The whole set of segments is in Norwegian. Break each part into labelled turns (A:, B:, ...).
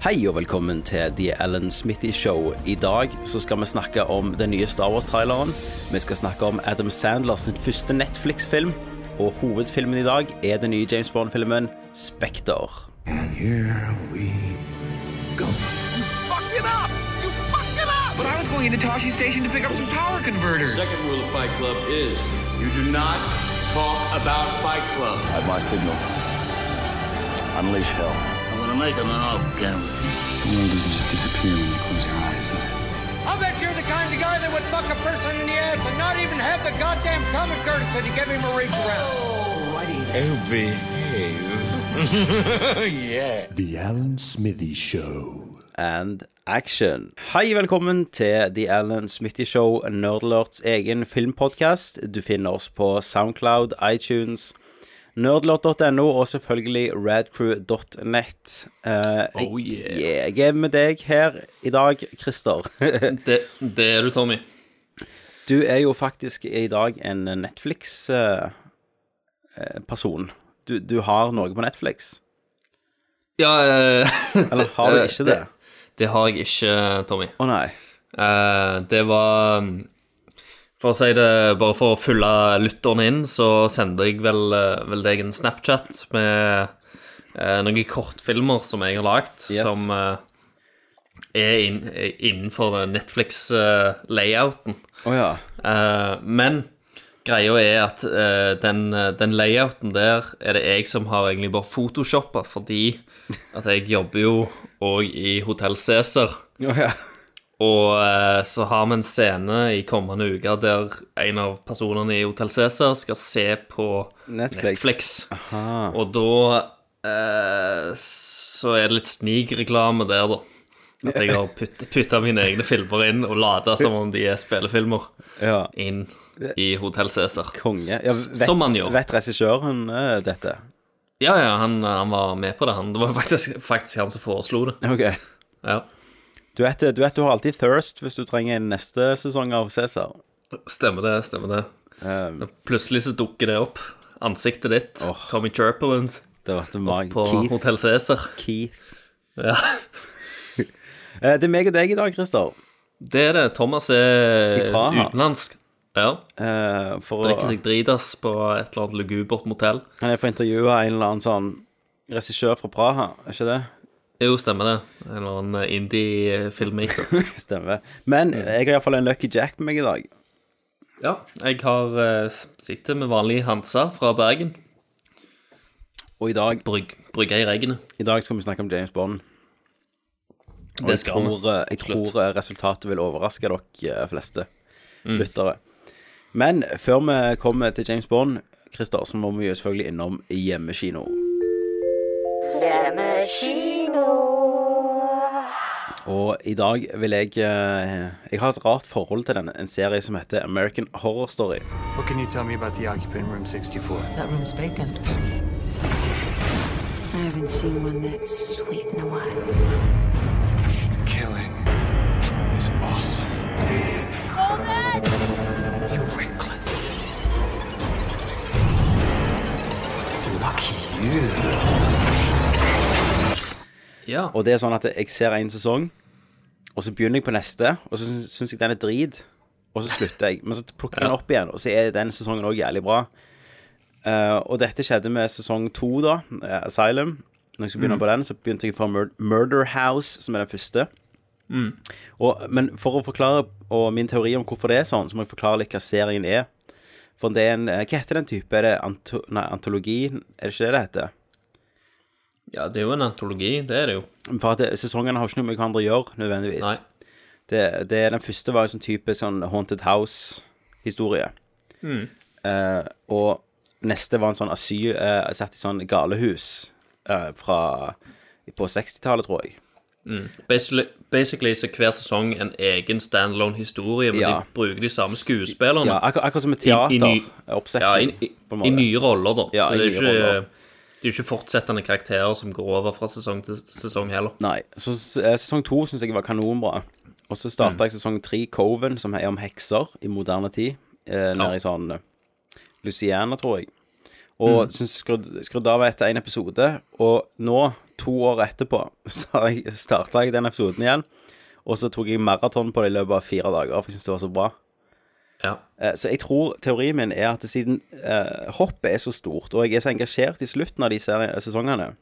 A: Hei og velkommen til The Alan Smithy Show. I dag så skal vi snakke om den nye Star Wars-traileren. Vi skal snakke om Adam Sandlers sin første Netflix-film. Og hovedfilmen i dag er den nye James Bond-filmen Spekter.
B: fucked it up! You fucked it up!
C: But I was going into Toshi Station to pick up some power converters.
D: Second rule of Fight Club is you do not talk about Fight Club.
E: At my signal, unleash hell.
F: I'm gonna make him an off camera.
E: The world doesn't just disappear when you close your eyes. does it?
G: I bet you're the kind of guy that would fuck a person in the ass and not even have the goddamn common courtesy to give him a reach around.
C: Oh, behave. yeah.
H: The Alan Smithy Show.
A: and action. Hei, velkommen til The Alan Smitty Show, Nerdlerts egen filmpodcast. Du finner oss på Soundcloud, iTunes, nerdlert.no og selvfølgelig radcrew.net. Eh,
I: Oh, yeah.
A: Jeg er med deg her i dag, Christer.
I: Det, det er du, Tommy.
A: Du er jo faktisk i dag en Netflix-person. Du, du har noe på Netflix,
I: Ja, eh,
A: eller har du
I: eh,
A: ikke det?
I: det har jeg ikke, Tommy.
A: Å nei.
I: Eh, det var For å si det, bare for å fylle lytterne inn, så sender jeg vel, eh, vel deg en Snapchat med eh, noen kortfilmer som jeg har lagd,
A: Yes.
I: som eh, er, inn, er innenfor eh, Netflix-layouten.
A: Å ja.
I: Eh, men greia er at eh, den, eh, den layouten der er det jeg som har egentlig bare photoshoppa, fordi at jeg jobber jo òg i Hotell Cæsar.
A: Å ja.
I: Og eh, så har vi en scene i kommende uke der en av personene i Hotell Cæsar skal se på
A: Netflix.
I: Netflix. Og da eh, så er det litt snikreklame der, da. At jeg har putta mine egne filmer inn og lata som om de er spillefilmer
A: ja.
I: inn i Hotell Cæsar.
A: Konge. Ja,
I: S-
A: vet,
I: som han gjør.
A: Vet regissøren eh, dette?
I: Ja, ja, han, han var med på det, han. Det var faktisk, faktisk han som foreslo det.
A: Ok.
I: Ja,
A: Du vet, du vet du har alltid thirst hvis du trenger en neste sesong av Cæsar.
I: Stemmer det, stemmer det. Um, Plutselig så dukker det opp. Ansiktet ditt, Tommy Chirpelins,
A: Det var til meg.
I: på
A: Keith.
I: Hotell Cæsar.
A: Keith.
I: Ja.
A: Eh, det er meg og deg i dag, Christer.
I: Det er det. Thomas er
A: I Praha.
I: utenlandsk. Ja.
A: Eh, for å,
I: Drikker seg dritas på et eller annet lugubert motell.
A: kan jeg få intervjue en eller annen sånn regissør fra Praha, er ikke det?
I: Jo, stemmer det. En eller annen indie-filmmaker.
A: Stemmer. Men jeg har iallfall en Lucky Jack med meg i dag.
I: ja. Jeg har uh, sittet med vanlig Hansa fra Bergen.
A: Og i dag,
I: Brygg, brygga i regnet.
A: i dag skal vi snakke om James Bond.
I: Det
A: Jeg
I: skal vi.
A: tror, eh, jeg tror resultatet vil overraske dere eh, fleste lyttere. Men før vi kommer til James Bond, Christer, så må vi jo selvfølgelig innom hjemmekino. Og i dag vil jeg eh, Jeg har et rart forhold til denne, en serie som heter American Horror Story.
J: What can you tell me about the occupant in room 64?
K: That room's vacant. I haven't seen one that sweet in a while.
J: Killing is awesome. Hold it! You're reckless. Lucky you.
I: Ja.
A: Og det er sånn at jeg ser en sesong, og så begynner jeg på neste, og så syns- syns jeg den er drit, og så slutter jeg. Men så plukker jeg den opp igjen, og så er den sesongen òg jævlig bra. Eh, og dette skjedde med sesong to, da, eh, Asylum. Når jeg skulle begynne på den, så begynte jeg fra Mur Murder House, som er den første. Og, men for å forklare og min teori om hvorfor det er sånn, så må jeg forklare litt hva serien er. For det er en eh, Hva heter den type? Er det anto nei, antologi? Er det ikke det det heter?
I: ja, det er jo en antologi. Det er det jo.
A: For at det- sesongene har ikke noe med hverandre å gjøre, nødvendigvis.
I: Nei.
A: Det, det, den første var en sånn type sånn Haunted House-historie.
I: Mm.
A: Eh, og neste var en sånn asyl eh, satt i sånn galehus eh, fra på 60-tallet, tror jeg.
I: Basically, basically så hver sesong en egen standalone historie, men
A: Ja.
I: de bruker de samme skuespillerne.
A: Ja,
I: Ja,
A: akkur akkurat som et
I: I- i ny- i,
A: teateroppsetning.
I: i,
A: på en
I: i
A: måte.
I: nye roller, da.
A: Ja,
I: så
A: i
I: det er
A: nye
I: jo ikke,
A: roller.
I: det er jo ikke fortsettende karakterer som går over fra sesong til sesong heller.
A: Nei, så s- eh, sesong to syns jeg var kanonbra. Og så starta jeg sesong tre, Coven, som er om hekser i moderne tid. Eh, nede i sånn eh, Louisiana, tror jeg. Og mm. skrudd, skrudd av etter en episode, og nå, to år etterpå, så har jeg starta jeg den episoden igjen. Og så tok jeg maraton på det i løpet av fire dager, for jeg syns det var så bra.
I: Ja.
A: Eh, Så jeg tror teorien min er at siden eh, hoppet er så stort, og jeg er så engasjert i slutten av de seri- sesongene,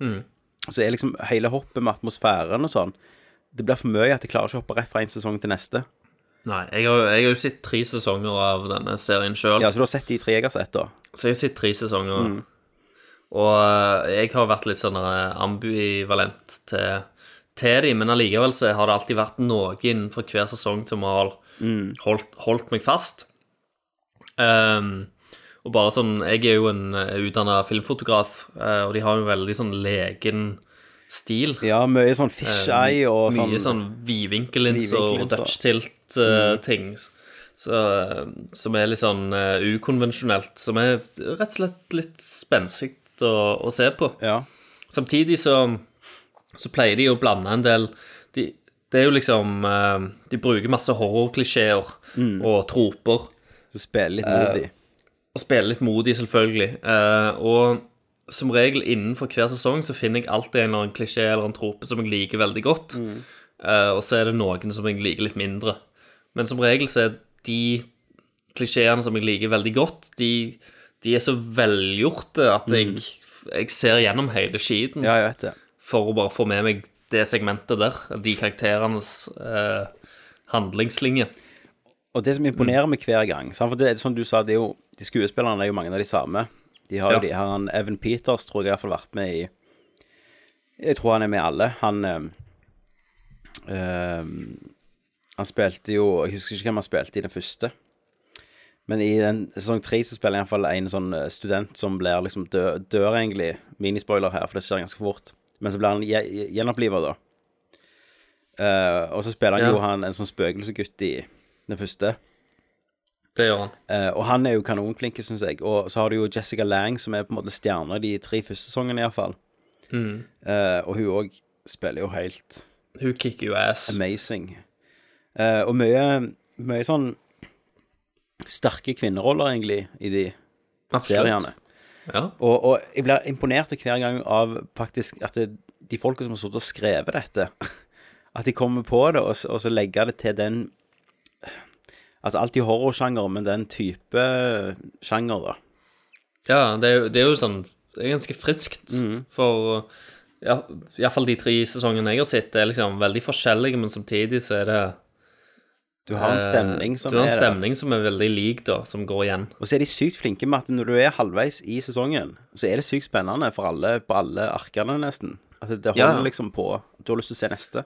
A: Mm. så er liksom hele hoppet med atmosfæren og sånn Det blir for mye at jeg klarer ikke å hoppe rett fra en sesong til neste.
I: Nei, jeg har, jeg har jo sett tre sesonger av denne serien sjøl.
A: Ja, Så du har sett de tre jeg har sett, da?
I: Så jeg har sett tre sesonger. Og eh, jeg har vært litt sånn eh, ambivalent til, til de, men allikevel så har det alltid vært noe innenfor hver sesong som har holdt, holdt meg fast. Ehm, og bare sånn, Jeg er jo en utdanna filmfotograf, eh, og de har jo veldig sånn legen stil.
A: Ja, mye sånn fisheye og sånn.
I: Mye sånn vidvinkellinser og
A: Vidvinkellinser. Mm.
I: Dutch tilt-ting. Så, eh, som er litt sånn eh, ukonvensjonelt. Som er rett og slett litt spenstig å, å se på.
A: Ja.
I: Samtidig så, så pleier de å blande en del de, Det er jo liksom eh, De bruker masse horrorklisjeer
A: Mm.
I: og troper.
A: Så spiller litt modig.
I: Og spiller litt modig, selvfølgelig. Eh, og som regel innenfor hver sesong så finner jeg alltid en eller annen klisjé eller en trope som jeg liker veldig godt. Eh, og så er det noen som jeg liker litt mindre. Men som regel så er de klisjeene som jeg liker veldig godt, de, de er så velgjorte at jeg, jeg ser gjennom hele skiten
A: ja, jeg vet det.
I: for å bare få med meg det segmentet der. De karakterenes eh, handlingslinje.
A: Og det som imponerer meg hver gang sant? For det er som du sa, det er jo, de skuespillerne er jo mange av de samme. De har jo
I: Ja.
A: de her, han Evan Peters tror jeg i hvert fall vært med i Jeg tror han er med i alle. Han ehm, ehm, Han spilte jo Jeg husker ikke hvem han spilte i den første. Men i den sesong tre så spiller han iallfall en sånn eh, student som blir liksom dø, dør, egentlig. Minispoiler her, for det skjer ganske fort. Men så blir han gje- gje- gjenoppliva, da. Eh, og så spiller han
I: Ja.
A: jo han en sånn spøkelsesgutt i den første.
I: Det gjør han.
A: Eh, og han er jo kanonklinke, syns jeg. Og så har du jo Jessica Lang, som er på en måte stjerne de tre første sesongene, iallfall. Uh, og hun òg spiller jo helt
I: Hun kicker jo ass.
A: amazing. Eh, og mye, mye sånn sterke kvinneroller, egentlig, i de seriene.
I: Ja.
A: Og, og jeg blir imponert hver gang av faktisk at det, de folka som har sittet og skrevet dette, at de kommer på det, og, så- og så legger det til den Altså alltid horrorsjanger, men den type sjanger, da.
I: Ja, det er, jo- det er jo sånn Det er ganske friskt
A: Mm.
I: for ja, Iallfall de tre sesongene jeg har sett, er liksom veldig forskjellige, men samtidig så er det
A: Du har en stemning som
I: Eh, Du har en
A: er der.
I: stemning som er veldig lik, da, som går igjen.
A: Og så er de sykt flinke med at når du er halvveis i sesongen, så er det sykt spennende for alle på alle arkene, nesten. At det, det
I: Ja.
A: holder liksom på. Du har lyst til å se neste.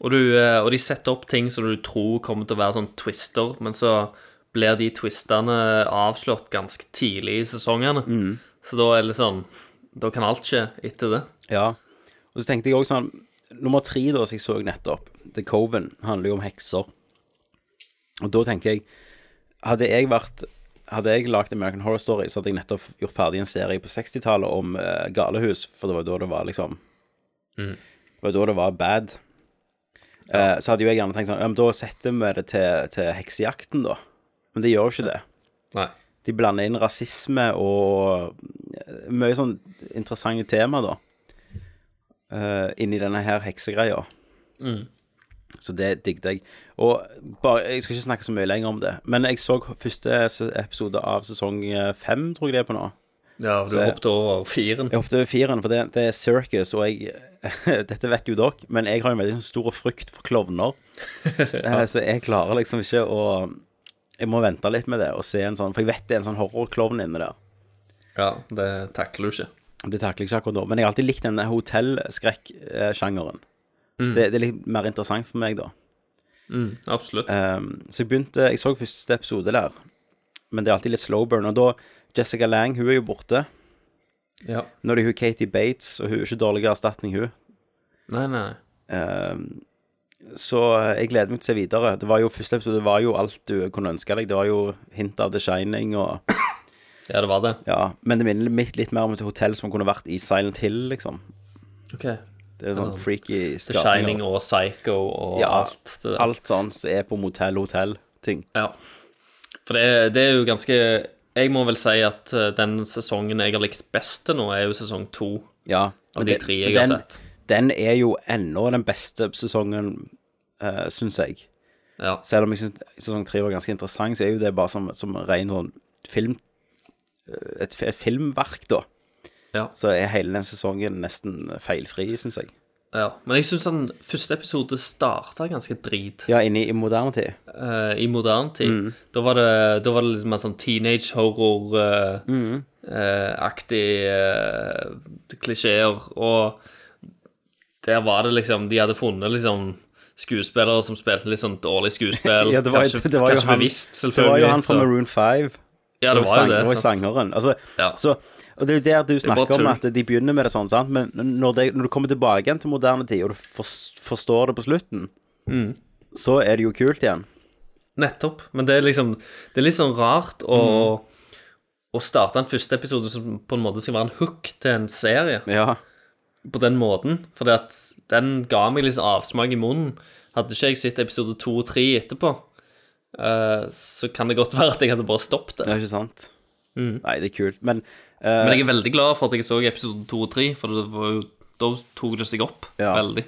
I: Og, du, eh, og de setter opp ting som du tror kommer til å være sånn twister, men så blir de twistene avslått ganske tidlig i sesongene.
A: Mm.
I: Så da er det sånn Da kan alt skje etter det.
A: Ja. Og så tenkte jeg også sånn Nummer tre da, som jeg så nettopp, The Coven, handler jo om hekser. Og da tenker jeg Hadde jeg vært Hadde jeg lagd American Horror Story, så hadde jeg nettopp gjort ferdig en serie på 60-tallet om eh, galehus, for det var jo da det var liksom Det var jo da det var bad. Eh, så hadde jo jeg gjerne tenkt sånn Ja, men da setter vi det til, til heksejakten, da. Men det gjør jo ikke det.
I: Nei.
A: De blander inn rasisme og mye sånn interessante tema, da. eh, inni denne her heksegreia. Så det digget jeg. Og bare, jeg skal ikke snakke så mye lenger om det, men jeg så første se- episode av sesong eh, fem, tror jeg det er på nå.
I: Ja, for du
A: Så-
I: hoppet over firen.
A: Jeg hoppet over firen, for det, det er circus, og jeg Dette vet jo dere, men jeg har en veldig sånn stor frykt for klovner. Eh, Så jeg klarer liksom ikke å Jeg må vente litt med det og se en sånn For jeg vet det er en sånn horrorklovn inni der.
I: Ja, det takler du ikke.
A: Det takler jeg ikke akkurat nå, men jeg har alltid likt denne hotellskrekk-sjangeren.
I: Mm.
A: Det, det er litt mer interessant for meg, da.
I: Absolutt.
A: Ehm, så jeg begynte Jeg så første episode der, men det er alltid litt slow burn. Og da Jessica Lang, hun er jo borte.
I: Ja.
A: Nå er det hun Katie Bates, og hun er ikke dårlig erstatning, hun.
I: Nei, nei, nei.
A: Ehm, så eh, jeg gleder meg til å se videre. Det var jo, Første episode var jo alt du kunne ønske deg. Det var jo hint av The Shining og
I: Ja, det var det.
A: Ja. Men det minner litt- litt mer om et hotell som kunne vært i Silent Hill, liksom.
I: Ok.
A: Det er sånn freaky
I: The Shining og Psycho og
A: Ja,
I: alt det der.
A: alt sånn som er på motell-hotell-ting.
I: Ja. For det, er- det er jo ganske jeg må vel si at eh, den sesongen jeg har likt best til nå, er jo sesong to.
A: Ja.
I: Av
A: men
I: de
A: den-
I: tre jeg har
A: den-
I: sett.
A: Den er jo ennå den beste sesongen, uh, syns jeg.
I: Ja.
A: Selv om jeg syns sesong tre var ganske interessant, så er jo det bare som, som ren sånn film eh, et, et filmverk, da.
I: Ja.
A: Så er hele den sesongen nesten feilfri, syns jeg.
I: ja. Men jeg syns den første episode starta ganske drit.
A: Ja, inne i, i moderne tid.
I: eh, i moderne tid.
A: Mm.
I: Da, var det, da var det liksom en sånn teenage eh,
A: Mm.
I: horror-aktig eh, klisjeer. Og der var det liksom De hadde funnet liksom skuespillere som spilte litt sånn dårlig skuespill.
A: Ja, det var,
I: kanskje
A: det var jo
I: kanskje
A: han,
I: bevisst,
A: det var
I: selvfølgelig.
A: jo han fra
I: så-
A: Maroon 5.
I: ja, det var jo det.
A: det var jo
I: sant.
A: sangeren. Altså,
I: Ja.
A: så, og det er jo der du
I: bare
A: snakker om at
I: tull.
A: de begynner med det sånn, sant? men når, det, når du kommer tilbake igjen til moderne tid, og du fors- forstår det på slutten,
I: Mm.
A: så er det jo kult igjen.
I: Nettopp. Men det er liksom Det er litt sånn rart å
A: Mm.
I: Å starte en første episode som på en måte skal være en hook til en serie.
A: Ja,
I: på den måten, fordi at den ga meg liksom avsmak i munnen. Hadde ikke jeg sett episode to og tre etterpå, eh, så kan det godt være at jeg hadde bare stoppet
A: det
I: det.
A: er ikke sant?
I: Mm.
A: Nei, det er kult, men
I: Men jeg er veldig glad for at jeg så episode to og tre, for det var jo, da tok det seg opp
A: Ja.
I: veldig.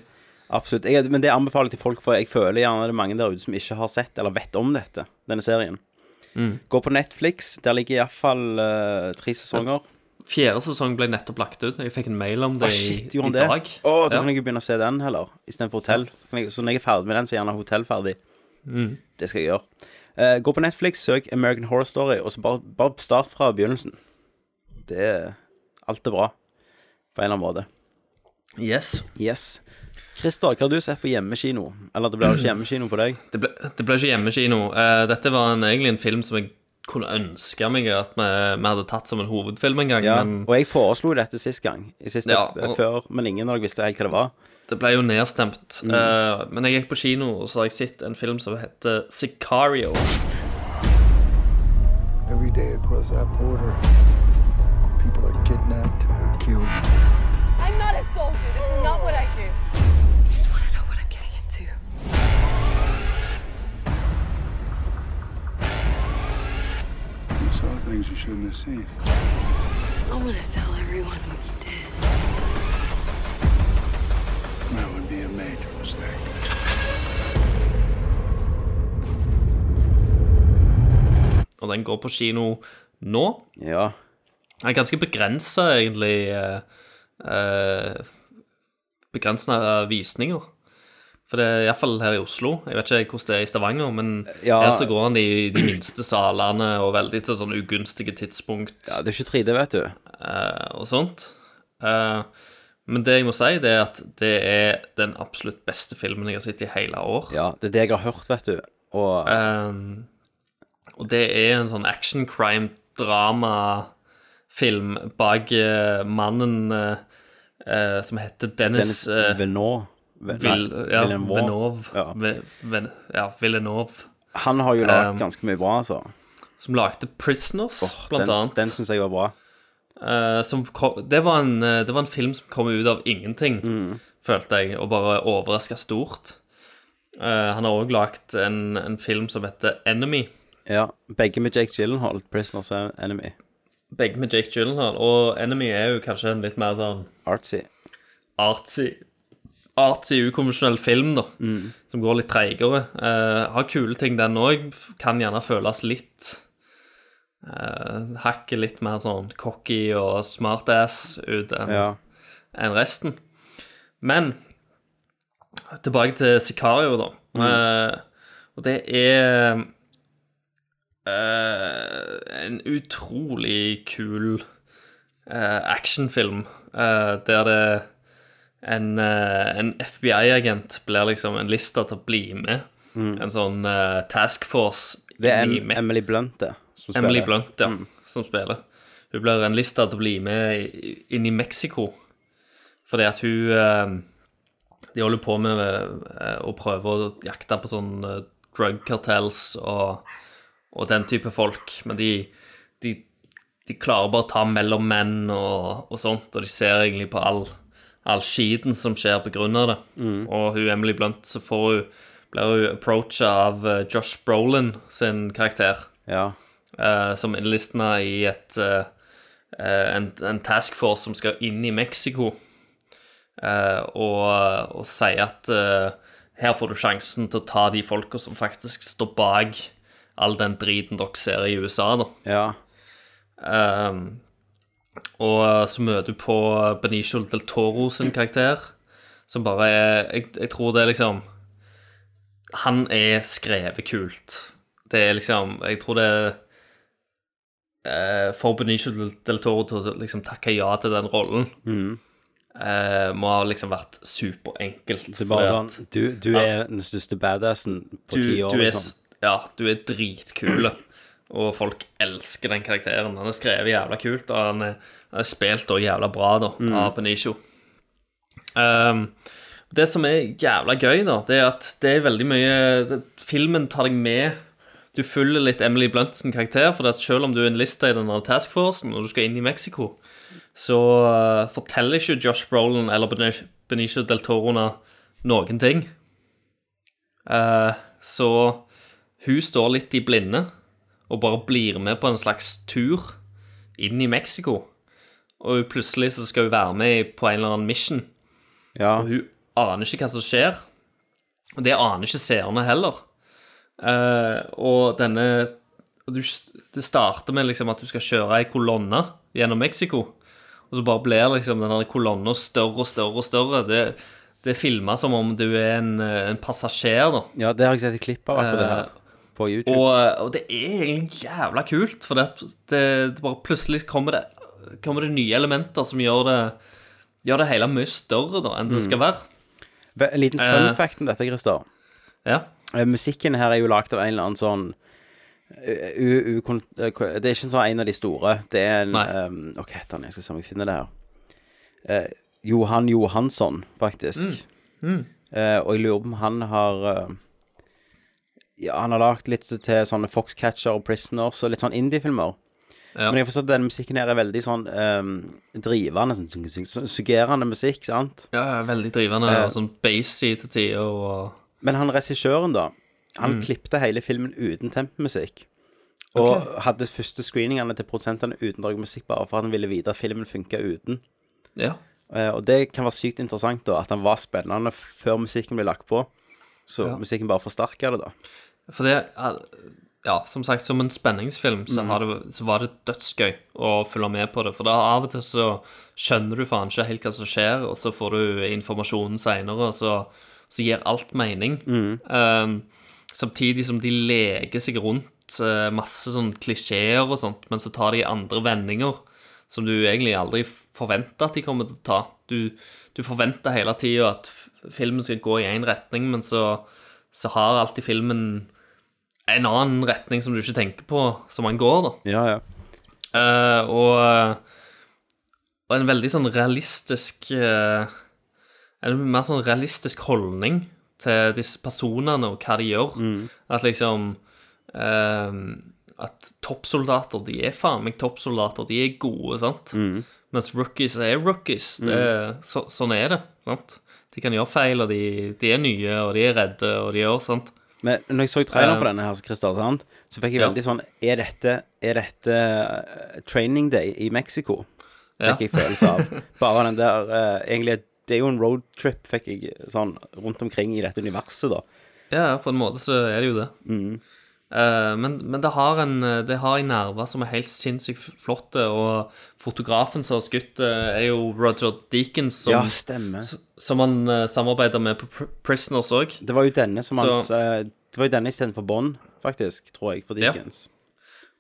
A: absolutt. Jeg, men det anbefaler jeg til folk, for jeg føler gjerne det er mange der ute som ikke har sett eller vet om dette, denne serien.
I: Mm.
A: Gå på Netflix, der ligger iallfall uh, tre sesonger.
I: Fjerde sesong ble nettopp lagt ut. Jeg fikk en mail om det
A: Å,
I: i,
A: Ah, shit,
I: i
A: gjorde han det?
I: dag.
A: Å, da
I: ja.
A: kan jeg jo begynne å se den heller, istedenfor hotell. Kan jeg, så når jeg er ferdig med den, så er gjerne hotell ferdig. Det skal jeg gjøre. Eh, gå på Netflix, søk American Horror Story, og så bare, bare start fra begynnelsen. Det Alt er bra, på en eller annen måte.
I: Yes.
A: Yes. Christer, hva har du sett på hjemmekino? Eller det blir jo ikke hjemmekino på deg.
I: Det ble, det ble ikke hjemmekino. Eh, dette var en, egentlig en film som jeg kunne ønske meg at vi, vi hadde tatt som en hovedfilm en gang,
A: Ja,
I: men
A: og jeg foreslo dette sist gang, i siste,
I: Ja, og-
A: før, men ingen av dere visste helt hva det var.
I: Det ble jo nedstemt.
A: Mm.
I: eh, men jeg gikk på kino, og så har jeg sett en film som heter Sicario.
H: Every day across that border, people are kidnapped or killed.
L: I'm not a soldier. This is not what I do.
K: Just want to know what I'm getting into.
E: You saw things you shouldn't have seen.
K: I'm gonna tell everyone what you did.
E: That would be a major mistake.
I: Og den går på kino nå.
A: Ja.
I: Den er ganske begrensa, egentlig. eh, eh, Begrensende eh, visninger. For det er iallfall her i Oslo. Jeg vet ikke hvordan det er i Stavanger, men
A: Ja.
I: her så går han i de minste salene og veldig til sånn ugunstige tidspunkt.
A: ja. Det er ikke 3D, vet du.
I: eh, og sånt. Eh, men det jeg må si, det er at det er den absolutt beste filmen jeg har sett i hele år.
A: Ja, Det er det jeg har hørt, vet du. Og
I: Eh, og det er en sånn action crime drama film bak eh, mannen eh, eh, som heter Dennis,
A: Dennis
I: eh,
A: Venot. Ven-
I: Vill,
A: nei,
I: ja,
A: Villeneuve.
I: Villeneuve.
A: Ja.
I: Ve- Ven- Ja, Villeneuve.
A: Han har jo lagd
I: Um,
A: ganske mye bra, altså.
I: Som lagde Prisoners, blant
A: den,
I: annet.
A: Den syns jeg var bra.
I: Eh, som kom, det, var en, eh, det var en film som kom ut av ingenting,
A: Mm.
I: følte jeg, og bare overraska stort. Eh, han har òg lagd en, en film som heter Enemy,
A: Ja, Begge med Jake Gyllenhaal, 'Prisoners and Enemy'.
I: begge med Jake Gyllenhaal. Og Enemy er jo kanskje en litt mer sånn
A: Artsy.
I: artsy, artsy ukonvensjonell film, da, som går litt treigere. Eh, har kule ting, den òg. Kan gjerne føles litt eh, Hakket litt mer sånn cocky og smartass ut enn
A: Ja.
I: enn resten. Men tilbake til Sicario, da.
A: Mm.
I: Eh, og det er eh, en utrolig kul eh, actionfilm eh, der det en, eh, en FBI-agent blir liksom en lista til å bli med. En sånn eh, task force.
A: Mm. Det er
I: bli
A: em
I: med.
A: Emily Blunt, det. Som
I: Emily Blunt, ja, som spiller. Hun blir en lista til å bli med i- inn i Mexico. Fordi at hun eh, De holder på med eh, å prøve å jakte på sånn eh, drug cartels og, og den type folk. Men de, de, de klarer bare å ta mellom menn og, og sånt, og de ser egentlig på all, all skiten som skjer på grunn av det. Og hun Emily Blunt, så får hun, blir hun approacha av eh, Josh Brolin sin karakter
A: Ja.
I: eh, som innlistna i et, eh, eh, en, en task force som skal inn i Mexico, eh, og, og si at eh, her får du sjansen til å ta de folka som faktisk står bak all den driten dere ser i USA, da. Ehm, og så møter du på Benicio del Toro sin karakter, som bare er Jeg, jeg tror det er liksom Han er skrevet kult. Det er liksom Jeg tror det er eh, For Benicio del, del Toro til å liksom takke ja til den rollen
A: Mm.
I: eh, må ha liksom vært superenkelt.
A: Det er bare
I: fordi at-
A: sånn Du, du
I: Ja.
A: er den største badassen på
I: du,
A: ti år.
I: du er,
A: liksom.
I: s- Ja, du er dritkul. Og folk elsker den karakteren. Han er skrevet jævla kult, og han er, han er spilt da jævla bra da,
A: Mm.
I: av Benicio. Ehm, det som er jævla gøy, da, det er at det er veldig mye det, Filmen tar deg med. Du følger litt Emily Blunts karakter, for at selv om du er en lista i denne task forcen, og du skal inn i Mexico, så eh, forteller ikke Josh Brolin eller Benicio- Benicio del Torona noen ting. Eh, så hun står litt i blinde og bare blir med på en slags tur inn i Mexico. Og hun plutselig så skal hun være med i- på en eller annen mission. Og hun aner ikke hva som skjer. Og det aner ikke seerne heller. Eh, og denne og du, Det starter med liksom at du skal kjøre ei kolonne gjennom Mexico. Og så bare blir liksom den kolonna større og større og større. Det, det er filma som om du er en, eh, en passasjer, da.
A: Ja, det har jeg sett et klipp av akkurat det her. På YouTube.
I: Eh, Og, eh, og det er egentlig jævla kult, for det, at det, det bare plutselig kommer det, kommer det nye elementer som gjør det, gjør det hele mye større da, enn det
A: Mm.
I: skal være.
A: Ve- En liten fun
I: Eh.
A: fact om dette, Christer.
I: Ja.
A: Eh, Musikken her er jo lagd av en eller annen sånn eh, u, u, kon- eh, ko- Det er ikke en sånn en av de store. Det er en eh, Hva heter han? Jeg skal se om jeg finner det her. Eh, Johan Johansson, faktisk.
I: Mm. Mm.
A: Eh, og jeg lurer på om han har eh, Ja, han har lagd litt til sånne Foxcatcher og Prisoners og litt sånn indie-filmer. Men jeg har forstått at denne musikken her er veldig sånn eh, drivende, sånn, sånn, sånn, sånn suggerende musikk, sant?
I: Ja, ja, veldig drivende.
A: Eh.
I: og sånn bassy til tider og
A: Men han regissøren, da, han
I: Mm.
A: klippte hele filmen uten tempomusikk. Og
I: Ok.
A: hadde første screeningene til produsentene uten dragmusikk, bare for at han ville vite at filmen funka uten.
I: Ja.
A: Eh, og det kan være sykt interessant, da, at han var spennende før musikken ble lagt på. Så
I: Ja.
A: musikken bare forsterka det, da.
I: For det er- Ja, som sagt, som en spenningsfilm så,
A: Mhm.
I: har det, så var det dødsgøy å følge med på det. For da av og til så skjønner du faen ikke helt hva som skjer, og så får du informasjonen seinere, og så, så gir alt mening. Um, samtidig som de leker seg rundt eh, masse sånn klisjeer og sånt, men så tar de andre vendinger som du egentlig aldri forventer at de kommer til å ta. Du, du forventer hele tida at f- filmen skal gå i én retning, men så, så har alltid filmen en annen retning som du ikke tenker på, som han går, da.
A: Ja, ja.
I: Eh, og, og en veldig sånn realistisk eh, En mer sånn realistisk holdning til disse personene og hva de gjør. At liksom eh, At toppsoldater, de er faen meg toppsoldater. De er gode, sant?
A: Mm.
I: Mens rookies er rookies. Det, så, sånn er det. sant? De kan gjøre feil, og de, de er nye, og de er redde, og de gjør sant?
A: Men når jeg så traileren
I: Eh.
A: på denne her, så, Christer, sant? så fikk jeg
I: Ja.
A: veldig sånn Er dette, er dette eh, training day i Mexico?
I: Ja.
A: Fikk jeg følelse av. Bare den der eh, Egentlig, det er jo en roadtrip, fikk jeg sånn rundt omkring i dette universet, da.
I: Ja, på en måte så er det jo det.
A: Mm.
I: Eh, men men det, har en, eh, det har en nerve som er helt sinnssykt flott, eh, og fotografen som har skutt, eh, er jo Roger Deakins, som,
A: Ja, stemmer.
I: s- som han eh, samarbeider med på Pr- Prisoners òg.
A: Det var jo denne som
I: Så-
A: hans eh, Det var jo denne istedenfor Bond, faktisk, tror jeg, for
I: Ja.
A: Dickens.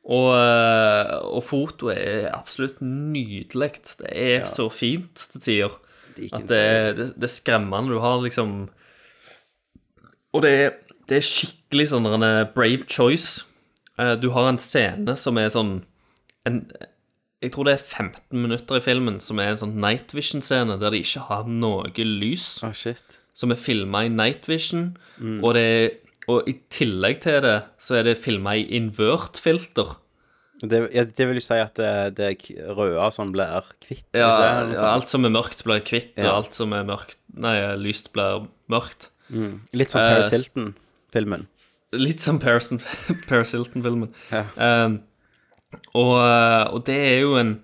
I: Og, eh, og fotoet er absolutt nydelig. Det er
A: Ja.
I: så fint til tider.
A: Dickens
I: At det, er- det, det er skremmende. Du har liksom Og det er, det er skikkelig sånn en brave choice. Eh, Du har en scene som er sånn en, Jeg tror det er 15 minutter i filmen som er en sånn night vision-scene der de ikke har noe lys. Som er filma i night vision.
A: Mm.
I: Og, det, er- og i tillegg til det så er det filma i invert filter.
A: Det, ja, det vil jo si at det, det k- røde som blir kvitt.
I: Ja,
A: ikke det? Noe
I: ja,
A: sånt.
I: alt som er mørkt, blir kvitt,
A: Ja.
I: og alt som er mørkt, nei, lyst, blir mørkt.
A: Mm. Litt som
I: Eh,
A: Paris Hilton-filmen.
I: Litt som Paris, Paris Hilton-filmen.
A: Ja.
I: Ehm, Og, eh, og det er jo en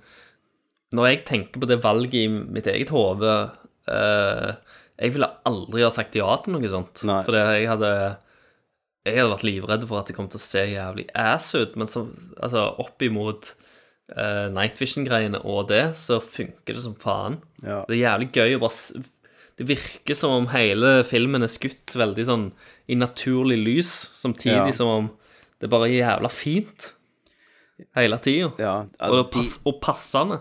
I: Når jeg tenker på det valget i mitt eget hode eh, Jeg ville aldri ha sagt ja til noe sånt.
A: Nei.
I: For jeg hadde Jeg hadde vært livredd for at det kom til å se jævlig ass ut, men så, altså, opp imot eh, Night Vision-greiene og det, så funker det som faen.
A: Ja.
I: Det er jævlig gøy å bare s- Det virker som om hele filmen er skutt veldig sånn i naturlig lys, samtidig
A: Ja.
I: som om det bare er jævla fint hele tida.
A: Ja, altså,
I: og, pass, og passende.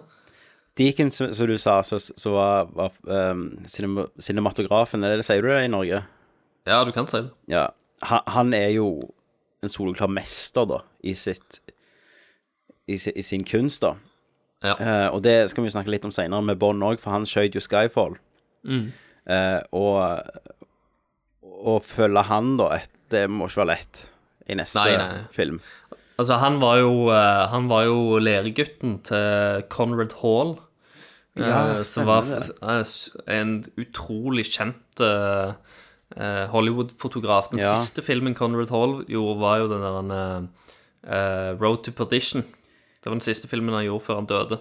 A: Deacon, som som du sa, så, så var, var ehm, cinema, cinematografen Er det det sier du det i Norge?
I: Ja, du kan si det.
A: Ja. Han, han er jo en soleklar mester, da, i sitt I, si- i sin kunst, da.
I: Ja.
A: Eh, og det skal vi snakke litt om seinere, med Bond òg, for han skjøt jo Skyfall.
I: Mm.
A: Eh, og å følge han, da, et, det må ikke være lett i neste
I: Nei, nei.
A: film.
I: Altså, han var jo, eh, han var jo læregutten til Conrad Hall. eh,
A: Ja,
I: som var
A: stemmer det.
I: f- eh, s- en utrolig kjent eh, eh, Hollywood-fotograf. Den
A: Ja.
I: siste filmen Conrad Hall gjorde, var jo den der han, eh, eh, Road to Perdition. Det var den siste filmen han gjorde før han døde.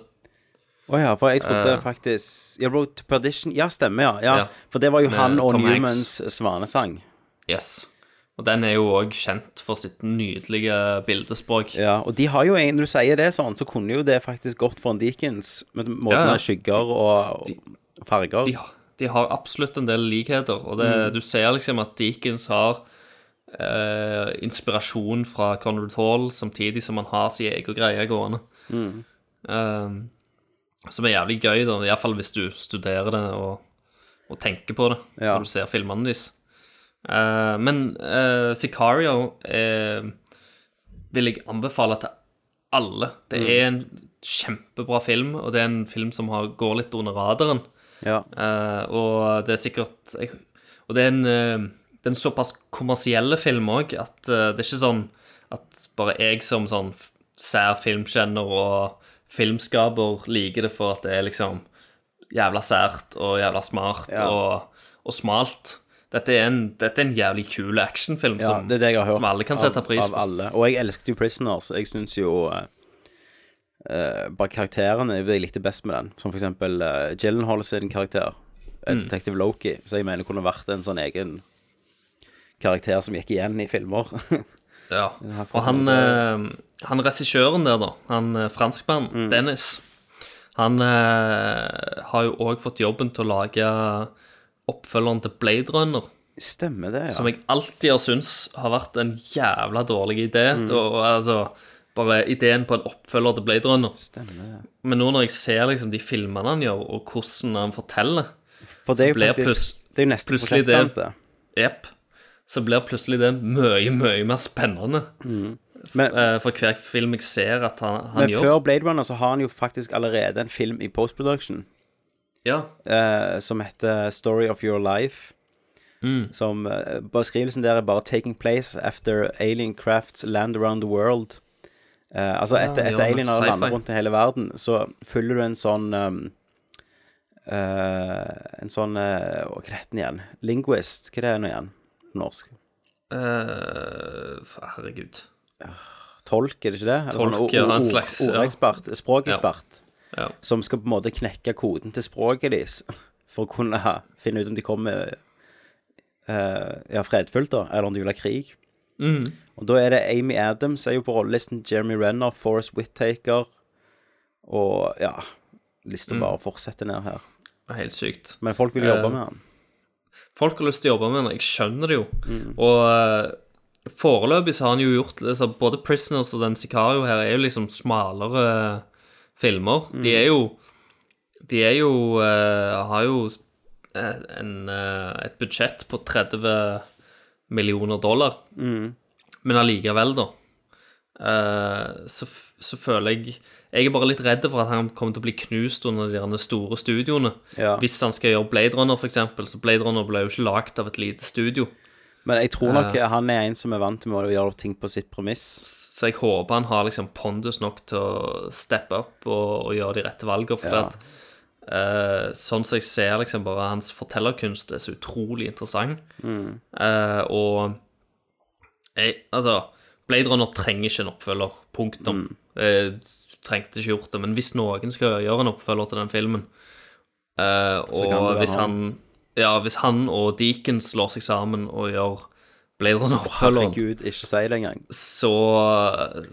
A: Å ja, for jeg trodde
I: Eh.
A: faktisk Ja, Road to Perdition Ja, stemmer, ja. ja.
I: Ja.
A: For det var jo
I: Med
A: han og
I: Tom
A: Newmans
I: Hanks.
A: svanesang.
I: Yes. Og den er jo òg kjent for sitt nydelige bildespråk.
A: Ja, og de har jo en, når du sier det sånn, så kunne jo det faktisk gått for en Dickens, med måten
I: Ja, ja.
A: av skygger og, og farger.
I: de, de har absolutt en del likheter, og det,
A: Mm.
I: du ser liksom at Deakins har eh, inspirasjon fra Conrad Hall, samtidig som han har sin egen greie gående.
A: Mm.
I: Eh, som er jævlig gøy, da, iallfall hvis du studerer det og, og tenker på det
A: Ja.
I: når du ser filmene deres. Eh, men eh, Sicario eh, vil jeg anbefale til alle. Det
A: Mm.
I: er en kjempebra film, og det er en film som har, går litt under radaren.
A: Ja.
I: Eh, og det er sikkert jeg, Og det er en, eh, det er en såpass kommersielle film òg at eh, det er ikke sånn at bare jeg som sånn f- sær filmkjenner og filmskaper liker det for at det er liksom jævla sært og jævla smart
A: Ja.
I: og, og smalt. Dette er en, dette er en jævlig kul actionfilm
A: Ja,
I: som,
A: det er det jeg har hørt.
I: som alle kan sette
A: av,
I: pris
A: Av
I: på.
A: alle. Og jeg elsket jo Prisoners. Jeg syns jo eh, eh, bare karakterene jeg likte best med den. Som for eksempel uh, Gyllenhaal sin karakter, eh,
I: Mm.
A: Detective Loki, som jeg mener kunne vært en sånn egen karakter som gikk igjen i filmer.
I: Ja.
A: her
I: Og han,
A: personen
I: eh, han regissøren der, da, han eh, franskmannen, Dennis, han eh, har jo òg fått jobben til å lage oppfølgeren til Blade Runner.
A: Stemmer det, ja.
I: Som jeg alltid har syntes har vært en jævla dårlig idé. Og, og altså, bare ideen på en oppfølger til Blade Runner.
A: Stemmer det.
I: Men nå når jeg ser liksom de filmene han gjør, og hvordan han forteller,
A: For det er jo
I: blir
A: faktisk
I: pluss-
A: Det er jo neste
I: plutselig
A: prosjekt
I: det-
A: hans, det.
I: jep, så blir plutselig det mye, mye mer spennende.
A: Men,
I: eh, For hver film jeg ser at han, han
A: men
I: gjør.
A: før Blade Runner så har han jo faktisk allerede en film i postproduction
I: Ja,
A: eh, som heter Story of Your Life.
I: Mm.
A: Som eh, Beskrivelsen der er bare 'Taking place after alien crafts land around the world'. Eh, altså etter,
I: Ah, ja,
A: etter alien har
I: sci-fi.
A: landet rundt i hele verden, så følger du en sånn um, eh, En sånn eh, Hva heter den igjen? Linguist, hva er det nå igjen på norsk?
I: Eh, herregud.
A: Tolk, er det ikke det? Eller sånn
I: Tolk,
A: o-
I: ja, en
A: o- ord-
I: slags, ja.
A: Ordekspert, språkekspert.
I: Ja.
A: Som skal på en måte knekke koden til språket deres, for å kunne ha- finne ut om de kommer eh, ja, fredfullt, da, eller om de vil ha krig.
I: Mm.
A: Og da er det Amy Adams er jo på rollelisten, Jeremy Renner, Forrest Whittaker og ja
I: Mm.
A: Lista bare fortsetter ned her.
I: Det er Helt sykt.
A: Men folk vil jobbe
I: Eh,
A: med han.
I: Folk har lyst til å jobbe med den, jeg skjønner det jo. Og eh, foreløpig så har han jo gjort altså, Både Prisoners og den Sicario her er jo liksom smalere filmer. De er jo De er jo eh, Har jo en, eh, et budsjett på 30 millioner dollar. Men allikevel, da, eh, så, f- så føler jeg Jeg er bare litt redd for at han kommer til å bli knust under de derne store studioene.
A: Ja.
I: Hvis han skal gjøre Blade Runner, f.eks., så Blade Runner ble jo ikke lagd av et lite studio.
A: Men jeg tror nok eh, han er en som er vant med å gjøre ting på sitt premiss.
I: Så jeg håper han har liksom pondus nok til å steppe opp og, og gjøre de rette valgene. For
A: Ja.
I: at, eh, sånn som jeg ser liksom bare hans fortellerkunst, er så utrolig interessant.
A: Mm.
I: Eh,
A: Mm.
I: og jeg, altså Blade Runner trenger ikke en oppfølger. Punktum. Eh, Du trengte ikke gjort det, men hvis noen skal gjøre en oppfølger til den filmen eh,
A: kan det
I: Og
A: være
I: hvis han, ja, hvis han og Deacon slår seg sammen og gjør Blade Runner-oppfølgeren,
A: Herregud, ikke si det engang.
I: så,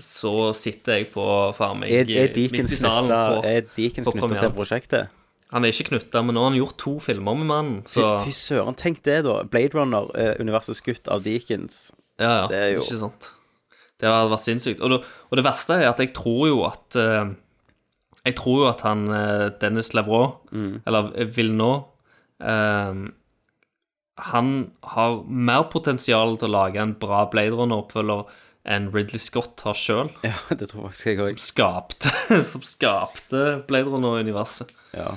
I: så sitter jeg på faen meg
A: Er, er
I: midt
A: Deakins
I: i salen på, på
A: knytta til
I: premieren.
A: prosjektet?
I: Han er ikke knytta, men nå har han gjort to filmer med mannen,
A: Fy,
I: så
A: fy søren, tenk det, da. Blade Runner, eh, universet skutt av Deakins.
I: Ja, ja.
A: Det er jo
I: Ikke sant. Det hadde vært sinnssykt. Og det, og det verste er at jeg tror jo at eh, Jeg tror jo at han eh, Dennis Lavraud,
A: Mm.
I: eller Villeneuve eh, Han har mer potensial til å lage en bra Blade Runner-oppfølger enn Ridley Scott har sjøl,
A: Ja, det tror faktisk jeg
I: som,
A: òg.
I: skapte- som skapte Blade Runner-universet.
A: Ja.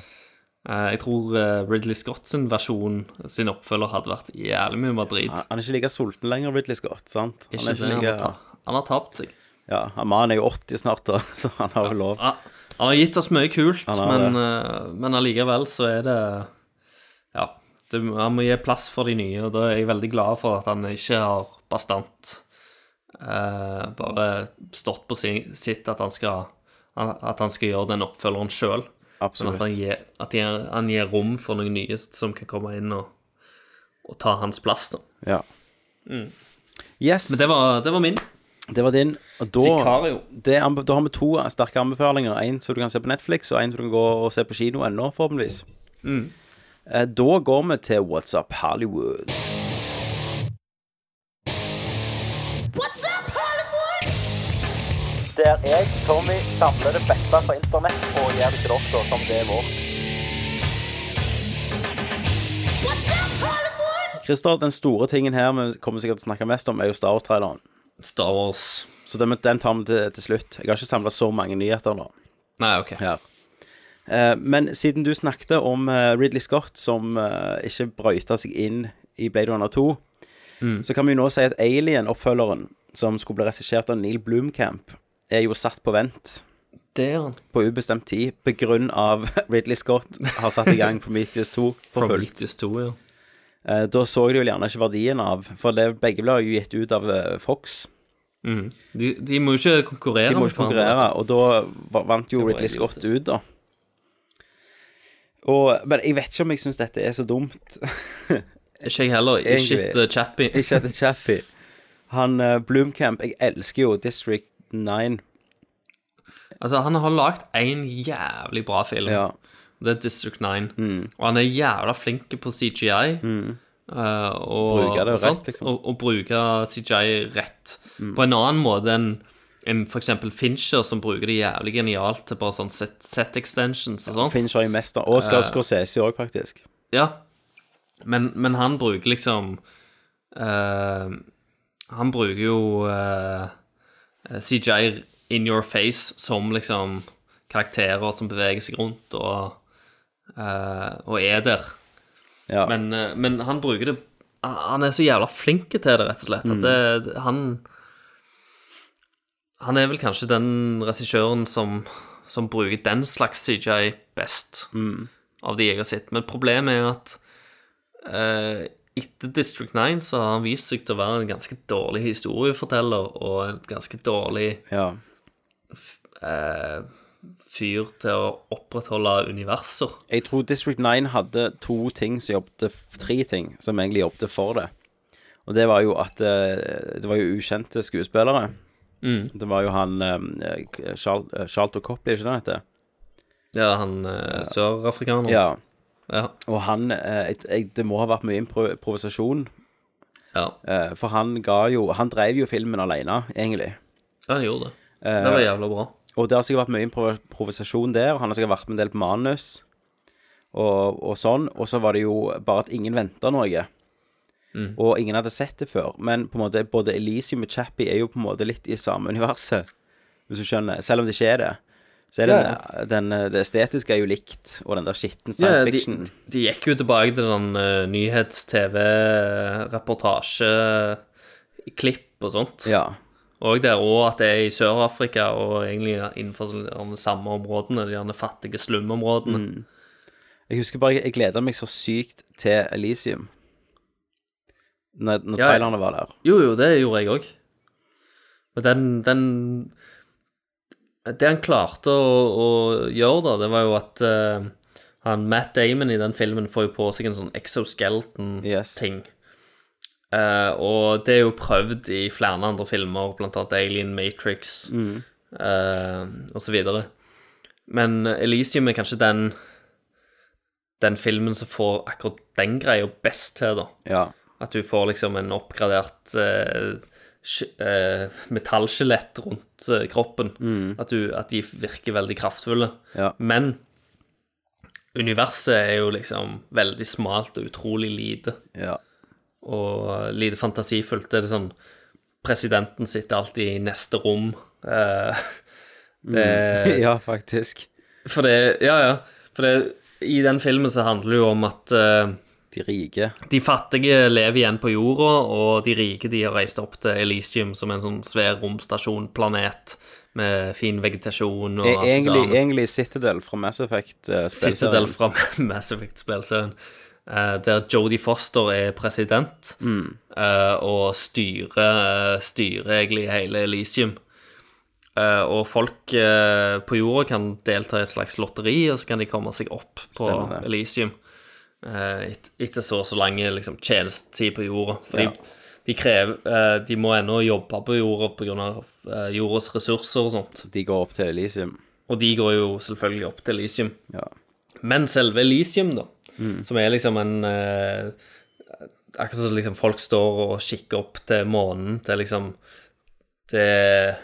I: Eh, jeg tror eh, Ridley Scott sin versjon, sin oppfølger, hadde vært jævlig mye Madrid.
A: Han er ikke like sulten lenger, Ridley Scott. sant? Han er
I: ikke det,
A: ikke
I: han, har
A: like...
I: ta- han har tapt seg.
A: Ja, han Mannen er jo 80 snart, da, så han har jo lov.
I: Ja, Han har gitt oss mye kult,
A: Han har
I: men, eh, men allikevel så er det Ja. Det, han må gi plass for de nye, og da er jeg veldig glad for at han ikke har bastant eh, bare stått på sin, sitt at han skal han- At han skal gjøre den oppfølgeren sjøl. Men at, han
A: Absolutt.
I: gir, at de- han gir rom for noen nye som kan komme inn og, og ta hans plass. Da.
A: Ja. Yes,
I: Mm. Men det var, det var min.
A: det var din. Og da,
I: Sicario.
A: det, anbe- da har vi to eh, sterke anbefalinger. En som du kan se på Netflix, og en som du kan gå og se på kino ennå, forhåpentligvis. Eh, Da går vi til What's Up Hollywood. Der jeg, Tommy, samler det beste fra internett og gjør det til dere som det er vårt. Christer, den store tingen her vi kommer sikkert til å snakke mest om, er jo Star Wars-traileren.
I: Star Wars.
A: Så den, den tar vi til, til slutt. Jeg har ikke samla så mange nyheter nå.
I: Nei, OK.
A: Her. Eh, men siden du snakket om eh, Ridley Scott som eh, ikke brøyta seg inn i Blade Runner 2, så kan vi jo nå si at Alien-oppfølgeren, som skulle bli regissert av Neil Blomkamp, er jo satt på vent
I: Det er han.
A: på ubestemt tid på grunn av Ridley Scott har satt i gang Prometheus 2 for fullt.
I: Prometheus 2, ja.
A: Eh, Da så de vel gjerne ikke verdien av, for det begge ble jo gitt ut av eh, Fox.
I: De, de må jo ikke konkurrere.
A: De må
I: med
A: ikke
I: hverandre.
A: konkurrere, og da va- vant jo
I: Det var
A: Ridley Scott
I: idiotisk.
A: ut, da. Og, men jeg vet ikke om jeg syns dette er så dumt.
I: Ikke jeg heller. Ikke
A: Egentlig.
I: et uh, chappy.
A: ikke etter Chappie. Han eh, Bloomcamp Jeg elsker jo District 9.
I: Altså, han har lagd en jævlig bra film.
A: Ja. Mm.
I: Det er District 9. Og han er jævla flink på CGI. eh, og,
A: Bruker det
I: og
A: rett,
I: sånt,
A: liksom. Mm.
I: Og, og bruker CGI rett. På en annen måte enn enn for eksempel Fincher, som bruker det jævlig genialt til bare sånn set, set extensions og sånt.
A: Fincher i mester. Og skal Scorsese òg, faktisk.
I: Ja. Men, men han bruker liksom eh, Han bruker jo eh, CGI in your face som liksom karakterer som beveger seg rundt og, eh, og er der.
A: Ja.
I: Men, eh, men han bruker det ah, Han er så jævla flink til det, rett og slett.
A: Mm.
I: At det, det- han Han er vel kanskje den regissøren som, som bruker den slags CGI best
A: Mm.
I: av de jeg har sett. Men problemet er at eh, etter District 9 så har han vist seg til å være en ganske dårlig historieforteller og en ganske dårlig
A: ja.
I: eh, fyr til å opprettholde universer.
A: Jeg tror District 9 hadde to ting som jobbet f- Tre ting som egentlig jobbet for det. Og det var jo at eh, Det var jo ukjente skuespillere.
I: Mm.
A: Det var jo han eh, Charl- eh, Charlton Copley, ikke det han heter?
I: Ja, han eh, sørafrikaneren.
A: Ja.
I: Ja.
A: Og han eh, jeg, jeg, Det må ha vært mye impro- improvisasjon,
I: ja.
A: eh, for han ga jo Han drev jo filmen alene, egentlig.
I: Ja, han gjorde det.
A: Eh,
I: Det var jævla bra.
A: Og det har sikkert vært mye improv- improvisasjon der, og han har sikkert vært med en del på manus og, og sånn. Og så var det jo bare at ingen venta noe. Og ingen hadde sett det før. Men på en måte, både Elisium og Chappie er jo på en måte litt i samme universet, hvis du skjønner. Selv om det ikke er det. Så er det, den, det estetiske er jo likt, og den der skitten science
I: de,
A: fiction.
I: de gikk jo tilbake til den eh, nyhets-TV-reportasje-klipp eh, og sånt.
A: Ja.
I: Og der òg at det er i Sør-Afrika, og egentlig innenfor de samme områdene, de gjerne fattige slumområdene.
A: Mm. Jeg husker bare jeg gleda meg så sykt til Elisium. Når, når
I: Ja, ja.
A: trailerne var der.
I: Jo, jo, det gjorde jeg òg. Og den, den Det han klarte å, å gjøre, da, det var jo at eh, han, Matt Damon i den filmen får jo på seg en sånn exoskeleton-ting. Eh, og det er jo prøvd i flere andre filmer, blant annet Alien Matrix
A: Mm.
I: eh, og så videre. Men Elisium er kanskje den den filmen som får akkurat den greia best til, da.
A: Ja.
I: At du får liksom en oppgradert eh, sk- eh, metallskjelett rundt eh, kroppen.
A: Mm.
I: At, du, at de virker veldig kraftfulle.
A: Ja.
I: Men universet er jo liksom veldig smalt og utrolig lite.
A: Ja.
I: Og lite fantasifullt. Det er sånn Presidenten sitter alltid i neste rom. Eh, det,
A: Mm. ja, faktisk.
I: For det Ja, ja. For det, i den filmen så handler det jo om at eh,
A: De rike.
I: de fattige lever igjen på jorda, og de rike de har reist opp til Elisium, som er en sånn svær romstasjonplanet med fin vegetasjon og
A: E-
I: alt det
A: egentlig,
I: samme.
A: egentlig Citadel fra Mass Effect. Uh,
I: Citadel fra Mass Effect-spillserien, eh, der Jodie Foster er president
A: Mm.
I: eh, og styrer, eh, styrer egentlig hele Elisium. Eh, og folk eh, på jorda kan delta i et slags lotteri, og så kan de komme seg opp på
A: Stemmer det.
I: Elisium eh, et, etter så og så lang liksom, tjenestetid på jorda. For
A: Ja.
I: de, de, krever, eh, de må ennå jobbe på jorda pga. Uh, jordas ressurser og sånt.
A: De går opp til Elisium.
I: Og de går jo selvfølgelig opp til Elisium.
A: Ja.
I: Men selve Elysium, da, som er liksom en eh, Akkurat som liksom folk står og kikker opp til månen, til liksom Det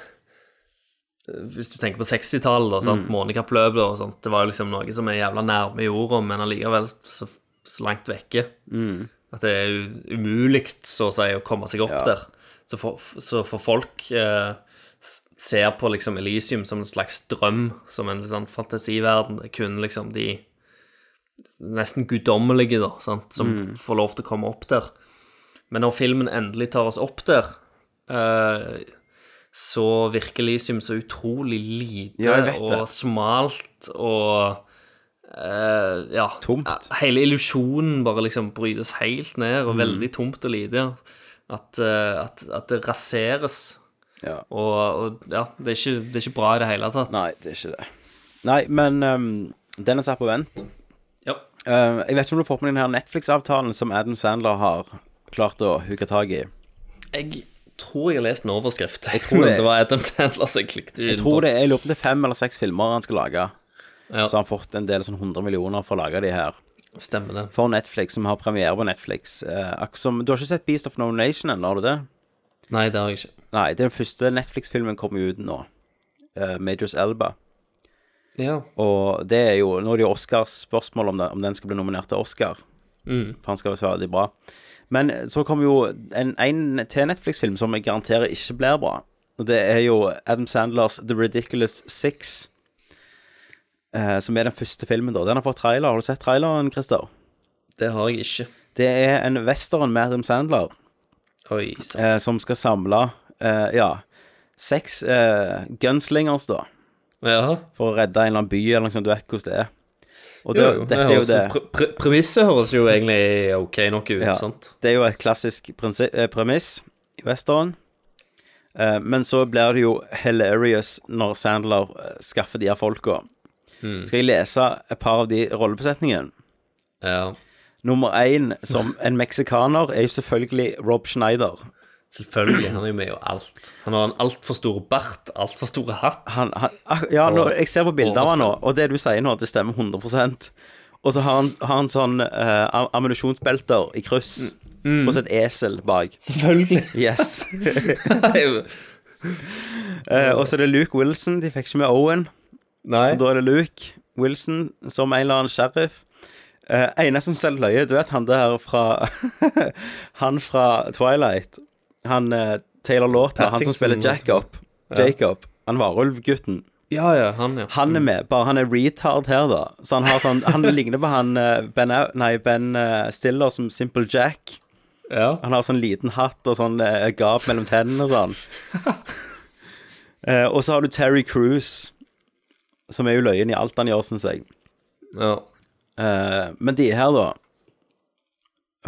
I: Hvis du tenker på 60-tallet og sånt, månekappløpet og sånt, det var jo liksom noe som er jævla nærme jorda, men allikevel så, så langt vekke.
A: Mm.
I: At det er u- umulig, så å si, å komme seg opp
A: Ja.
I: der. Så for, så for folk eh, s- ser på liksom Elisium som en slags drøm, som en sånn fantasiverden. Det er kun liksom de nesten guddommelige, da, sant, som
A: Mm.
I: får lov til å komme opp der. Men når filmen endelig tar oss opp der, eh, så virker Elisium så utrolig lite
A: Ja, jeg vet
I: og
A: det.
I: smalt og eh, Ja.
A: Tomt.
I: eh, Hele illusjonen bare liksom brytes helt ned, og veldig tomt og lite. ja. At, eh, at, at det raseres.
A: Ja.
I: Og, og ja, det er, ikke, det er ikke bra i det hele tatt.
A: Nei, det er ikke det. Nei, men ehm, den er satt på vent.
I: Ja.
A: Eh, jeg vet ikke om du har fått med den her Netflix-avtalen som Adam Sandler har klart å hooke tak i.
I: Jeg tror jeg har lest en overskrift. Jeg
A: tror det.
I: det var Adam Sandler som jeg klikket
A: Jeg tror det er i løpet av fem eller seks filmer han skal lage.
I: Ja.
A: Så har han fått en del sånn 100 millioner for å lage de her.
I: Stemmer det.
A: For Netflix, som har premiere på Netflix. Eh, akkurat som, du har ikke sett Beast of No Nation ennå, har du det?
I: Nei, det har jeg ikke.
A: Nei, den første Netflix-filmen kommer jo ut nå. Eh, Majors Elba.
I: Ja.
A: Og det er jo Nå er det jo Oscars spørsmål om, det, om den skal bli nominert til Oscar. For han skal være veldig bra. Men eh, så kommer jo en, en til Netflix-film som jeg garanterer ikke blir bra. Og det er jo Adam Sandlers The Ridiculous Six. eh, som er den første filmen, da. Den har fått trailer. Har du sett traileren, Christer?
I: Det har jeg ikke.
A: Det er en western med Adam Sandler
I: Oi sann.
A: eh, som skal samle eh, ja, seks eh, gunslingers, da.
I: Ja.
A: For å redde en eller annen by, eller noe sånt. Du vet hvordan det er. Og det,
I: Jo, jo,
A: dette er jo
I: høres-
A: det.
I: Pre pre premisset høres jo egentlig ok nok ut,
A: Ja.
I: sant?
A: Det er jo et klassisk prinsi- eh, premiss i western. Eh, men så blir det jo hilarious når Sandler eh, skaffer de her folka.
I: Hmm.
A: Skal jeg lese et par av de rollebesetningene?
I: Ja.
A: Nummer én som en meksikaner er jo selvfølgelig Rob Schneider.
I: Selvfølgelig. Han er jo med i alt. Han har en altfor stor bart, altfor store hatt.
A: Han, han, ah, ja, nå, jeg ser på bilder av han nå, og det du sier nå, det stemmer 100 Og så har han, har han sånn eh, am- ammunisjonsbelter i kryss, og så et esel bak.
I: Selvfølgelig.
A: Yes. Eh, og så er det Luke Wilson. De fikk ikke med Owen.
I: Nei.
A: Så da er det Luke Wilson som en eller annen sheriff. Eh, ene som selger løye, du vet han der fra Han fra Twilight. Han eh, Taylor Lautner, han som
I: Pattinson,
A: spiller Jacob. Jacob. Han varulvgutten.
I: Ja, ja, han, ja.
A: Han er med, bare han er retard her, da. Så han har sånn Han ligner på han eh, Ben, Au- nei, ben eh, Stiller som Simple Jack.
I: ja.
A: Han har sånn liten hatt og sånn eh, gap mellom tennene og sånn. eh, og så har du Terry Cruise, som er jo løyen i alt han gjør, syns jeg.
I: ja.
A: Eh, men de her, da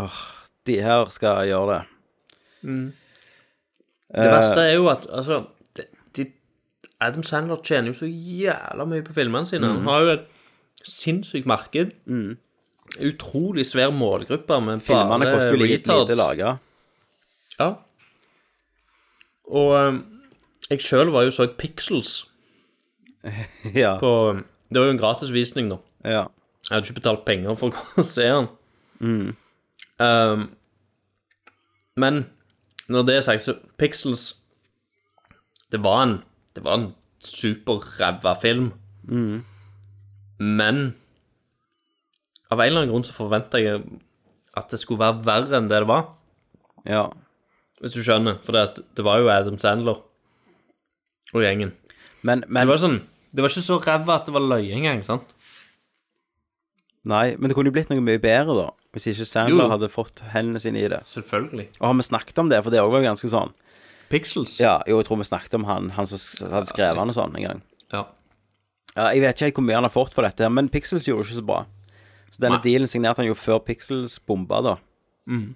A: Åh, De her skal gjøre det.
I: Det verste er jo at altså, de, de, Adam Sandler tjener jo så jævla mye på filmene sine. Han har jo et sinnssykt marked. Utrolig svær målgruppe med
A: Mm. Filmene
I: bare
A: koster jo litt lite
I: retards.
A: laga.
I: Ja. Og eh, jeg sjøl var jo så Pixels
A: Ja.
I: på Det var jo en gratisvisning, da.
A: ja.
I: Jeg hadde ikke betalt penger for å gå og se den. Um, men når det er sagt, så Pixels Det var en Det var en superræva film. Men av en eller annen grunn så forventa jeg at det skulle være verre enn det det var.
A: Ja.
I: Hvis du skjønner. For det, at det var jo Adam Sandler og gjengen.
A: Men,
I: Det
A: men
I: var sånn Det var ikke så ræva at det var løye engang, sant?
A: Nei, men det kunne jo blitt noe mye bedre, da. Hvis ikke Sandler
I: Jo.
A: hadde fått hendene sine i det.
I: Selvfølgelig.
A: Og har vi snakket om det? For det òg var jo ganske sånn
I: Pixels.
A: Ja, jo, jeg tror vi snakket om han, han som s- hadde skrevet han og sånn en gang.
I: ja.
A: Ja, jeg vet ikke helt hvor mye han har fått for dette, her, men Pixels gjorde det ikke så bra. Så denne
I: Nei.
A: dealen signerte han jo før Pixels bomba, da. Mm.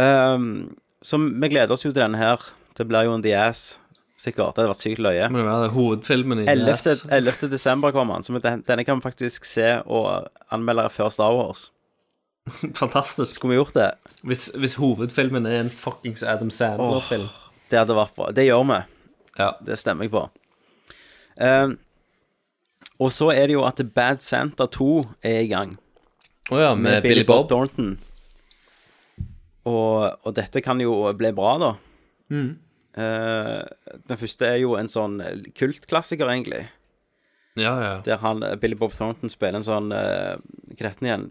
A: Ehm, så vi gleder oss jo til denne her. Det blir jo en The Ass, sikkert. Det hadde vært sykt løye.
I: Men det var hovedfilmen i
A: 11.
I: Yes.
A: 11. desember kommer han, så vi- den- denne kan vi faktisk se og anmelde før Star Wars.
I: Fantastisk.
A: Skulle vi gjort det?
I: Hvis, hvis hovedfilmen er en fuckings Adam Sandler-film.
A: Det hadde vært bra. Det gjør vi.
I: Ja.
A: Det stemmer jeg på. Ehm, og så er det jo at Bad Santa 2 er i gang.
I: Å ja, med, Billy Bob.
A: Thornton. Og, og dette kan jo bli bra, da.
I: Mm.
A: Eh, den første er jo en sånn kultklassiker, egentlig.
I: Ja, ja.
A: Der han, Billy Bob Thornton spiller en sånn eh, Hva heter den igjen?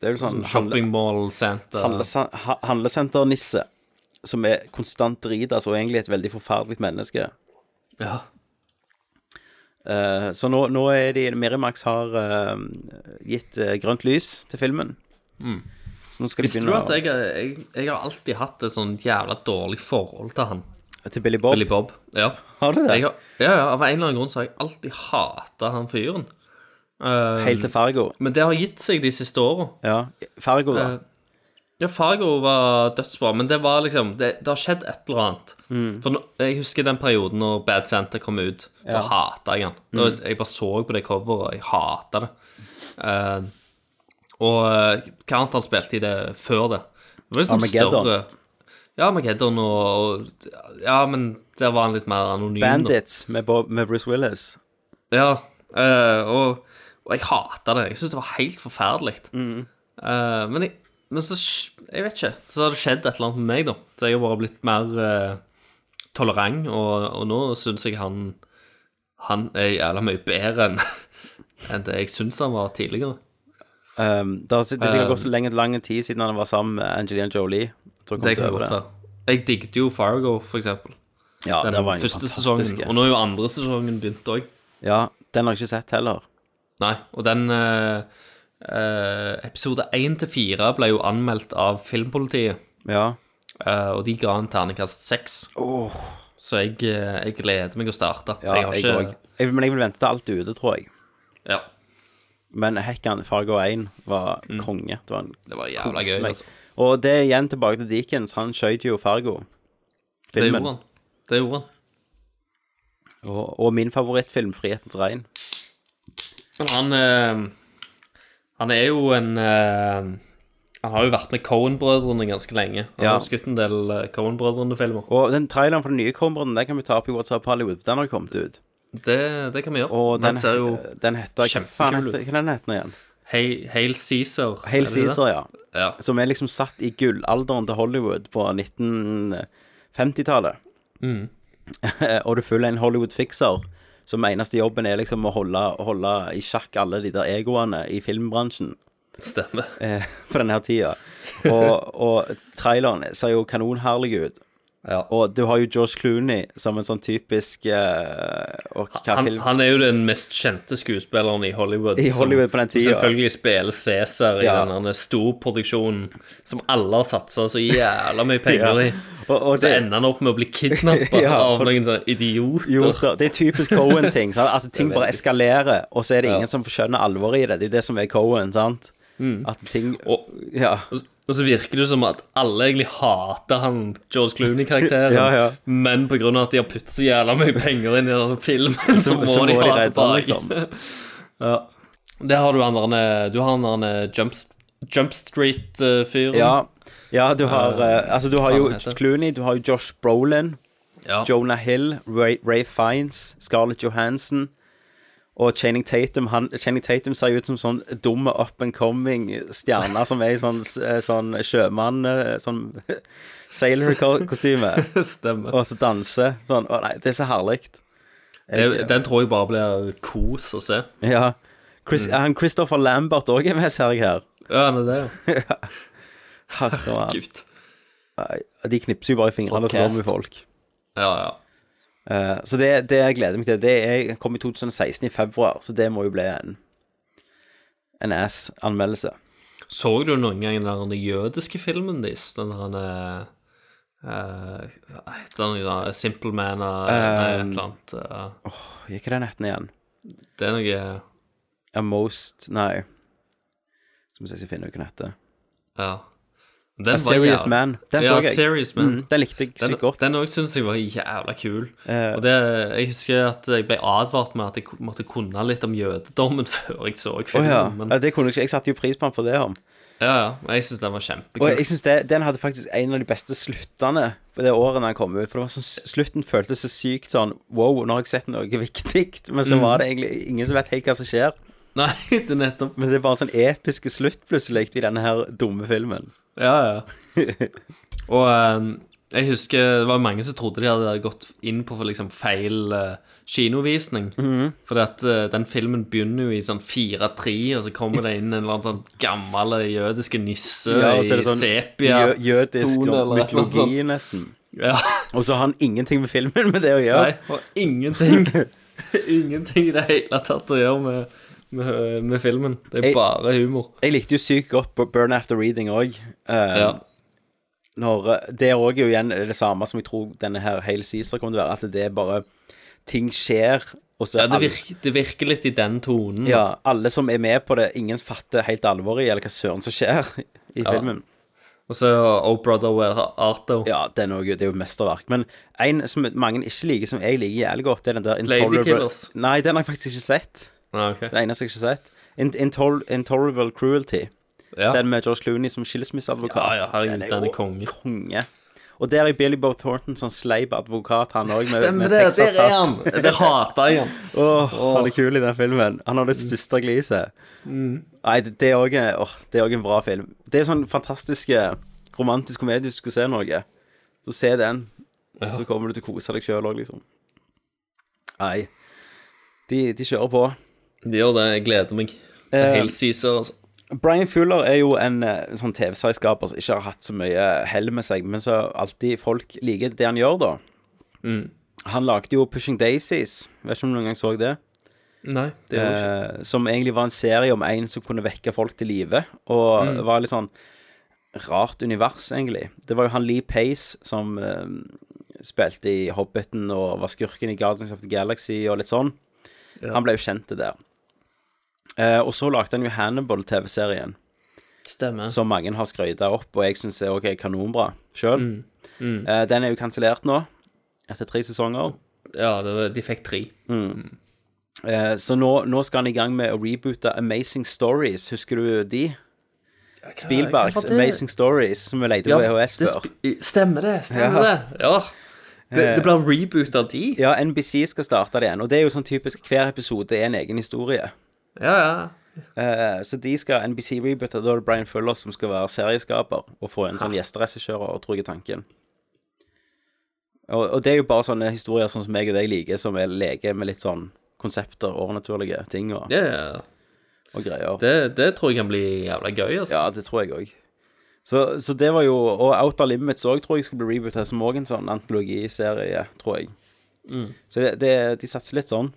A: Det er jo sånn handle-
I: Shopping Mall Santa.
A: handlesa- ha- handlesenternisse. Som er konstant drita, og egentlig et veldig forferdelig menneske.
I: Ja.
A: Eh, så nå, nå er de Mirimax har eh, gitt eh, grønt lys til filmen. Så nå skal de
I: Mm. Visste du
A: begynne
I: at jeg, jeg, jeg har alltid hatt et sånn jævla dårlig forhold til han?
A: å- til Billy Bob.
I: Billy Bob. Ja.
A: Har du det?
I: Jeg har, ja, ja, av en eller annen grunn så har jeg alltid hata han fyren. Eh,
A: Helt til Fargo.
I: men det har gitt seg de siste åra.
A: Ja. Fargo, da.
I: Eh, Ja, Fargo var dødsbra, men det var liksom Det, det har skjedd et eller annet. For nå, Jeg husker den perioden når Bad Santa kom ut. Da hata jeg han. Da, Jeg bare så på det coveret, jeg hata det. Eh, og eh, hva annet han spilte i det før det? det var liksom
A: Armageddon.
I: større- Ja, Armageddon og, og Ja, men der var han litt mer anonym. da.
A: Bandits med, Bob, med Bruce Willis.
I: Ja, eh, og, og jeg hata det. Jeg syntes det var helt forferdelig. Eh, men jeg, men så, sk- jeg vet ikke, så har det skjedd et eller annet med meg, da. Så jeg har bare blitt mer eh, tolerant, og, og nå syns jeg han Han er jævla mye bedre enn enn det jeg syns han var tidligere.
A: Um, det har si- det har sikkert
I: Um,
A: gått så lenge, lang tid siden han var sammen med Angelina Jolie. Jeg tror jeg kom
I: Det
A: til
I: kan
A: å øve
I: godt
A: det.
I: være. Jeg digget jo Fargo, for eksempel.
A: Ja,
I: Den
A: det var en
I: første
A: fantastisk
I: sesongen. Og nå er jo andre sesongen begynt òg.
A: Ja, den har jeg ikke sett heller.
I: Nei, og den eh, eh, Episode 1 til 4 ble jo anmeldt av filmpolitiet,
A: Ja.
I: eh, og de ga en ternekast 6.
A: Åh.
I: Så jeg, eh, jeg gleder meg å starte.
A: ja jeg òg. Jeg- Men jeg vil vente til alt er ute, tror jeg.
I: Ja,
A: Men hekkan Fargo 1 var
I: Mm.
A: konge. Det var en
I: det var jævla
A: koste
I: gøy.
A: meg.
I: Altså.
A: Og det er igjen tilbake til Dickens. Han skjøt jo Fargo.
I: Det
A: Filmen.
I: gjorde han. Det gjorde han.
A: Og, og min favorittfilm, 'Frihetens regn'.
I: Men han eh, Han er jo en eh, Han har jo vært med Cohen-brødrene ganske lenge. Han
A: Ja.
I: har skutt en del eh, Cohen-brødrene-filmer.
A: Og den traileren for den nye kommeren, den kan vi ta opp i WhatsApp Hollywood. for Den har kommet ut.
I: Det, det kan vi gjøre.
A: Og den,
I: den ser jo
A: den heter Hva
I: kjempekul
A: faen
I: ut.
A: heter hva den heter den igjen?
I: Hail, Hail Caesar. er
A: Hail
I: det det?
A: Caesar, ja.
I: ja.
A: Som er liksom satt i gullalderen til Hollywood på 1950-tallet.
I: Mm.
A: og du følger en Hollywood-fikser som eneste jobben er liksom å holde, holde i sjakk alle de der egoene i filmbransjen
I: Stemmer.
A: eh, på denne her tida. Og, og traileren ser jo kanonherlig ut.
I: Ja.
A: Og du har jo George Clooney som en sånn typisk eh, og hva
I: Han,
A: film-
I: han er jo den mest kjente skuespilleren i Hollywood.
A: I Hollywood på den
I: som
A: tida.
I: Selvfølgelig spiller Cæsar
A: Ja.
I: i den denne storproduksjonen som alle har satsa så jævla mye penger i.
A: og, og
I: Så ender han opp med å bli kidnappa
A: Ja,
I: av
A: for-
I: noen sånne idioter.
A: Jo, da, det er typisk Cohen-ting. sant? At ting bare eskalerer, og så er det
I: Ja.
A: ingen som skjønner alvoret i det. Det er jo det som er Cohen, sant? At ting
I: Mm. Og-
A: Ja.
I: Og Og så virker det som at alle egentlig hater han George Clooney-karakteren.
A: Ja, ja.
I: Men pga. at de har puttet så jævla mye penger inn i den filmen, så,
A: Så-
I: må
A: så
I: de
A: må de
I: hate
A: redde
I: tilbake.
A: den, liksom.
I: ja. Det har du han der Du har han der Jump, Jump Street-fyren.
A: Ja, ja du har
I: Eh,
A: eh, Altså, du har
I: hva
A: jo
I: han heter.
A: Clooney, du har jo Josh Brolin,
I: Ja.
A: Jonah Hill, Ray, Ray Fiennes, Scarlett Johansson og Channing Tatum. Han, Channing Tatum ser jo ut som sånn dumme up and coming stjerne som er i sånn, eh, sånn sjømann eh, Sånn sailor-kostyme.
I: Stemmer.
A: Og så danser. Sånn. Å nei, det er så herlig.
I: Det, den tror jeg bare blir kos å se.
A: Ja. Chris, Han Christopher Lambert òg er med, ser jeg her.
I: Ja, han er det, ja.
A: Herregud.
I: Gud.
A: De knipser jo bare i fingrene og så
I: Podcast.
A: går vi folk.
I: Ja, ja.
A: Eh, så det, det jeg gleder meg til, det er, kom i 2016 i februar, så det må jo bli en en ass-anmeldelse.
I: Så du noen gang den der jødiske filmen deres? Den der eh, eh, Hva heter den? da? Simple Man eh, Nei,
A: Um,
I: et eller annet. eh,
A: Gikk den netten igjen?
I: det er noe
A: A most Nei. Skal vi se om jeg finner noen etter.
I: Ja.
A: A Serious
I: jæv-
A: Man. Den
I: ja,
A: så jeg.
I: Serious Man.
A: Mm, den likte jeg
I: Den-
A: sykt godt.
I: Den òg syns jeg var jævla kul.
A: Eh.
I: og det, Jeg husker at jeg ble advart med at jeg ku- måtte kunne litt om jødedommen før jeg så
A: Å
I: filmen.
A: ja.
I: Men,
A: ja. Det kunne jeg ikke. Jeg satte jo pris på den for det. Om.
I: ja, ja. men Jeg syns den
A: Og
I: var kjempekul.
A: jeg synes det, den hadde faktisk en av de beste sluttene på det året den kom ut. For det var sånn, slutten føltes så sykt sånn Wow, nå har jeg sett noe viktig. Men så
I: Mm.
A: var det egentlig ingen som vet helt hva som skjer.
I: Nei, det er nettopp
A: Men det er bare en sånn episke slutt plutselig i denne her dumme filmen.
I: Ja, ja. Og eh, jeg husker det var mange som trodde de hadde gått inn på for liksom feil eh, kinovisning.
A: Mhm.
I: Fordi at eh, den filmen begynner jo i sånn 4-3, og så kommer det inn en eller annen sånn gammel jødiske nisse
A: og så er
I: i
A: det sånn
I: sepia.
A: jø- jødisk
I: tone
A: sånn
I: eller et eller annet
A: mytologi, nesten.
I: Ja,
A: Og så har han ingenting med filmen med det å gjøre.
I: nei, og ingenting Ingenting i det hele tatt å gjøre med, med, med filmen. Det
A: Jeg-
I: er bare humor.
A: Jeg likte jo sykt godt på Burn After Reading òg.
I: Ja.
A: når Det òg er jo igjen det samme som jeg tror denne her Hale Cæsar kommer til å være. At det er bare ting skjer, og så
I: Ja, det,
A: alle-
I: virker, det virker litt i den tonen.
A: Ja, alle som er med på det, ingen fatter helt alvoret i, eller hva søren som skjer i
I: Ja.
A: filmen.
I: Og så Oh Brother Where Art Thou.
A: Ja, den er jo, det er jo mesterverk. Men en som mange ikke liker, som jeg liker jævlig godt, det er den der Intolerable
I: Ladykillers.
A: Nei, den har jeg faktisk ikke sett.
I: Ah, ok.
A: Den eneste jeg ikke har sett. In Intol Intolerable Cruelty.
I: Ja.
A: Den med George Clooney som skilsmisseadvokat.
I: Ja, ja, herregud, den er
A: jo
I: konge.
A: Og der er Billy Bob Thornton sånn sleip advokat, han òg, med,
I: Stemmer
A: med
I: det, der er
A: Texas-hatt.
I: han! Det hater jeg han.
A: Åh, han er kul i den filmen. Han har det største gliset.
I: Mm.
A: Nei, det, det er òg åh, det er også en bra film. Det er sånn fantastisk eh, romantisk komedie hvis du skal se noe. Så se den, så kommer du til å kose deg sjøl òg, liksom. Nei. De, de kjører på.
I: De gjør det, jeg gleder meg. Det er
A: Eh,
I: helt Caesar, altså.
A: Brian Fuller er jo en eh, sånn TV-serieskaper som ikke har hatt så mye eh, hell med seg, men så alltid folk liker det han gjør, da.
I: Mm.
A: Han lagde jo Pushing Daisies. Vet ikke om du noen gang så det.
I: Nei, det gjør jeg ikke.
A: Eh, som egentlig var en serie om en som kunne vekke folk til live. Og
I: Mm.
A: det var litt sånn rart univers, egentlig. Det var jo han Lee Pace som eh, spilte i Hobbiten og var skurken i Guardians of the Galaxy og litt sånn. Han ble jo kjent til der. Eh, og så lagde han jo Hannibal-TV-serien,
I: Stemmer.
A: som mange har skrøyta opp, og jeg syns er ok, kanonbra sjøl. Eh, den er jo kansellert nå, etter tre sesonger.
I: Ja, det var, de fikk tre.
A: Eh, Så nå, nå skal han i gang med å reboote Amazing Stories. Husker du de? Spielbergs Amazing Stories, som vi leide på VHS før. Eh.
I: Stemmer det, stemmer det. Ja. Det, det blir en reboot av de.
A: Ja, NBC skal starte det igjen, og det er jo sånn typisk hver episode er en egen historie.
I: Ja, ja.
A: Eh, Så de skal NBC reboote, da er det Brian Fuller som skal være serieskaper, og få en sånn gjesteregissør, og tror jeg er tanken. Og, og det er jo bare sånne historier sånn som jeg og deg liker, som er leker med litt sånn konsepter, overnaturlige ting og,
I: ja, ja.
A: og greier.
I: Det, det tror jeg kan bli jævla gøy, altså.
A: Ja, det tror jeg òg. Så, så det var jo Og Outer Limits òg tror jeg skal bli rebootet som òg en sånn antologiserie, tror jeg.
I: Mm.
A: Så det, det, de satser litt sånn.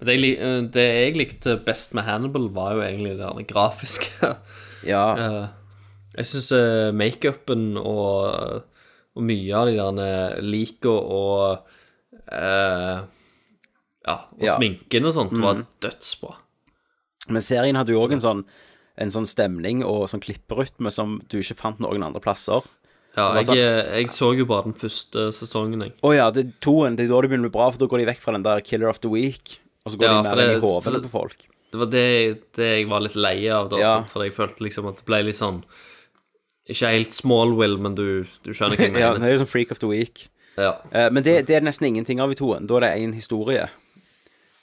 I: Men Det, jeg lik- eh, det jeg likte best med Hannibal, var jo egentlig det der grafiske.
A: Ja.
I: Eh, Jeg syns makeupen og, og mye av de der lika og eh, Ja, og
A: Ja. Mm.
I: sminken og sånt var dødsbra.
A: Men serien hadde jo òg en sånn en sånn stemning og sånn klipperytme som du ikke fant noen andre plasser.
I: Ja,
A: Det var
I: jeg, eh, jeg så jo bare den første sesongen, jeg.
A: Å ja, det er toen. Det er da det begynner å bli bra, for da går de vekk fra den der Killer of the Week. Og så går
I: Ja,
A: de
I: for
A: mer inn
I: det-
A: i hovene
I: for-
A: på folk.
I: Det var det, det jeg var litt lei av da,
A: Ja.
I: sant? for jeg følte liksom at det ble litt sånn Ikke helt small will, men du, du skjønner hva jeg
A: ja, det
I: mener.
A: er jo sånn Freak of the Week.
I: Ja.
A: Eh, men det, det er nesten ingenting av i toen. Da er det én historie.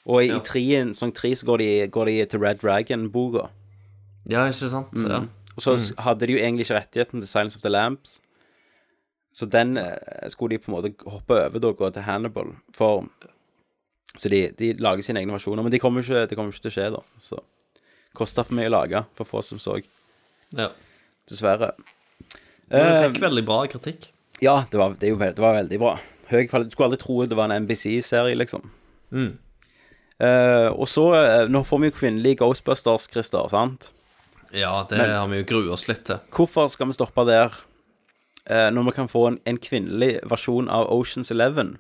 A: Og i, i trien, sånn tre så går de, går de til Red Dragon-boka.
I: ja, ikke sant? Ja.
A: Og
I: Mm.
A: så s- hadde de jo egentlig ikke rettigheten til Silence of the Lambs. Så den eh, skulle de på en måte hoppe over da og gå til Hannibal. For Så de, de lager sine egne versjoner. Men det kommer jo ikke, det kommer jo ikke til å skje, da. Så kosta for mye å lage for få som så.
I: Ja.
A: Dessverre.
I: Men den
A: Eh,
I: fikk veldig bra kritikk.
A: ja, det var, det, er jo, ve- det var veldig bra. Høy kvalitet. Skulle aldri tro det var en NBC-serie, liksom.
I: Mm.
A: Eh, og så eh, Nå får vi jo kvinnelige Ghostbusters, Christer, sant?
I: Ja, det
A: Men-
I: har vi jo grua oss litt til.
A: Hvorfor skal vi stoppe der eh, når vi kan få en, en kvinnelig versjon av Oceans Eleven?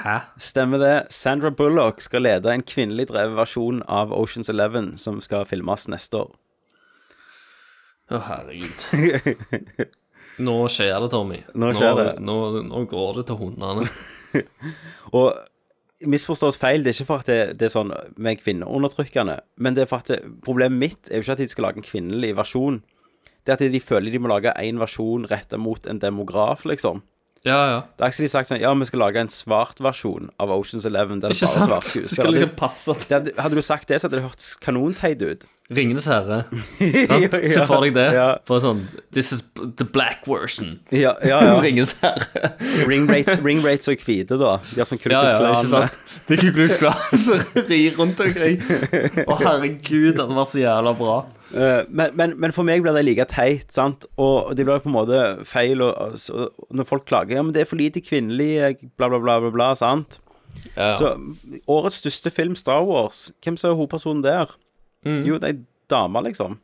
I: Hæ?
A: Stemmer det? Sandra Bullock skal lede en kvinnelig drevet versjon av Oceans Eleven som skal filmes neste år.
I: Å, herregud. Nå skjer det, Tommy.
A: Nå skjer det.
I: Nå, nå går det til hundene.
A: Og misforstås feil, det er ikke for at det, det er sånn med kvinneundertrykkende, men det er for at det, problemet mitt er jo ikke at de skal lage en kvinnelig versjon. Det er at de føler de må lage én versjon retta mot en demograf, liksom.
I: Ja, ja.
A: Det er ikke de sagt sånn Ja, vi skal lage en svart versjon av Oceans Eleven. Der det
I: Ikke
A: bare er
I: sant?
A: svart
I: Det skal
A: skuespillere.
I: liksom passe
A: Det Hadde, hadde du sagt det, så hadde det hørtes kanonteit ut.
I: Ringenes herre. Sant? Se for deg det.
A: Ja.
I: Bare sånn This is the black version.
A: Ja, ja, ja.
I: Ringenes herre.
A: Ring rates- ring rates og hvite, da. De har sånn
I: Ja,
A: Kulkus
I: ja, ikke
A: Klan.
I: sant? Det er Ku Klux Klan som rir rundt omkring. Å, herregud, det var så jævla bra.
A: Eh, men, men, men for meg blir det like teit, sant? Og det blir på en måte feil og, og, så- når folk klager Ja, men det er for lite kvinnelig, eh, bla, bla, bla, bla, bla sant?
I: Ja.
A: Så årets største film, Star Wars, hvem som er hovedpersonen der?
I: Mm.
A: Jo, det er dama, liksom.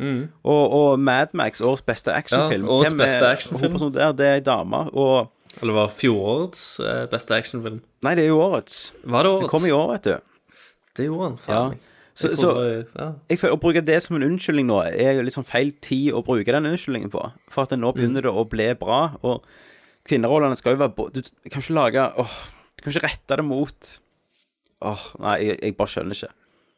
A: Og, og Mad Max, årets beste actionfilm.
I: Ja, årets
A: hvem
I: beste
A: er
I: actionfilm.
A: hovedpersonen der? Det er ei dame. Og
I: Eller det var fjorårets eh, beste actionfilm.
A: Nei, det er jo årets.
I: Var det
A: Det
I: årets?
A: kom i år, vet du.
I: Det gjorde han, faen.
A: Ja. Så,
I: Jeg
A: så
I: trodde det- ja.
A: jeg føler, å bruke det som en unnskyldning nå er jo liksom feil tid å bruke den unnskyldningen på. For at nå
I: Mm.
A: begynner det å bli bra, og kvinnerollene skal jo være bo- Du kan ikke lage åh, Du kan ikke rette det mot Åh, nei, jeg, jeg bare skjønner ikke.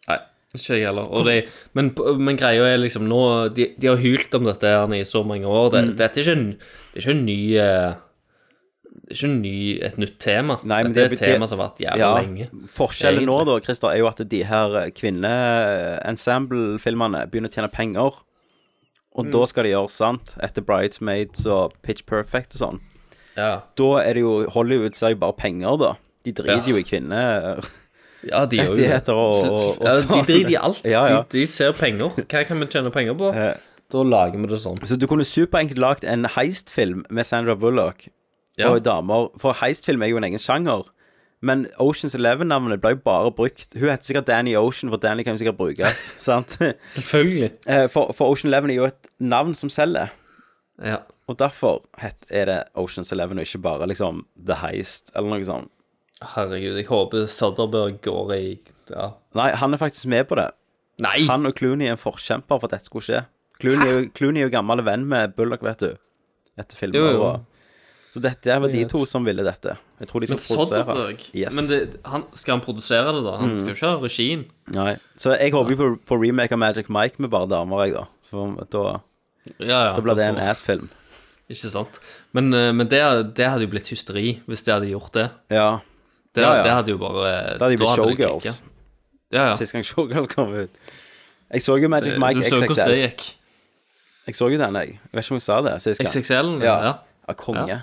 I: Nei, ikke jeg heller. Og det, men, men greia er liksom nå De, de har hylt om dette her i så mange år. Det,
A: Mm.
I: Dette er ikke en, det er ikke en ny eh, Det er ikke en ny, et nytt tema.
A: Nei, men
I: dette er
A: det-
I: et tema som har vært jævlig lenge.
A: Forskjellen nå,
I: egentlig.
A: da, Christer, er jo at de her kvinne-ensemble-filmene begynner å tjene penger.
I: Mm.
A: Og da skal de gjøre sant, etter Bridesmaids og Pitch Perfect og sånn.
I: Ja.
A: Da er det jo Hollywood ser jo bare penger, da. De driter
I: Ja.
A: jo i kvinner.
I: ja, de gjør jo det.
A: Rettigheter og-
I: Så-
A: og-
I: så- ja, De
A: og-
I: driter i alt.
A: Ja, ja.
I: De, de ser penger. Hva kan vi tjene penger på?
A: Eh.
I: Da lager vi det sånn.
A: Så du kunne superenkelt lagd en heistfilm med Sandra Bullock
I: Ja.
A: og damer. For heistfilm er jo en egen sjanger. Men Oceans Eleven-navnet ble jo bare brukt Hun heter sikkert Danny Ocean, for Danny kan jo sikkert brukes. sant?
I: Selvfølgelig.
A: Eh, For, for Ocean Eleven er jo et navn som selger.
I: Ja.
A: Og derfor het- er det Oceans Eleven, og ikke bare liksom The Heist eller noe sånt.
I: Herregud, jeg håper Sutterberg går i ja.
A: Nei, han er faktisk med på det.
I: Nei!
A: Han og Clooney er en forkjemper for at dette skulle skje. Clooney, er jo- Clooney er jo gammel venn med Bullock, vet du. Etter filmer
I: Jo, jo.
A: og Så dette er vel de
I: Jeg vet.
A: to som ville dette. Jeg tror de skal
I: men
A: produsere.
I: Sutterberg
A: Yes. Mm.
I: Men det, han, skal han produsere det, da? Han skal jo ikke ha regien.
A: Nei. Så jeg håper jo på, på remake av Magic Mike med bare damer, jeg, da. Så da,
I: Ja, ja,
A: da blir det en
I: får-
A: ass-film.
I: Ikke sant. Men, eh, men det, det hadde jo blitt hysteri hvis de hadde gjort det.
A: Ja.
I: Det,
A: Ja, ja.
I: det hadde jo bare
A: Da hadde de blitt
I: da det
A: showgirls.
I: klikket. Ja, ja.
A: Sist gang Showgirls kom ut. Jeg så jo Magic Mike
I: du så jo hvordan
A: XXL.
I: det gikk.
A: Jeg så jo den, jeg. Jeg vet ikke om jeg sa det sist gang.
I: XXL-en, ja.
A: Ja. Ja, konge.
I: Ja.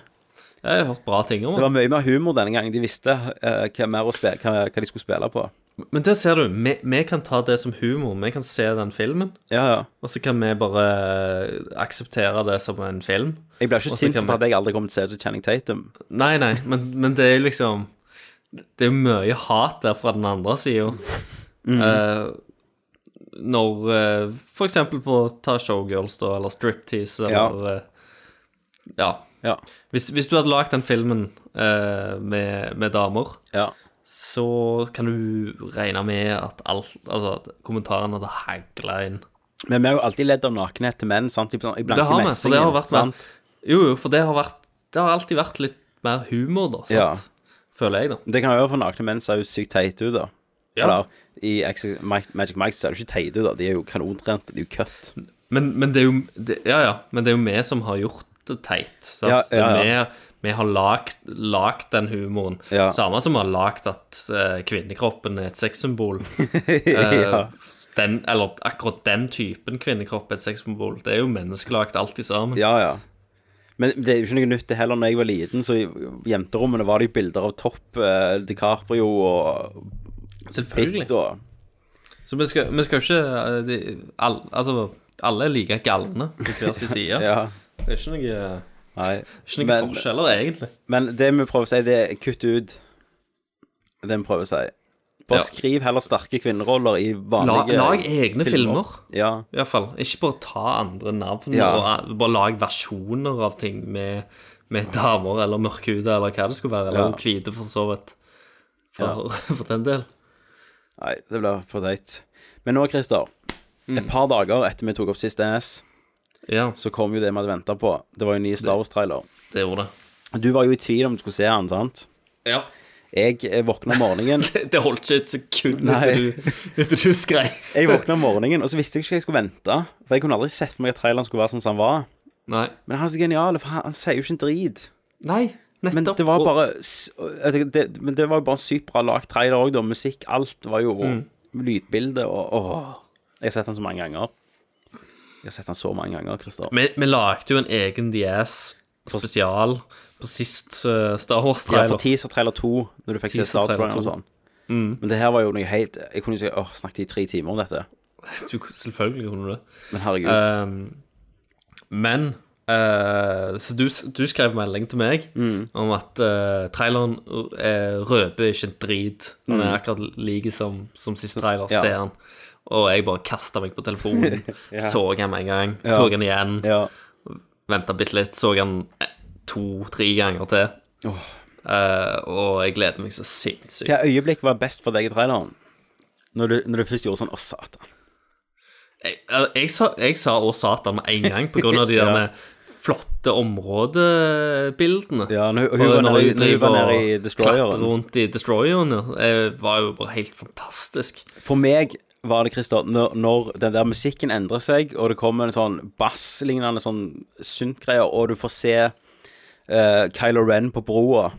I: Jeg har hørt bra ting om
A: Det
I: det.
A: var mye mer humor denne gangen. De visste eh, hva, mer å spe- hva, hva de skulle spille på.
I: Men der ser du, vi, vi kan ta det som humor. Vi kan se den filmen,
A: Ja, ja.
I: og så kan vi bare eh, akseptere det som en film.
A: Jeg blir ikke
I: Og så
A: sint
I: kan
A: for
I: vi-
A: at jeg aldri kommer til å se ut som Channing Tatum.
I: Nei, nei, men, men det er jo liksom Det er jo mye hat der fra den andre sida.
A: Mhm.
I: når eh, For eksempel på ta showgirls, da, eller striptease, eller eh, Ja.
A: Ja.
I: Hvis, hvis du hadde lagd den filmen eh, med, med damer,
A: Ja.
I: så kan du regne med at alt Altså at kommentarene hadde hagla inn.
A: Men vi har jo alltid ledd av nakenhet til menn, sant? I blan- i
I: Det
A: blanke
I: har vi, for det har
A: messingen,
I: vært mer
A: sant?
I: Jo, jo, for det har, vært, det har alltid vært litt mer humor, da. Sant?
A: Ja.
I: Føler jeg, da.
A: Det kan jo være for nakne menn ser jo sykt teite ut, da.
I: Ja.
A: Eller, i X- Ma- Magic Mike ser jo ikke teite ut, da. De er jo kanontrente, de er jo cut.
I: Men, men det er jo det, Ja, ja. Men det er jo vi som har gjort det teit. Sant?
A: Ja, ja, ja.
I: Det er Vi, vi har lagt, lagt den humoren.
A: Ja.
I: Samme som har lagt at eh, kvinnekroppen er et sexsymbol.
A: Ja.
I: Eh, Den, eller akkurat den typen kvinnekropp er et sexsymbol. Det er jo menneskelagt alltid sammen.
A: Ja, ja. Men det er jo ikke noe nytt det heller. Når jeg var liten, så i jenterommene var det jo bilder av Topp, eh, DiCaprio og
I: Selvfølgelig.
A: Pitt og
I: Så vi skal, vi skal jo ikke eh, de, all, Altså, alle er like galne på hver sin side.
A: Ja.
I: Det er ikke noe,
A: Nei.
I: ikke noe
A: Men-
I: forskjeller, egentlig.
A: Men det vi prøver å si, det er kutt ut. Det vi prøver å si. Bare
I: Ja.
A: skriv heller sterke kvinneroller i
I: La,
A: vanlige
I: lag egne filmer,
A: Ja.
I: i hvert fall. Ikke bare ta andre navn,
A: Ja.
I: og eh, bare lag versjoner av ting med, med damer eller mørkhuda eller hva det skulle være. Eller
A: Ja.
I: hvite, for så vidt. For,
A: Ja.
I: for den del.
A: Nei, det blir for teit. Men nå, Christer. Et par dager etter vi tok opp sist NS,
I: Ja,
A: så kom jo det vi hadde venta på. Det var jo en ny Star Wars-trailer.
I: det gjorde det.
A: Du var jo i tvil om du skulle se den, sant?
I: Ja.
A: Jeg eh, våkna om morgenen
I: Det, det holdt ikke et sekund
A: Nei.
I: etter du, etter du skrev.
A: Jeg våkna om morgenen, og så visste jeg ikke hva jeg skulle vente. For jeg kunne aldri sett for meg at traileren skulle være sånn som han var.
I: Nei.
A: Men han er så genial, for han, han sier jo ikke en drit.
I: Nei, nettopp.
A: Men det var
I: Og-
A: bare s- jeg tenker, det, Men det var jo bare en sykt bra lagt trailer òg, da. Musikk, alt var jo
I: Mm.
A: Lydbilde og åh. Jeg har sett han så mange ganger. Jeg har sett han så mange ganger, Christer.
I: Vi, vi lagde jo en egen DS spesial på sist eh, Star
A: Ja, for
I: Wars-trailer.
A: teaser trailer 2, når du fikk se
I: Teaser
A: Star
I: trailer Mm.
A: Trailer og
I: 2.
A: sånn. Men det her var jo noe helt Jeg kunne jo si åh, snakket i tre timer om dette.
I: Du, selvfølgelig kunne du det.
A: Men herregud.
I: Ehm, men eh, Så du, du skrev melding til meg
A: Mm.
I: om at eh, traileren eh, røper ikke en drit. Han er akkurat like som, som sist trailer.
A: Mm. Ja.
I: Ser han. Og jeg bare kasta meg på telefonen. Så han med en gang. Så han igjen.
A: ja.
I: Venta bitte litt. Så han to-tre ganger til.
A: Åh.
I: Eh, og jeg gleder meg så sinnssykt.
A: Hva øyeblikk var best for deg i traileren? Når du, når du først gjorde sånn Å, satan.
I: Jeg, eller, jeg, sa, jeg sa også Satan med en gang, på grunn av de
A: Ja.
I: der flotte områdebildene.
A: Ja, når, hun- hun var nede i- når hun var nede i destroyeren.
I: klatrer rundt i destroyeren, ja. Det var jo bare helt fantastisk.
A: For meg var det, Christer, når, når den der musikken endrer seg, og det kommer en sånn basslignende sånn synt-greie, og du får se eh, Kylo Ren på broa,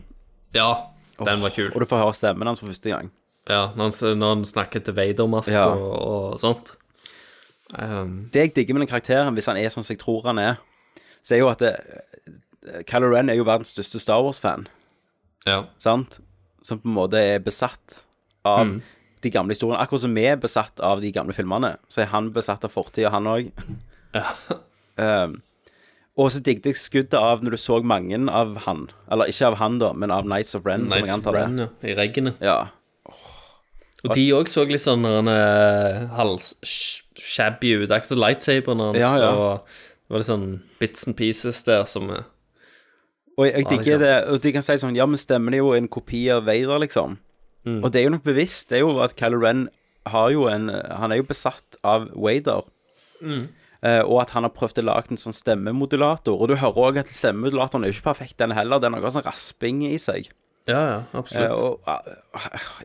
I: Ja, den var kul.
A: og du får høre stemmen hans for første gang.
I: Ja, når han, s- når han snakker til Vader-maske
A: Ja.
I: og, og sånt. Um,
A: Det jeg digger med den karakteren, hvis han er sånn som jeg tror han er, så er jo at det, Kylo Ren er jo verdens største Star Wars-fan,
I: ja.
A: sant? Som på en måte er besatt av de gamle historiene. Akkurat som vi er besatt av de gamle filmene, så er han besatt av fortida, han òg. um, og så digget jeg skuddet av når du så mange av han. Eller ikke av han, da, men av Nights of Ren, som jeg
I: Night
A: antar det.
I: Run, ja, i regnet.
A: Ja.
I: Og de òg så litt sånn når han eh, hals sh- shabby ut. Akkurat som lightsaberen hans.
A: Ja, ja.
I: Og det var litt sånn bits and pieces der som eh,
A: Og jeg, jeg
I: Ja,
A: digger
I: liksom.
A: det, og de kan si sånn Ja, men stemmer det jo en kopi av Vader, liksom? Og det er jo nok bevisst. Det er jo at Kylo Ren har jo en Han er jo besatt av Vader. Eh, og at han har prøvd å lage en sånn stemmemodulator. Og du hører òg at stemmemodulatoren er jo ikke perfekt, den heller. Den har også en rasping i seg.
I: Ja, ja,
A: Eh,
I: absolutt.
A: og ah,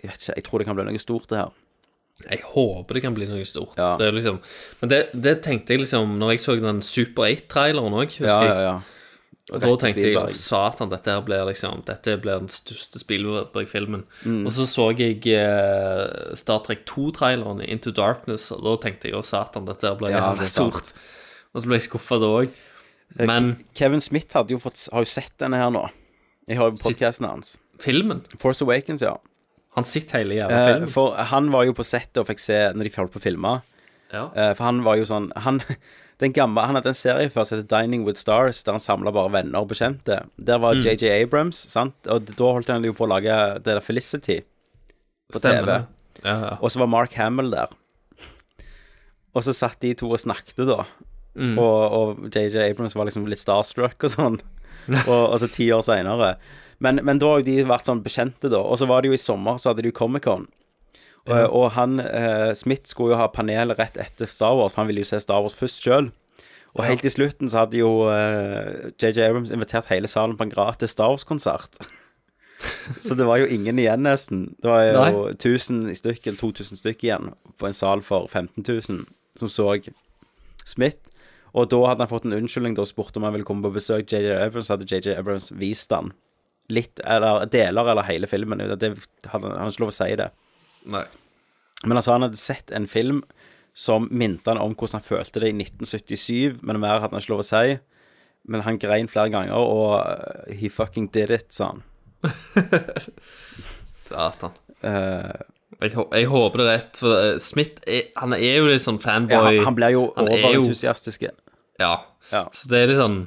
A: Jeg vet ikke, jeg tror det kan bli noe stort, det her.
I: Jeg håper det kan bli noe stort.
A: Ja.
I: Det er liksom, men det, det tenkte jeg liksom Når jeg så den Super 8-traileren òg, husker
A: Ja,
I: jeg.
A: ja, ja.
I: Og
A: Rett
I: da
A: til
I: tenkte jeg
A: Spielberg.
I: at satan, dette her blir liksom Dette blir den største Spielberg-filmen.
A: Mm.
I: Og så så jeg eh, Star Trek 2-traileren Into Darkness, og da tenkte jeg jo satan, dette her blir
A: Ja,
I: jævlig
A: det er sant.
I: stort. Og så ble jeg skuffa da òg.
A: Eh,
I: Men
A: Ke- Kevin Smith hadde jo fått, har jo sett denne her nå. Jeg har jo podkasten hans.
I: filmen
A: Force Awakens, ja.
I: Han sitter hele jævla
A: Eh,
I: filmen.
A: for han var jo på settet og fikk se når de holdt på å filme.
I: Ja.
A: Eh, for han var jo sånn Han, den gamle, han hadde en serie før som heter Dining with Stars, der han samla bare venner og bekjente. Der
I: Mm.
A: var JJ Abrams, sant? og da holdt han jo på å lage det der Felicity på
I: Stemmer
A: TV.
I: det. Ja, ja.
A: Og så var Mark Hamill der. Og så satt de to og snakket, da.
I: Mm.
A: Og, og JJ Abrams var liksom litt starstruck og sånn. Og, og så ti år seinere. Men, men da har jo de vært sånn bekjente, da. Og så var det jo i sommer, så hadde de jo Comic-Con. Og, og han, eh, Smith skulle jo ha panelet rett etter Star Wars, for han ville jo se Star Wars først sjøl. Og helt i slutten så hadde jo eh, JJ Abrams invitert hele salen på en gratis Star Wars-konsert. så det var jo ingen igjen, nesten. Det var jo 1000 i stykken, 2000 stykk igjen på en sal for 15 000 som så Smith. Og da hadde han fått en unnskyldning da og spurte om han ville komme på besøk. JJ Abrams hadde JJ Abrams vist han litt, eller deler eller hele filmen. Det hadde han hadde ikke lov å si det.
I: Nei.
A: Men altså, han hadde sett en film som minte han om hvordan han følte det i 1977, men mer hadde han ikke lov å si. Men han grein flere ganger, og uh, he fucking did it, sa han.
I: Satan.
A: Eh,
I: Jeg, hå- jeg håper det er rett, for eh, Smith er, han er jo litt sånn fanboy.
A: ja, han, han blir jo
I: Han er jo-
A: overentusiastisk.
I: Ja.
A: Ja.
I: Så det er litt sånn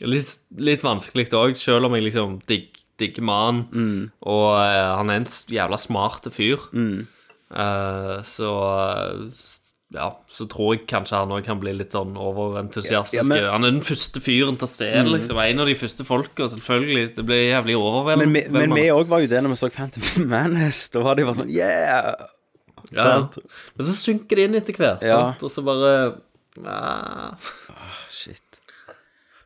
I: Litt, litt vanskelig òg, selv om jeg liksom digg, digger mannen.
A: Mm.
I: Og eh, han er en s- jævla smart fyr. Eh, så eh, s- ja, så tror jeg kanskje han òg kan bli litt sånn overentusiastisk.
A: Ja, ja, men- Mm.
I: han er den første fyren til å se det, liksom. En av de første folka, selvfølgelig. Det blir jævlig
A: Men,
I: overveldende.
A: vi- men vi òg var jo det når vi så Phantom Menace. Da var det jo bare sånn Yeah!
I: Ja.
A: Sant?
I: Men så synker det inn etter hvert,
A: Ja.
I: sant? og så bare ah.
A: Shit.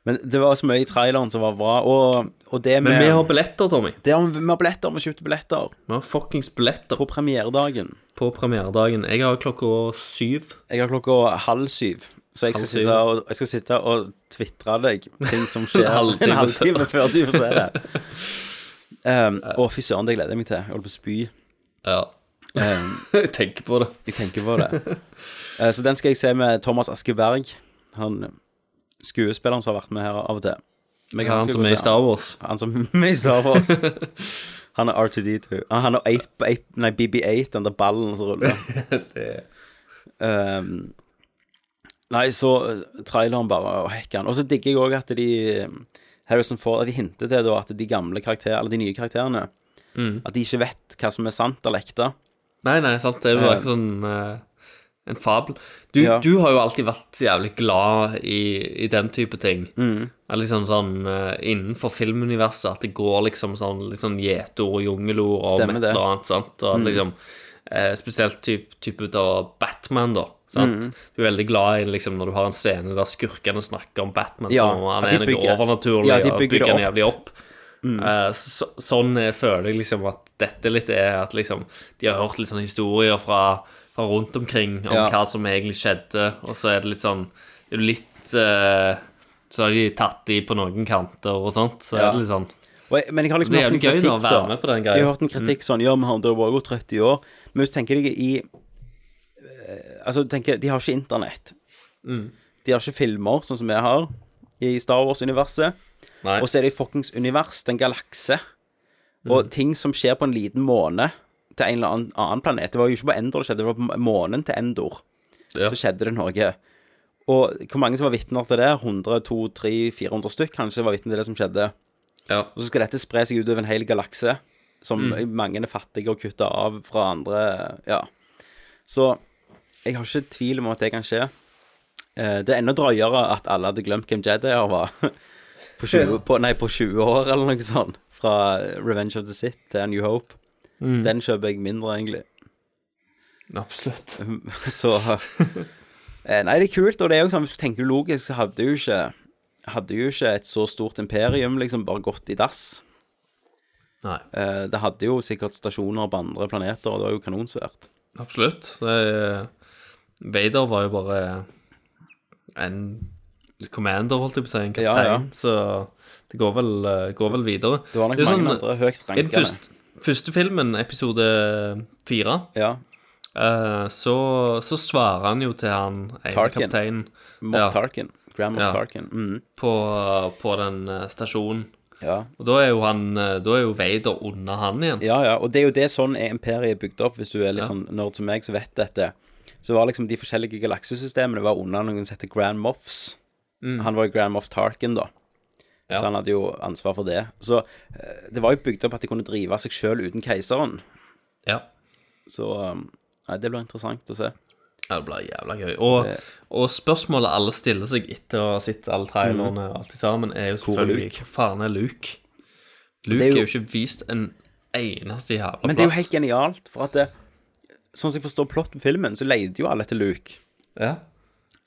A: Men det var så mye i traileren som var bra, og, og det med
I: Men vi har billetter, Tommy.
A: det har, vi har billetter, vi kjøpte billetter
I: Vi har fuckings billetter
A: på premieredagen.
I: på premieredagen. Jeg har klokka syv.
A: Jeg har klokka halv syv, så jeg skal
I: Halv syv.
A: sitte og, jeg skal sitte og twittre deg ting som skjer
I: En halvtime
A: en halvtime før du får se det. Um, å, fy søren, det gleder jeg meg til. Jeg holder på å spy.
I: Ja.
A: Um,
I: Jeg tenker på det.
A: jeg tenker på det. Eh, så den skal jeg se med Thomas Askeberg, han skuespilleren som har vært med her av og til. Men
I: Han
A: skal
I: som
A: gå
I: er i
A: se
I: Star Wars.
A: Han som er med i Star Wars. Han er R2D2. Ah, Han er 8, 8, nei, BB8, den der ballen som ruller. um, nei, så eh, traileren bare og hekken. Og så digger jeg òg at de ehm, Harrison Ford, at de hinter til da, at de gamle karakterene, eller de nye karakterene
I: Mm.
A: At de ikke vet hva som er sant eller ekte.
I: Nei, nei, sant. Det er jo
A: Eh.
I: ikke sånn eh, en fabel. Du,
A: Ja.
I: du har jo alltid vært så jævlig glad i, i den type ting.
A: Mm.
I: At Liksom sånn eh, innenfor filmuniverset at det går liksom sånn litt sånn gjeteord og jungelord og
A: Stemmer
I: et
A: det. Mm.
I: eller annet, sant. Og at liksom eh, Spesielt typ, type av Batman, da. Sant?
A: Mm.
I: Du er veldig glad i liksom når du har en scene der skurkene snakker om Batman
A: Ja,
I: som om han
A: at
I: er
A: de
I: noe
A: bygger-
I: overnaturlig,
A: ja, de
I: og
A: bygger
I: bygger
A: det opp.
I: han jævlig opp.
A: Mm.
I: Eh, så, sånn eh, føler jeg liksom at dette litt er at liksom De har hørt litt sånne historier fra, fra rundt omkring om
A: Ja.
I: hva som egentlig skjedde, og så er det litt sånn det er jo Litt eh, Så har de tatt de på noen kanter og sånt, så
A: Ja.
I: er det litt sånn
A: Og jeg, men jeg har liksom
I: Det er
A: hørt en
I: jævlig gøy
A: kritikk,
I: da, å være med på den greia. Mm.
A: Jeg har hørt en kritikk sånn Ja, men han dør bare 30 år. Men hvis du tenker deg i eh, Altså, du tenker De har ikke internett.
I: Mm.
A: De har ikke filmer, sånn som vi har i Star Wars-universet.
I: Nei.
A: Og så er det i fuckings univers, det er en galakse.
I: Mm.
A: Og ting som skjer på en liten måne til en eller annen, annen planet Det var jo ikke på Endor det skjedde, det var på månen til Endor.
I: Ja.
A: Så skjedde det noe. Og hvor mange som var vitner til det? 100, 200, 300, 400 stykk kanskje var vitner til det som skjedde.
I: Ja.
A: Og så skal dette spre seg utover en hel galakse, som mange er fattige og kutter av fra andre Ja. Så jeg har ikke tvil om at det kan skje. Eh, Det er enda drøyere at alle hadde glemt hvem Jedier var på 20, på, nei, på 20 år, eller noe sånt. Fra Revenge of the Sith til A New Hope. Den kjøper jeg mindre, egentlig.
I: Absolutt.
A: Så eh, Nei, det er kult, og det er jo sånn, hvis du tenker logisk, så hadde jo ikke Hadde jo ikke et så stort imperium liksom bare gått i dass.
I: Nei.
A: Eh, Det hadde jo sikkert stasjoner på andre planeter, og det var jo kanonsvært.
I: Absolutt. Det, er- Vader var jo bare en commander, holdt jeg på å si, en
A: Ja,
I: kaptein,
A: ja.
I: så det går vel, eh, går vel videre.
A: Det var nok
I: er
A: mange
I: sånn-
A: andre høyt
I: I den
A: rankede.
I: første, første filmen, episode fire,
A: Ja,
I: eh, så, så svarer han jo til han ene
A: Tarkin.
I: kapteinen
A: Moff
I: Ja.
A: Tarkin. Grand Moff
I: Ja.
A: Tarkin. Mm.
I: på, på den eh, stasjonen.
A: Ja.
I: Og da er jo han eh, Da er jo Vader under han igjen.
A: ja, ja. Og det er jo det sånn er imperiet bygd opp, hvis du er litt sånn nerd som meg, som vet dette. Så var liksom de forskjellige galaksesystemene var under noen som heter Grand Moffs. Han var jo Grand Moff Tarkin, da.
I: Mm. Ja.
A: Så han hadde jo ansvar for det. Så eh, det var jo bygd opp at de kunne drive seg sjøl uten keiseren.
I: Ja.
A: Så um, nei, det blir interessant å se.
I: Ja, det blir jævla gøy. Og, og spørsmålet alle stiller seg etter å ha sett alle trailerne og alt til sammen, er jo
A: er
I: selvfølgelig
A: Luke?
I: Hvor faen er Luke? Luke
A: er
I: er jo,
A: jo-
I: ikke vist en eneste jævla plass.
A: Men det er jo helt genialt, for at det, sånn som jeg forstår plott på filmen, så leide jo alle etter Luke.
I: Ja.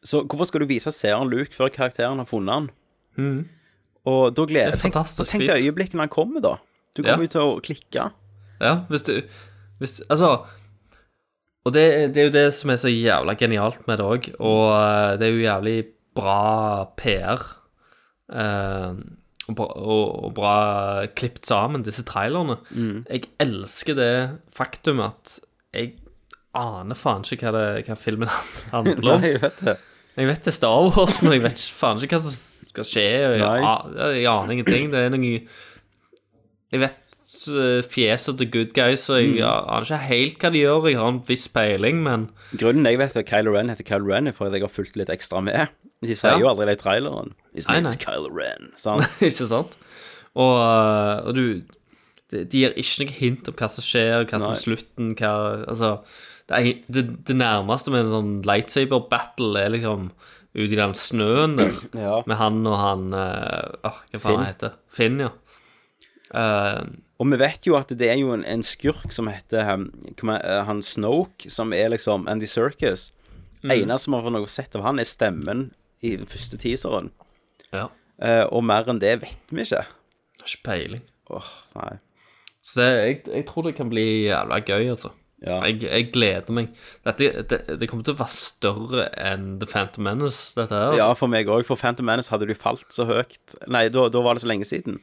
A: Så hvorfor skal du vise seeren Luke før karakteren har funnet han?
I: Mhm.
A: Og da gleder
I: Det er
A: tenk-
I: fantastisk
A: Tenk
I: fint.
A: deg øyeblikket når han kommer, da. Du
I: Ja.
A: kommer jo til å klikke.
I: Ja, hvis du hvis, Altså Og det, det er jo det som er så jævla genialt med det òg, og eh, det er jo jævlig bra PR. eh, og, bra, og, og bra klippet sammen, disse trailerne. Jeg elsker det faktum at jeg aner faen ikke hva, det, hva filmen handler om.
A: Nei, jeg vet det.
I: Jeg vet det er Star Wars, men jeg vet ikke- faen ikke hva som skal skje. og Jeg,
A: Nei.
I: a- jeg aner ingenting. Det er noe Jeg vet eh, fjeset til good guys, og jeg aner ikke helt hva de gjør. Jeg har en viss peiling, men
A: Grunnen jeg vet at Kylo Ren heter Kylo Ren, er for at jeg har fulgt litt ekstra med. De sier
I: Ja.
A: jo aldri det i traileren. His
I: Nei,
A: name is
I: nei.
A: Kylo Ren. Sant?
I: ikke sant? Og, eh, og du de, de gir ikke noe hint om hva som skjer, hva som
A: Nei.
I: er slutten, hva Altså det, er, det, det nærmeste med en sånn lightsaber battle er liksom ute i den snøen der.
A: Ja.
I: Med han og han eh, åh, Hva faen
A: Finn.
I: han heter Finn, ja. Eh,
A: Og vi vet jo at det er jo en, en skurk som heter um, hva er- eh, han Snoke, som er liksom Andy Circus. Eneste man har noe sett av han, er stemmen i den første teaseren.
I: ja.
A: Eh, og mer enn det vet vi ikke.
I: Har Ikke peiling.
A: Åh, nei.
I: Så det, jeg, jeg tror det kan bli jævla gøy, altså.
A: Ja.
I: Jeg, jeg gleder meg. Dette, det, det kommer til å være større enn The Phantom Menace, dette her. Altså.
A: Ja, for meg òg. For Phantom Menace hadde du falt så høyt Nei, da, da var det så lenge siden.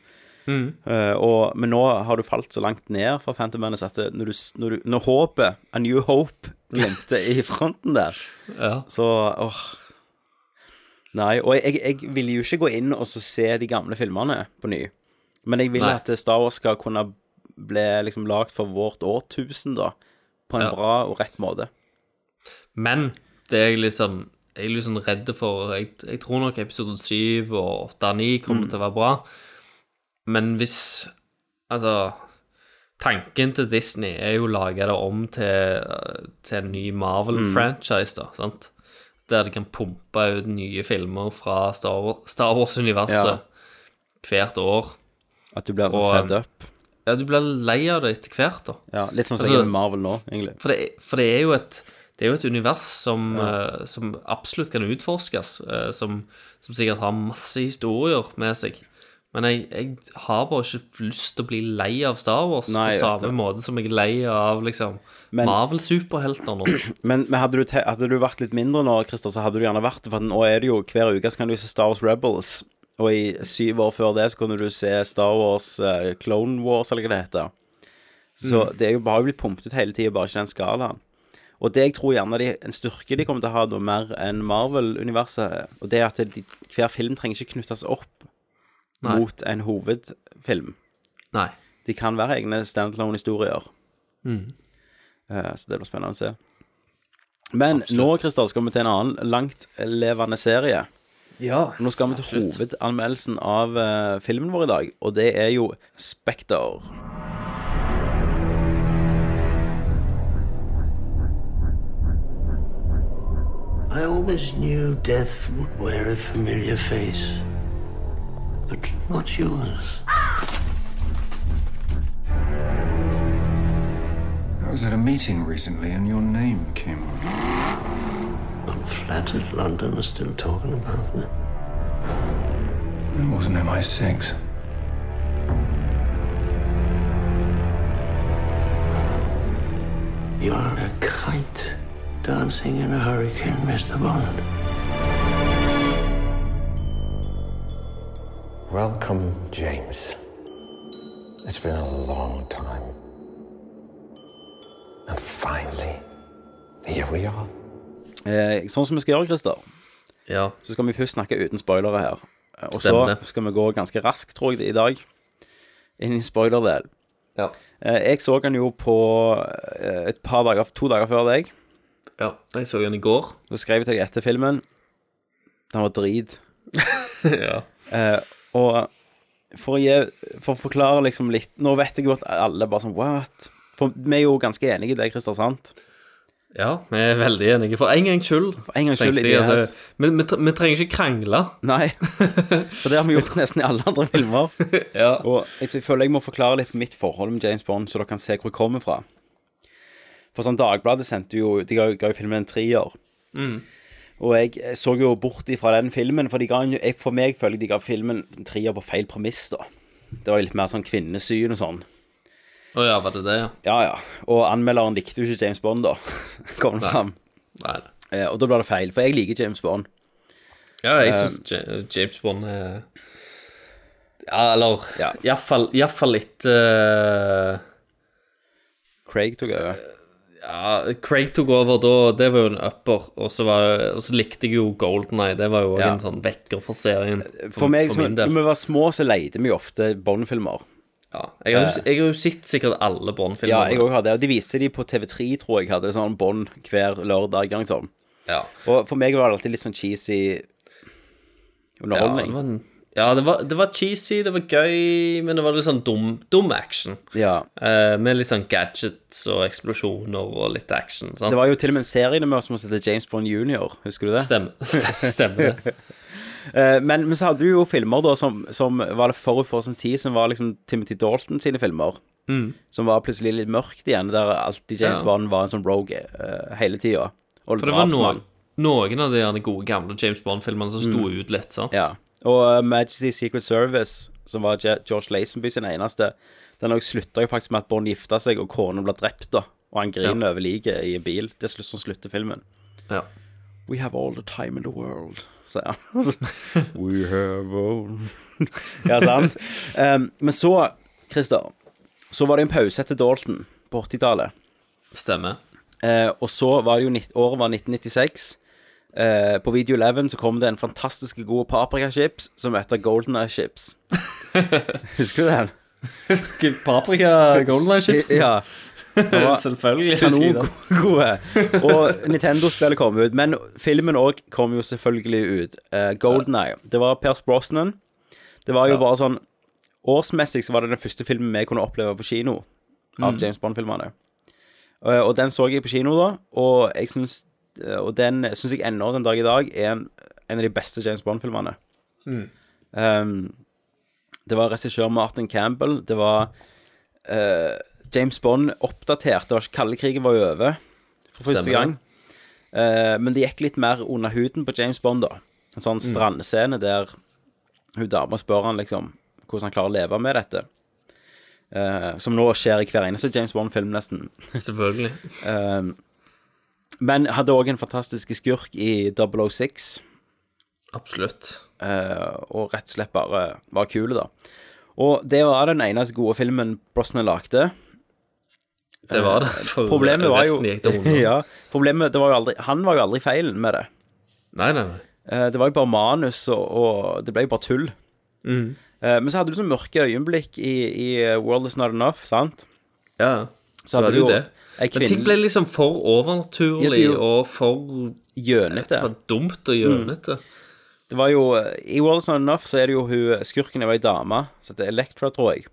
A: Eh, og, men nå har du falt så langt ned fra Phantom Menace at det, når, du, s- når, du, når håpet, A New Hope, glemte i fronten der,
I: Ja.
A: så åh. Nei, og jeg, jeg ville jo ikke gå inn og så se de gamle filmene på ny. Men jeg vil
I: Nei.
A: at Star Wars skal kunne bli liksom lagd for vårt årtusen, da. På en
I: Ja.
A: bra og rett måte.
I: Men det er jeg litt sånn Jeg er litt sånn redd for Jeg, jeg tror nok episode 7 og 8 og 9 kommer til å være bra. Men hvis Altså Tanken til Disney er jo å lage det om til, til en ny Marvel-franchise, da. sant? Der de kan pumpe ut nye filmer fra Star Wa- Star Wars-universet hvert år.
A: At du blir så
I: Og,
A: fed up.
I: Ja, du blir lei av det etter hvert, da.
A: Ja, litt sånn som
I: altså-
A: jeg er med Marvel nå, egentlig.
I: For det, for det er jo et det er jo et univers som, eh, som absolutt kan utforskes, eh, som, som sikkert har masse historier med seg. Men jeg, jeg har bare ikke lyst til å bli lei av Star Wars
A: Nei, jeg
I: på
A: vet
I: samme måte som jeg er lei av liksom,
A: Men-
I: Marvel-superhelter nå.
A: Men, men hadde, du te hadde du vært litt mindre nå, Christer, så hadde du gjerne vært det. For nå er det jo hver uke så kan du se Star Wars Rebels. Og i syv år før det så kunne du se Star Wars eh, Clone Wars, eller hva det heter. Så det er jo bare blitt pumpet ut hele tida, bare ikke den skalaen. Og det jeg tror gjerne de, en styrke de kommer til å ha da, mer enn Marvel-universet, og det er at de, hver film trenger ikke knyttes opp
I: Nei.
A: mot en hovedfilm.
I: Nei.
A: De kan være egne standalone-historier.
I: Mm.
A: Eh, så det blir spennende å se. Men nå Christer, skal vi til en annen langtlevende serie.
I: Ja.
A: Nå skal vi til hovedanmeldelsen av eh, filmen vår i dag, og det er jo Spekter.
M: I always knew death would wear a familiar face, but not yours.
E: I was at a meeting recently and your name came up.
M: I'm flattered London is still talking about it.
E: It wasn't MI6.
M: You are a kite dancing in a hurricane, Mr. Bond.
N: Welcome, James. It's been a long time. And finally, here we are.
A: Eh, sånn som vi skal gjøre, Christer,
I: Ja.
A: så skal vi først snakke uten spoilere her. Eh, Og så
I: Stemmer det.
A: skal vi gå ganske raskt, tror jeg, i dag, inn i spoiler-del.
I: Ja.
A: Eh, jeg så den jo på eh, et par dager, to dager før deg.
I: ja. Jeg så den i går.
A: Så skrev jeg til deg etter filmen. Den var drit.
I: ja.
A: Eh, og for å, gi, for å forklare liksom litt Nå vet jeg jo at alle bare sånn What? For vi er jo ganske enige i det, Christer, sant?
I: ja, vi er veldig enige. For en gangs skyld. For
A: en gangs skyld i DNS.
I: eh, Vi, vi, tre- vi trenger ikke krangle.
A: Nei. For det har vi gjort nesten i alle andre filmer.
I: Ja.
A: Og jeg føler jeg må forklare litt mitt forhold med James Bond, så dere kan se hvor jeg kommer fra. For sånn Dagbladet sendte jo De ga, ga jo filmen en treer.
I: Mm.
A: Og jeg så jo bort ifra den filmen, for, de ga, en- jeg, for meg føler jeg de ga filmen en treer på feil premiss, da. Det var jo litt mer sånn kvinnesyn og sånn.
I: Å ja, var det det, ja?
A: Ja, ja. Og anmelderen likte jo ikke James Bond, da. Kom det fram.
I: Nei.
A: Eh, Og da ble det feil, for jeg liker James Bond.
I: Ja,
A: Eh,
I: jeg syns James Bond er Ja, eller
A: Ja.
I: iallfall litt eh,
A: Craig tok over.
I: Ja, Craig tok over da, det var jo en upper, og så, var, og så likte jeg jo Golden Eye. Det var jo også
A: Ja. Eh,
I: en sånn vekker for serien.
A: For meg, som,
I: min
A: når
I: del.
A: vi var små, så leide vi ofte Bond-filmer.
I: Ja, jeg, har jo, jeg har jo sett sikkert alle
A: Eh. Ja,
I: Bond-filmene.
A: jeg også hadde, og de viste de på TV3, tror jeg, hadde sånn Bond hver lørdag. Liksom.
I: Ja.
A: Og for meg var det alltid litt sånn cheesy
I: Ja, det
A: underholdning.
I: var, en- ja det, var, det var cheesy, det var gøy, men det var litt sånn dum, dum action.
A: Ja,
I: Eh, med litt sånn gadgets og eksplosjoner og litt action. Sant?
A: Det var jo til og med en serie med oss som het James Bond Junior, husker du det?
I: Stemmer, stemmer, stemmer det.
A: Eh, Men, men så hadde du jo filmer da som, som var det forut for sin tid, som var liksom Timothy Dalton sine filmer. Som var plutselig litt mørkt igjen, der alltid James
I: Mm. Ja.
A: Bond var en sånn rogue eh, hele tida. Og
I: For det var
A: drapsmann.
I: noen, noen av de gjerne gode gamle James Bond-filmene som sto ut litt, sant?
A: Mm. Ja. Og uh, Majesty Secret Service, som var Je- George Lazenby sin eneste, den også slutta jo faktisk med at Bond gifta seg, og kona ble drept, da. Og han griner over liket i en bil. Det er slutt, sånn slutter filmen.
I: Ja.
A: We have all the time in the world, sier han. We have all Ja, sant? Um, men så, Christer, så var det en pause etter Dalton på 80-tallet.
I: Stemmer.
A: Eh, og så var det jo nitt- året var 1996. Eh, på Video 11 så kom det en fantastisk god paprikachips som heter Golden Eye Chips. Husker du den?
I: Paprika Golden Eye-chipsen?
A: Ja.
I: Selvfølgelig.
A: Kanongode. Og Nintendo-spillet kom ut. Men filmen òg kom jo selvfølgelig ut. Eh, Golden Eye. Det var Pers Brosnan. Det var jo bare sånn Årsmessig så var det den første filmen vi kunne oppleve på kino av
I: Mm.
A: James Bond-filmene. Eh, Og den så jeg på kino, da, og jeg syns Eh, Og den syns jeg ennå den dag i dag er en, en av de beste James Bond-filmene.
I: Mm.
A: Um, det var regissør Martin Campbell, det var eh, James Bond oppdatert. Det var ikke Kalde krigen var jo over for første
I: Stemmer det.
A: gang. Eh, men det gikk litt mer under huden på James Bond, da. En sånn
I: Mm.
A: strandscene der hun dama spør han liksom hvordan han klarer å leve med dette. Eh, som nå skjer i hver eneste James Bond-film, nesten.
I: Selvfølgelig.
A: Eh, men hadde òg en fantastisk skurk i 006.
I: Absolutt.
A: Eh, og rett og slett bare var kule, da. Og det var den eneste gode filmen Brosnan lagde.
I: Det var det. For
A: Eh, Problemet var jo
I: resten gikk til hundre.
A: ja, Problemet det var jo aldri Han var jo aldri feilen med det.
I: Nei, nei, nei.
A: Eh, det var jo bare manus, og, og det ble jo bare tull.
I: Mm.
A: Eh, men så hadde du sånne mørke øyeblikk i, i eh, World Is Not Enough, sant?
I: Ja,
A: Så hadde
I: det var jo
A: du jo
I: det.
A: ei
I: Men ting
A: kvinne-
I: ble liksom for overnaturlig
A: Ja, det er jo-
I: og for,
A: Gjønete.
I: for dumt og gjønete.
A: Det var jo eh, I World Is Not Enough så er det jo hun skurken er jo ei dame, så det er Electra, tror jeg.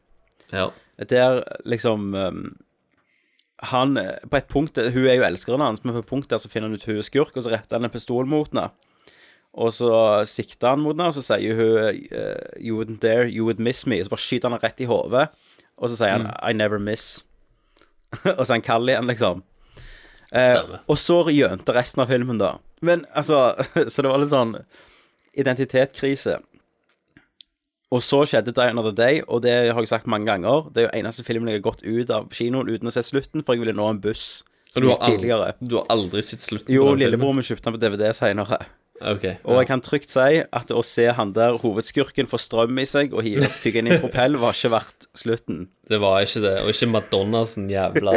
I: Ja.
A: Der liksom um, Han eh, På et punkt Hun er jo elskeren hans, men på et punkt der så finner han ut hun er skurk, og så retter han en pistol mot henne. Og så sikter han mot henne, og så sier hun eh, You wouldn't dare, you would miss me. Og så bare skyter han henne rett i hodet, og så sier han I never miss. og så er han kald igjen, liksom. Eh,
I: Stemmer.
A: og så gjønte resten av filmen, da. Men altså Så det var litt sånn identitetskrise. Og så skjedde Die Another Day, og det har jeg sagt mange ganger. Det er jo eneste filmen jeg har gått ut av kinoen uten å se slutten, for jeg ville nå en buss som
I: Du har,
A: gikk tidligere.
I: aldri, du har aldri sett slutten
A: Jo,
I: på den
A: lillebror min kjøpte den på DVD senere.
I: filmen? Ok,
A: Og
I: ja.
A: jeg kan trygt si at å se han der hovedskurken få strøm i seg og hive fyggen i en propell, var ikke verdt slutten.
I: Det var ikke det. Og ikke Madonnas sin jævla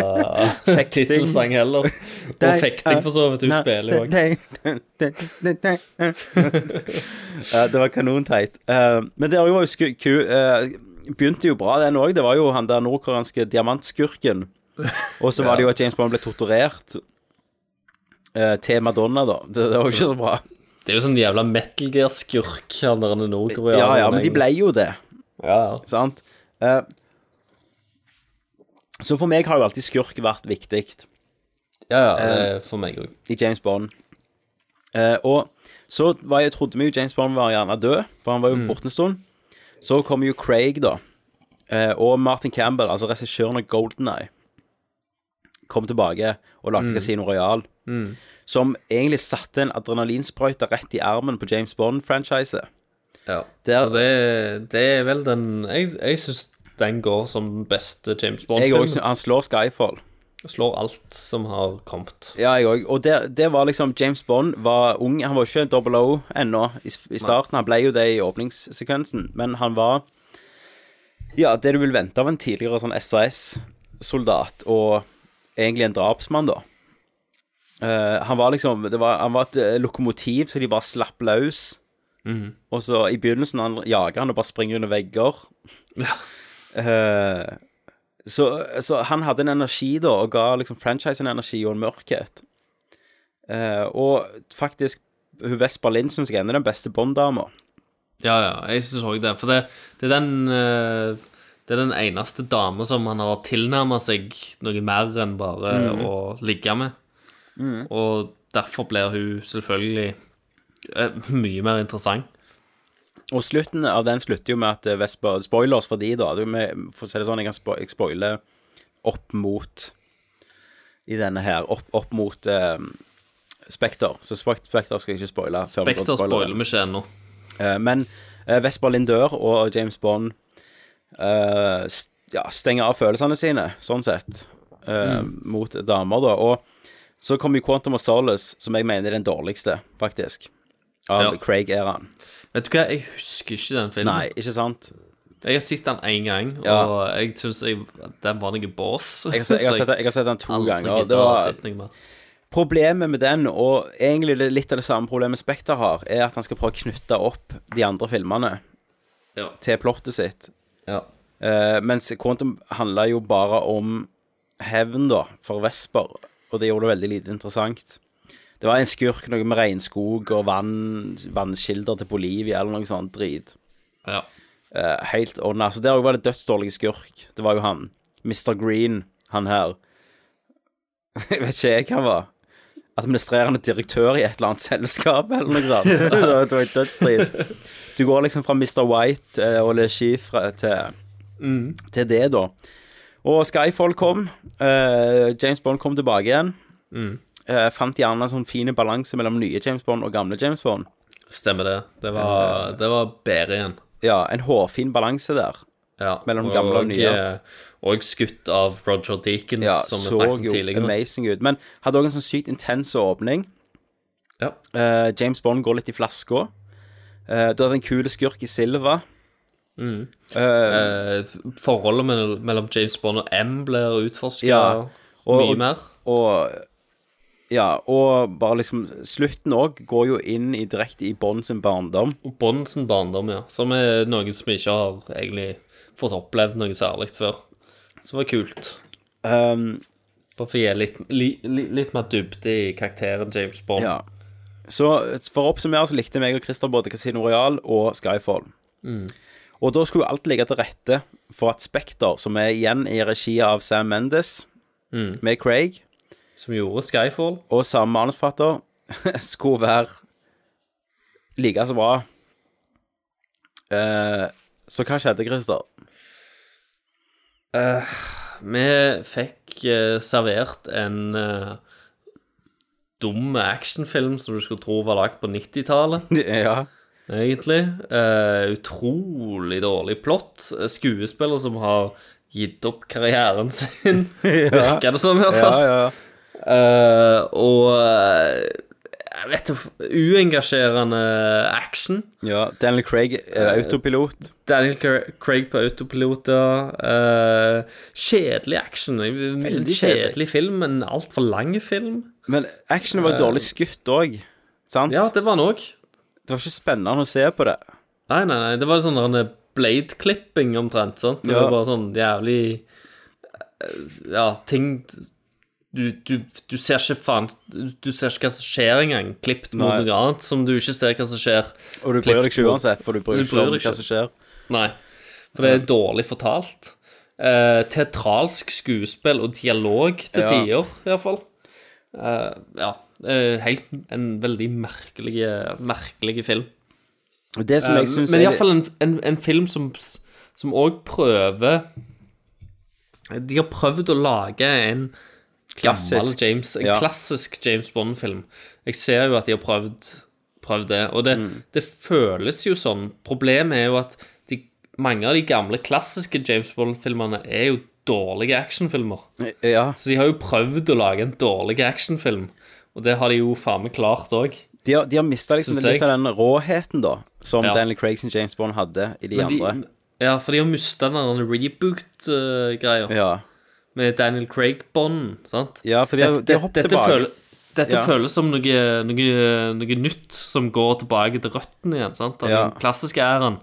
A: Fekting.
I: tittelsang heller. Og fekting, for så vidt. Hun
A: eh, Nei,
I: spiller jo òg.
A: Ja, det var kanonteit. Eh, men det var jo sku- ku... eh, begynte jo bra, den òg. Det var jo han der nordkoreanske diamantskurken. Og så var det jo at James Bond ble torturert. eh, til Madonna, da. Det, det var jo ikke så bra.
I: Det er jo sånn jævla metal gear-skurk, han der nordkoreaneren.
A: Ja, ja, men de ble jo det.
I: ja, ja.
A: Sant? Eh, så for meg har jo alltid skurk vært viktig
I: ja, ja, det
A: Eh,
I: er for meg òg.
A: i James Bond. Eh, og så var jeg, trodde vi jo James Bond var gjerne død, for han var
I: Mm.
A: jo borte en stund. Så kom jo Craig, da. eh, og Martin Campbell, altså regissøren av Golden Eye. kom tilbake og lagde
I: Mm.
A: Casino Royal.
I: Mm.
A: Som egentlig satte en adrenalinsprøyte rett i armen på James Bond-franchiset.
I: Ja. Og det, det er vel den Jeg, jeg syns den går som den beste James
A: Jeg også,
I: Bond-film.
A: han slår Skyfall.
I: Slår alt som har kommet.
A: Ja, jeg òg. Og det, det var liksom James Bond var ung. Han var ikke double O ennå i, s- i starten. Han ble jo det i åpningssekvensen, men han var Ja, det du vil vente av en tidligere sånn SAS-soldat, og egentlig en drapsmann, da. Eh, han var liksom det var, Han var et eh, lokomotiv, så de bare slapp løs.
I: Mhm.
A: Og så i begynnelsen han jager han og bare springer under vegger. Eh, så, så han hadde en energi da, og ga liksom franchisen energi og en mørkhet. Eh, og faktisk, hun Vesper Lind syns jeg ennå er den beste Bond-dama.
I: Ja, ja, jeg syns òg det. For det, det er den eh, Det er den eneste dama som han har tilnærma seg noe mer enn bare
A: Mm.
I: å ligge med.
A: Mm.
I: Og derfor blir hun selvfølgelig eh, mye mer interessant.
A: Og slutten av den slutter jo med at eh, Vesper Spoilers for de, da. Det er jo med, for å si det sånn, jeg kan spo- jeg spoile opp mot I denne her. Opp, opp mot eh, Spekter. Så Spek- Spekter skal jeg ikke spoile. før vi
I: Spekter
A: kan spoile det.
I: spoiler vi ikke ennå.
A: Eh, Men eh, Vesper Lind dør, og James Bond eh, st ja, stenger av følelsene sine, sånn sett, eh, mot damer, da. Og så kommer jo Quantum of Solace, som jeg mener er den dårligste, faktisk, av
I: Ja.
A: Craig-æraen.
I: Vet du hva, jeg husker ikke den filmen.
A: Nei, ikke sant?
I: Jeg har sett den én gang, og jeg syns den var noe bås.
A: Jeg har, se- jeg, har sett, den- jeg har sett den to ganger. og Det var Problemet med den, og egentlig det- litt av det samme problemet Spekter har, er at han skal prøve å knytte opp de andre filmene
I: Ja.
A: til plottet sitt.
I: Ja.
A: Eh, mens Quantum handla jo bare om hevn, da, for Vesper, og det gjorde det veldig lite interessant. Det var en skurk, noe med regnskog og vann, vannkilder til Bolivia, eller noe sånt drit.
I: Ja.
A: Eh, helt ordna. Så der òg var det dødsdårlig skurk. Det var jo han. Mr. Green, han her. Jeg vet ikke jeg hva han var. Administrerende direktør i et eller annet selskap, eller noe sånt. Det var- det var et dødsstrid. Du går liksom fra Mr. White eh, og Le Chiffre til,
I: Mm.
A: til det, da. Og Skyfall kom. eh, James Bond kom tilbake igjen.
I: Mm.
A: Eh, fant gjerne en sånn fin balanse mellom nye James Bond og gamle James Bond.
I: Stemmer det. Det var,
A: Eh.
I: det var bedre igjen.
A: Ja, en hårfin balanse der.
I: Ja.
A: Mellom gamle og nye.
I: eh, Og skutt av Roger Deakins,
A: Ja,
I: som vi
A: så
I: snakket om
A: jo
I: tidligere.
A: amazing ut. Men hadde òg en sånn sykt intens åpning.
I: Ja.
A: Eh, James Bond går litt i flaska. Eh, du hadde en kul skurk i Silva.
I: Mm.
A: Eh,
I: Eh, forholdet mellom, mellom James Bond og M blir utforska
A: Ja, og-
I: mye mer.
A: og Ja, og bare liksom Slutten òg går jo inn i, direkte i Bond sin barndom.
I: Og Bond sin barndom, ja. Som er noe som vi ikke har egentlig fått opplevd noe særlig før. Som var kult.
A: Um,
I: Bare for å gi litt, li, li, litt mer dybde i karakteren James Bond.
A: Ja. Så for å oppsummere så likte meg og Christer både Casino Royal og Skyfall.
I: Mm.
A: Og da skulle jo alt ligge til rette for at Spekter, som er igjen i regi av Sam Mendes,
I: Mm.
A: med Craig
I: Som gjorde Skyfall.
A: og samme manusforfatter skulle være like så bra. Eh, så hva skjedde, Christer?
I: Eh, vi fikk eh, servert en eh, dum actionfilm som du skulle tro var lagd på 90-tallet.
A: Ja.
I: Egentlig. Eh, utrolig dårlig plott. Skuespiller som har gitt opp karrieren sin,
A: Ja.
I: virker det som, i hvert
A: Ja,
I: fall.
A: ja, ja.
I: Eh, og eh, jeg vet ikke, uengasjerende action.
A: ja Daniel Craig er autopilot.
I: Daniel Cra- Craig på autopilot. ja. Eh, kjedelig action. En
A: Veldig
I: kjedelig,
A: kjedelig.
I: film, en altfor lang film.
A: Men actionen var
I: Eh.
A: dårlig skutt òg, sant?
I: Ja, det var den òg.
A: Det var ikke spennende å se på det.
I: Nei, nei, nei, det var sånn der blade-klipping omtrent. sant? Det
A: Ja.
I: var bare sånn jævlig eh, Ja, ting du, du, du ser ikke faen Du ser ikke hva som skjer engang. Klippet mot
A: Nei.
I: noe annet som du ikke ser hva som skjer.
A: Og du bryr deg ikke
I: Klippet mot-
A: uansett, for du bryr deg ikke om hva som skjer.
I: Nei, for det er dårlig fortalt. Eh, teatralsk skuespill og dialog til
A: Ja.
I: tider, iallfall. Uh, ja. eh, helt en veldig merkelig, merkelig film.
A: Og det som
I: Eh,
A: jeg synes
I: men
A: er-
I: iallfall en, en, en film som som òg prøver De har prøvd å lage en Klassisk. James, en klassisk James Bond-film. Jeg ser jo at de har prøvd, prøvd det, og det,
A: Mm.
I: det føles jo sånn. Problemet er jo at de, mange av de gamle klassiske James Bond-filmerne er jo dårlige actionfilmer.
A: Ja.
I: Så de har jo prøvd å lage en dårlig actionfilm, og det har de jo faen meg klart òg.
A: De har, de har mista liksom
I: Synes jeg.
A: litt av den råheten, da, som
I: Ja.
A: Daniel Craig sin James Bond hadde i de
I: Men
A: andre.
I: Ja, for de har mista den reboot-greia.
A: Ja.
I: Med Daniel Craig-bånd, sant?
A: Ja, for de har-
I: Dette-
A: de har hoppet
I: dette
A: tilbake.
I: føle- dette
A: Ja.
I: føles som noe, noe, noe nytt som går tilbake til røttene igjen. sant? Den
A: Ja.
I: klassiske æren.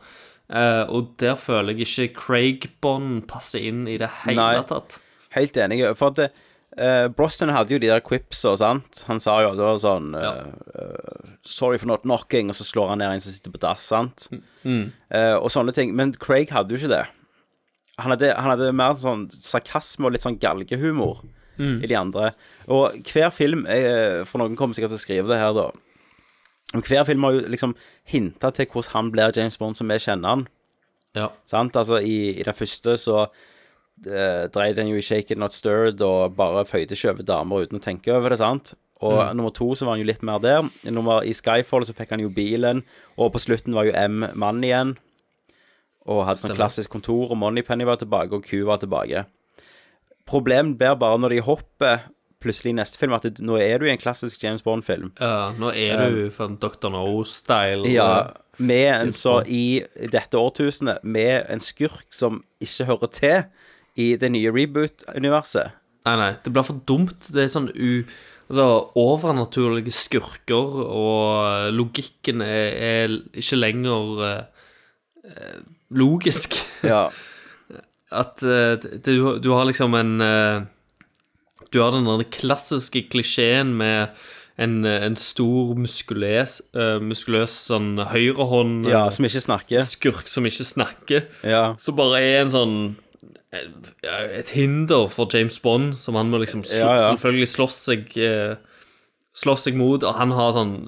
I: Eh, og der føler jeg ikke Craig-bånd passer inn i det hele
A: Nei.
I: tatt.
A: Helt enig. For at eh, Brosnan hadde jo de der quipsa, sant. Han sa jo det var sånn eh, eh, Sorry for not knocking, og så slår han ned en som sitter på dass, sant.
I: Mm.
A: Eh, og sånne ting. Men Craig hadde jo ikke det. Han hadde, han hadde mer sånn sarkasme og litt sånn galgehumor
I: Mm.
A: i de andre. Og hver film eh, For noen kommer sikkert til å skrive det her, da. Men hver film har jo liksom hinta til hvordan han blir James Bond som vi kjenner han.
I: Ja.
A: Sant? Altså, i, i den første så eh, dreide han jo i Shake It Not Stirred og bare føyde ikke over damer uten å tenke over det, sant? Og
I: Mm.
A: nummer to så var han jo litt mer der. I Nummer, I Skyfall så fikk han jo bilen, og på slutten var jo M mann igjen. Og hadde sånn
I: Stemmer.
A: klassisk kontor, og Moneypenny var tilbake, og Q var tilbake. Problemet blir bare når de hopper plutselig i neste film, at det, nå er du i en klassisk James Bond-film.
I: Ja, eh, nå er du fra Dr. No-style.
A: Eh. Ja,
I: og-
A: med en
I: James
A: så
I: Bond.
A: i dette årtusenet, med en skurk som ikke hører til i det nye reboot-universet.
I: Nei, nei, det blir for dumt. Det er sånn u... Altså, overnaturlige skurker, og eh, logikken er, er ikke lenger eh, logisk.
A: Ja.
I: At eh, det, du, du har liksom en eh, Du har den der klassiske klisjeen med en, eh, en stor, muskuløs, eh, muskuløs sånn høyrehånd eh,
A: Ja, som ikke snakker.
I: Skurk som ikke snakker.
A: Ja.
I: Som bare er en sånn ja, et hinder for James Bond, som han må liksom sl
A: Ja, ja.
I: selvfølgelig slåss seg eh, Slåss seg mot, og han har sånn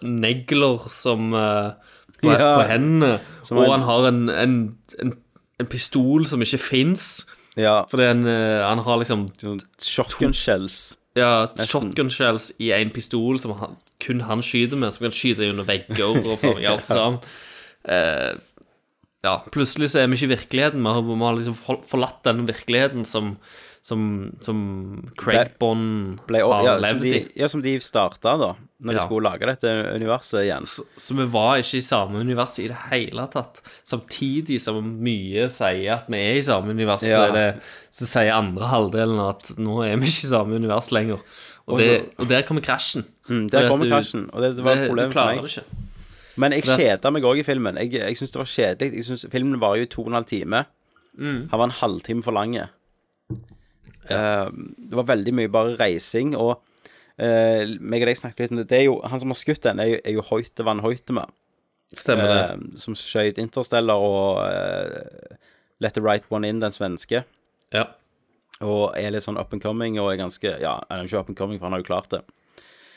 I: sølvnegler som eh, på,
A: Ja.
I: på hendene.
A: Som
I: og
A: en-
I: han har en, en, en, en pistol som ikke fins.
A: Ja.
I: Fordi han, eh, han har liksom
A: Shotgun shells.
I: ja,
A: Nesten.
I: shotgun shells i en pistol som han, kun han skyter med, som kan skyte under vegger og faen alt
A: Ja.
I: sammen. Eh, ja, plutselig så er vi ikke i virkeligheten. Vi har, vi har liksom for- forlatt den virkeligheten som, som, som Craig
A: Ble-
I: Bond
A: Ble,
I: har
A: ja, som
I: levd
A: de,
I: i.
A: ja, som de starta, da, når de
I: Ja.
A: skulle lage dette universet igjen.
I: Så vi var ikke i samme univers i det hele tatt. Samtidig som mye sier at vi er i samme univers, så,
A: Ja.
I: er det, så sier andre halvdelen at nå er vi ikke i samme univers lenger. Og,
A: Og
I: det,
A: så-
I: og der kommer krasjen.
A: Mm, der
I: Fordi at
A: kommer
I: du-
A: krasjen, og det- det var problemet for
I: Du klarer
A: meg.
I: det ikke.
A: Men jeg
I: Det-
A: kjeda meg òg i filmen. Jeg, jeg syns det var kjedelig. Jeg synes Filmen varer jo to og en halv time.
I: Mm.
A: Han var en halvtime for lang. Eh, det var veldig mye bare reising, og eh, meg og deg snakket litt om det. det er jo, han som har skutt den, er jo, er jo Hoitemann Hoitema.
I: Stemmer det.
A: Eh, som skjøt Interstellar og eh, Let the Right One In, den svenske.
I: Eh, Ja.
A: Og er litt sånn up and coming, og er ganske Ja, han er jo ikke up and coming, for han har jo klart det.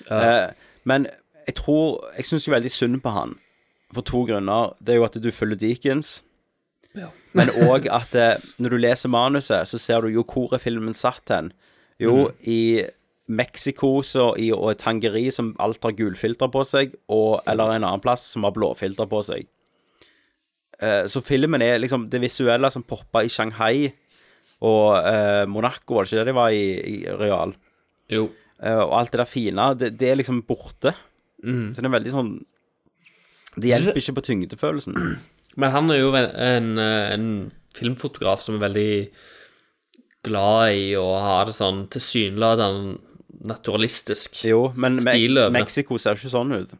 I: Ja.
A: Eh, men jeg tror Jeg syns jo veldig synd på han, for to grunner. Det er jo at du følger Deakins. Men òg at eh, når du leser manuset, så ser du jo hvor er filmen satt hen. Jo, i Mexico så, i, og et tangeri som alt har gulfilter på seg, og, eller en annen plass som har blåfilter på seg. Eh, så filmen er liksom det visuelle som poppa i Shanghai og eh, Monaco, var det ikke det de var i, i real?
I: Jo.
A: Eh, og alt det der fine, det, det er liksom borte.
I: Mm.
A: Så det er veldig sånn Det hjelper ikke på tyngdefølelsen.
I: Men han er jo en, eh, en filmfotograf som er veldig glad i å ha det sånn tilsynelatende naturalistisk.
A: Jo, men Me
I: Stiløvende.
A: Mexico ser jo ikke sånn ut.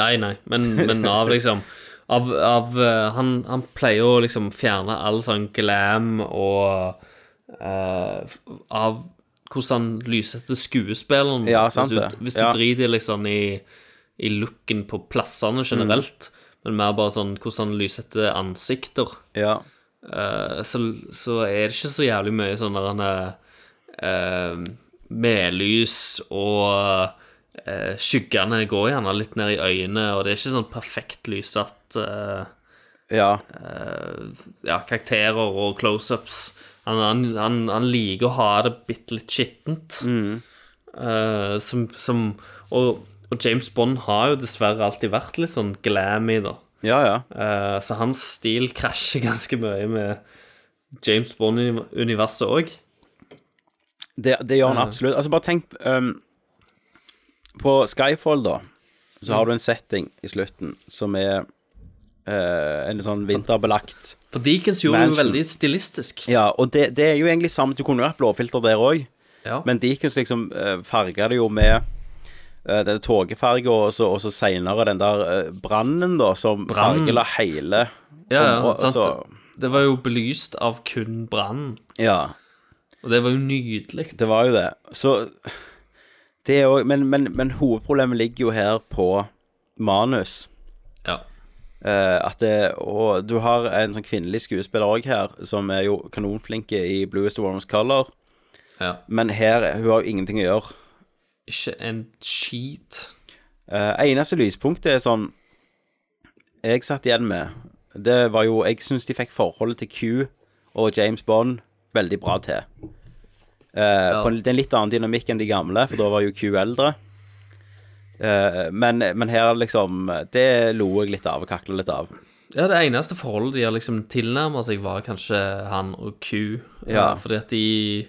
I: Nei, nei, men, men av liksom av, av, eh, han, han pleier å liksom fjerne all sånn glam og eh, f- Av hvordan han lyssetter skuespilleren.
A: Ja, sant
I: hvis
A: det.
I: du, hvis du
A: Ja.
I: driter liksom i, i looken på plassene generelt,
A: Mm.
I: men mer bare sånn hvordan han lyssetter ansikter,
A: Ja.
I: eh, så, så er det ikke så jævlig mye sånn der han er eh, Medlys og eh, skyggene går gjerne litt ned i øynene, og det er ikke sånn perfekt lyssatt eh,
A: Ja.
I: ja karakterer og close-ups. Han, han, han, han liker å ha det bitte litt skittent.
A: Mm.
I: Eh, som, som og, og James Bond har jo dessverre alltid vært litt sånn glammy, da.
A: Ja, ja.
I: Eh, så hans stil krasjer ganske mye med James Bond-universet òg.
A: Det, det gjør han absolutt. Altså, bare tenk ehm, På Skyfall, da, så har du en setting i slutten som er eh, en sånn vinterbelagt
I: For Deacons gjorde det jo
A: Mansion.
I: veldig stilistisk.
A: Ja, og det, det er jo egentlig samme Du kunne jo hatt blåfilter der òg,
I: Ja.
A: men Deakins liksom uh, farga det jo med eh, den tåkefarga, og så, og så seinere den der eh, brannen, da, som
I: Brannen.
A: fargela hele om-
I: Ja, ja,
A: og-
I: sant.
A: så-
I: Det var jo belyst av kun brannen,
A: ja.
I: og det var jo nydelig.
A: Det var jo det. Så det er jo, men, men, men hovedproblemet ligger jo her på manus.
I: Ja.
A: Eh, at det, og du har en sånn kvinnelig skuespiller òg her, som er jo kanonflinke i Bluest of Warmest Color.
I: Ja.
A: Men her hun har jo ingenting å gjøre.
I: Ikke en skit.
A: Eh, eneste lyspunktet er sånn Jeg satt igjen med Det var jo Jeg syns de fikk forholdet til Q og James Bond veldig bra til. Eh, på en, det er en litt annen dynamikk enn de gamle, for da var jo Q eldre. Eh, men, men her, liksom Det lo jeg litt av og kakla litt av.
I: Ja, det eneste forholdet de har liksom tilnærma seg, var kanskje han og Q. eh,
A: Ja.
I: Fordi at de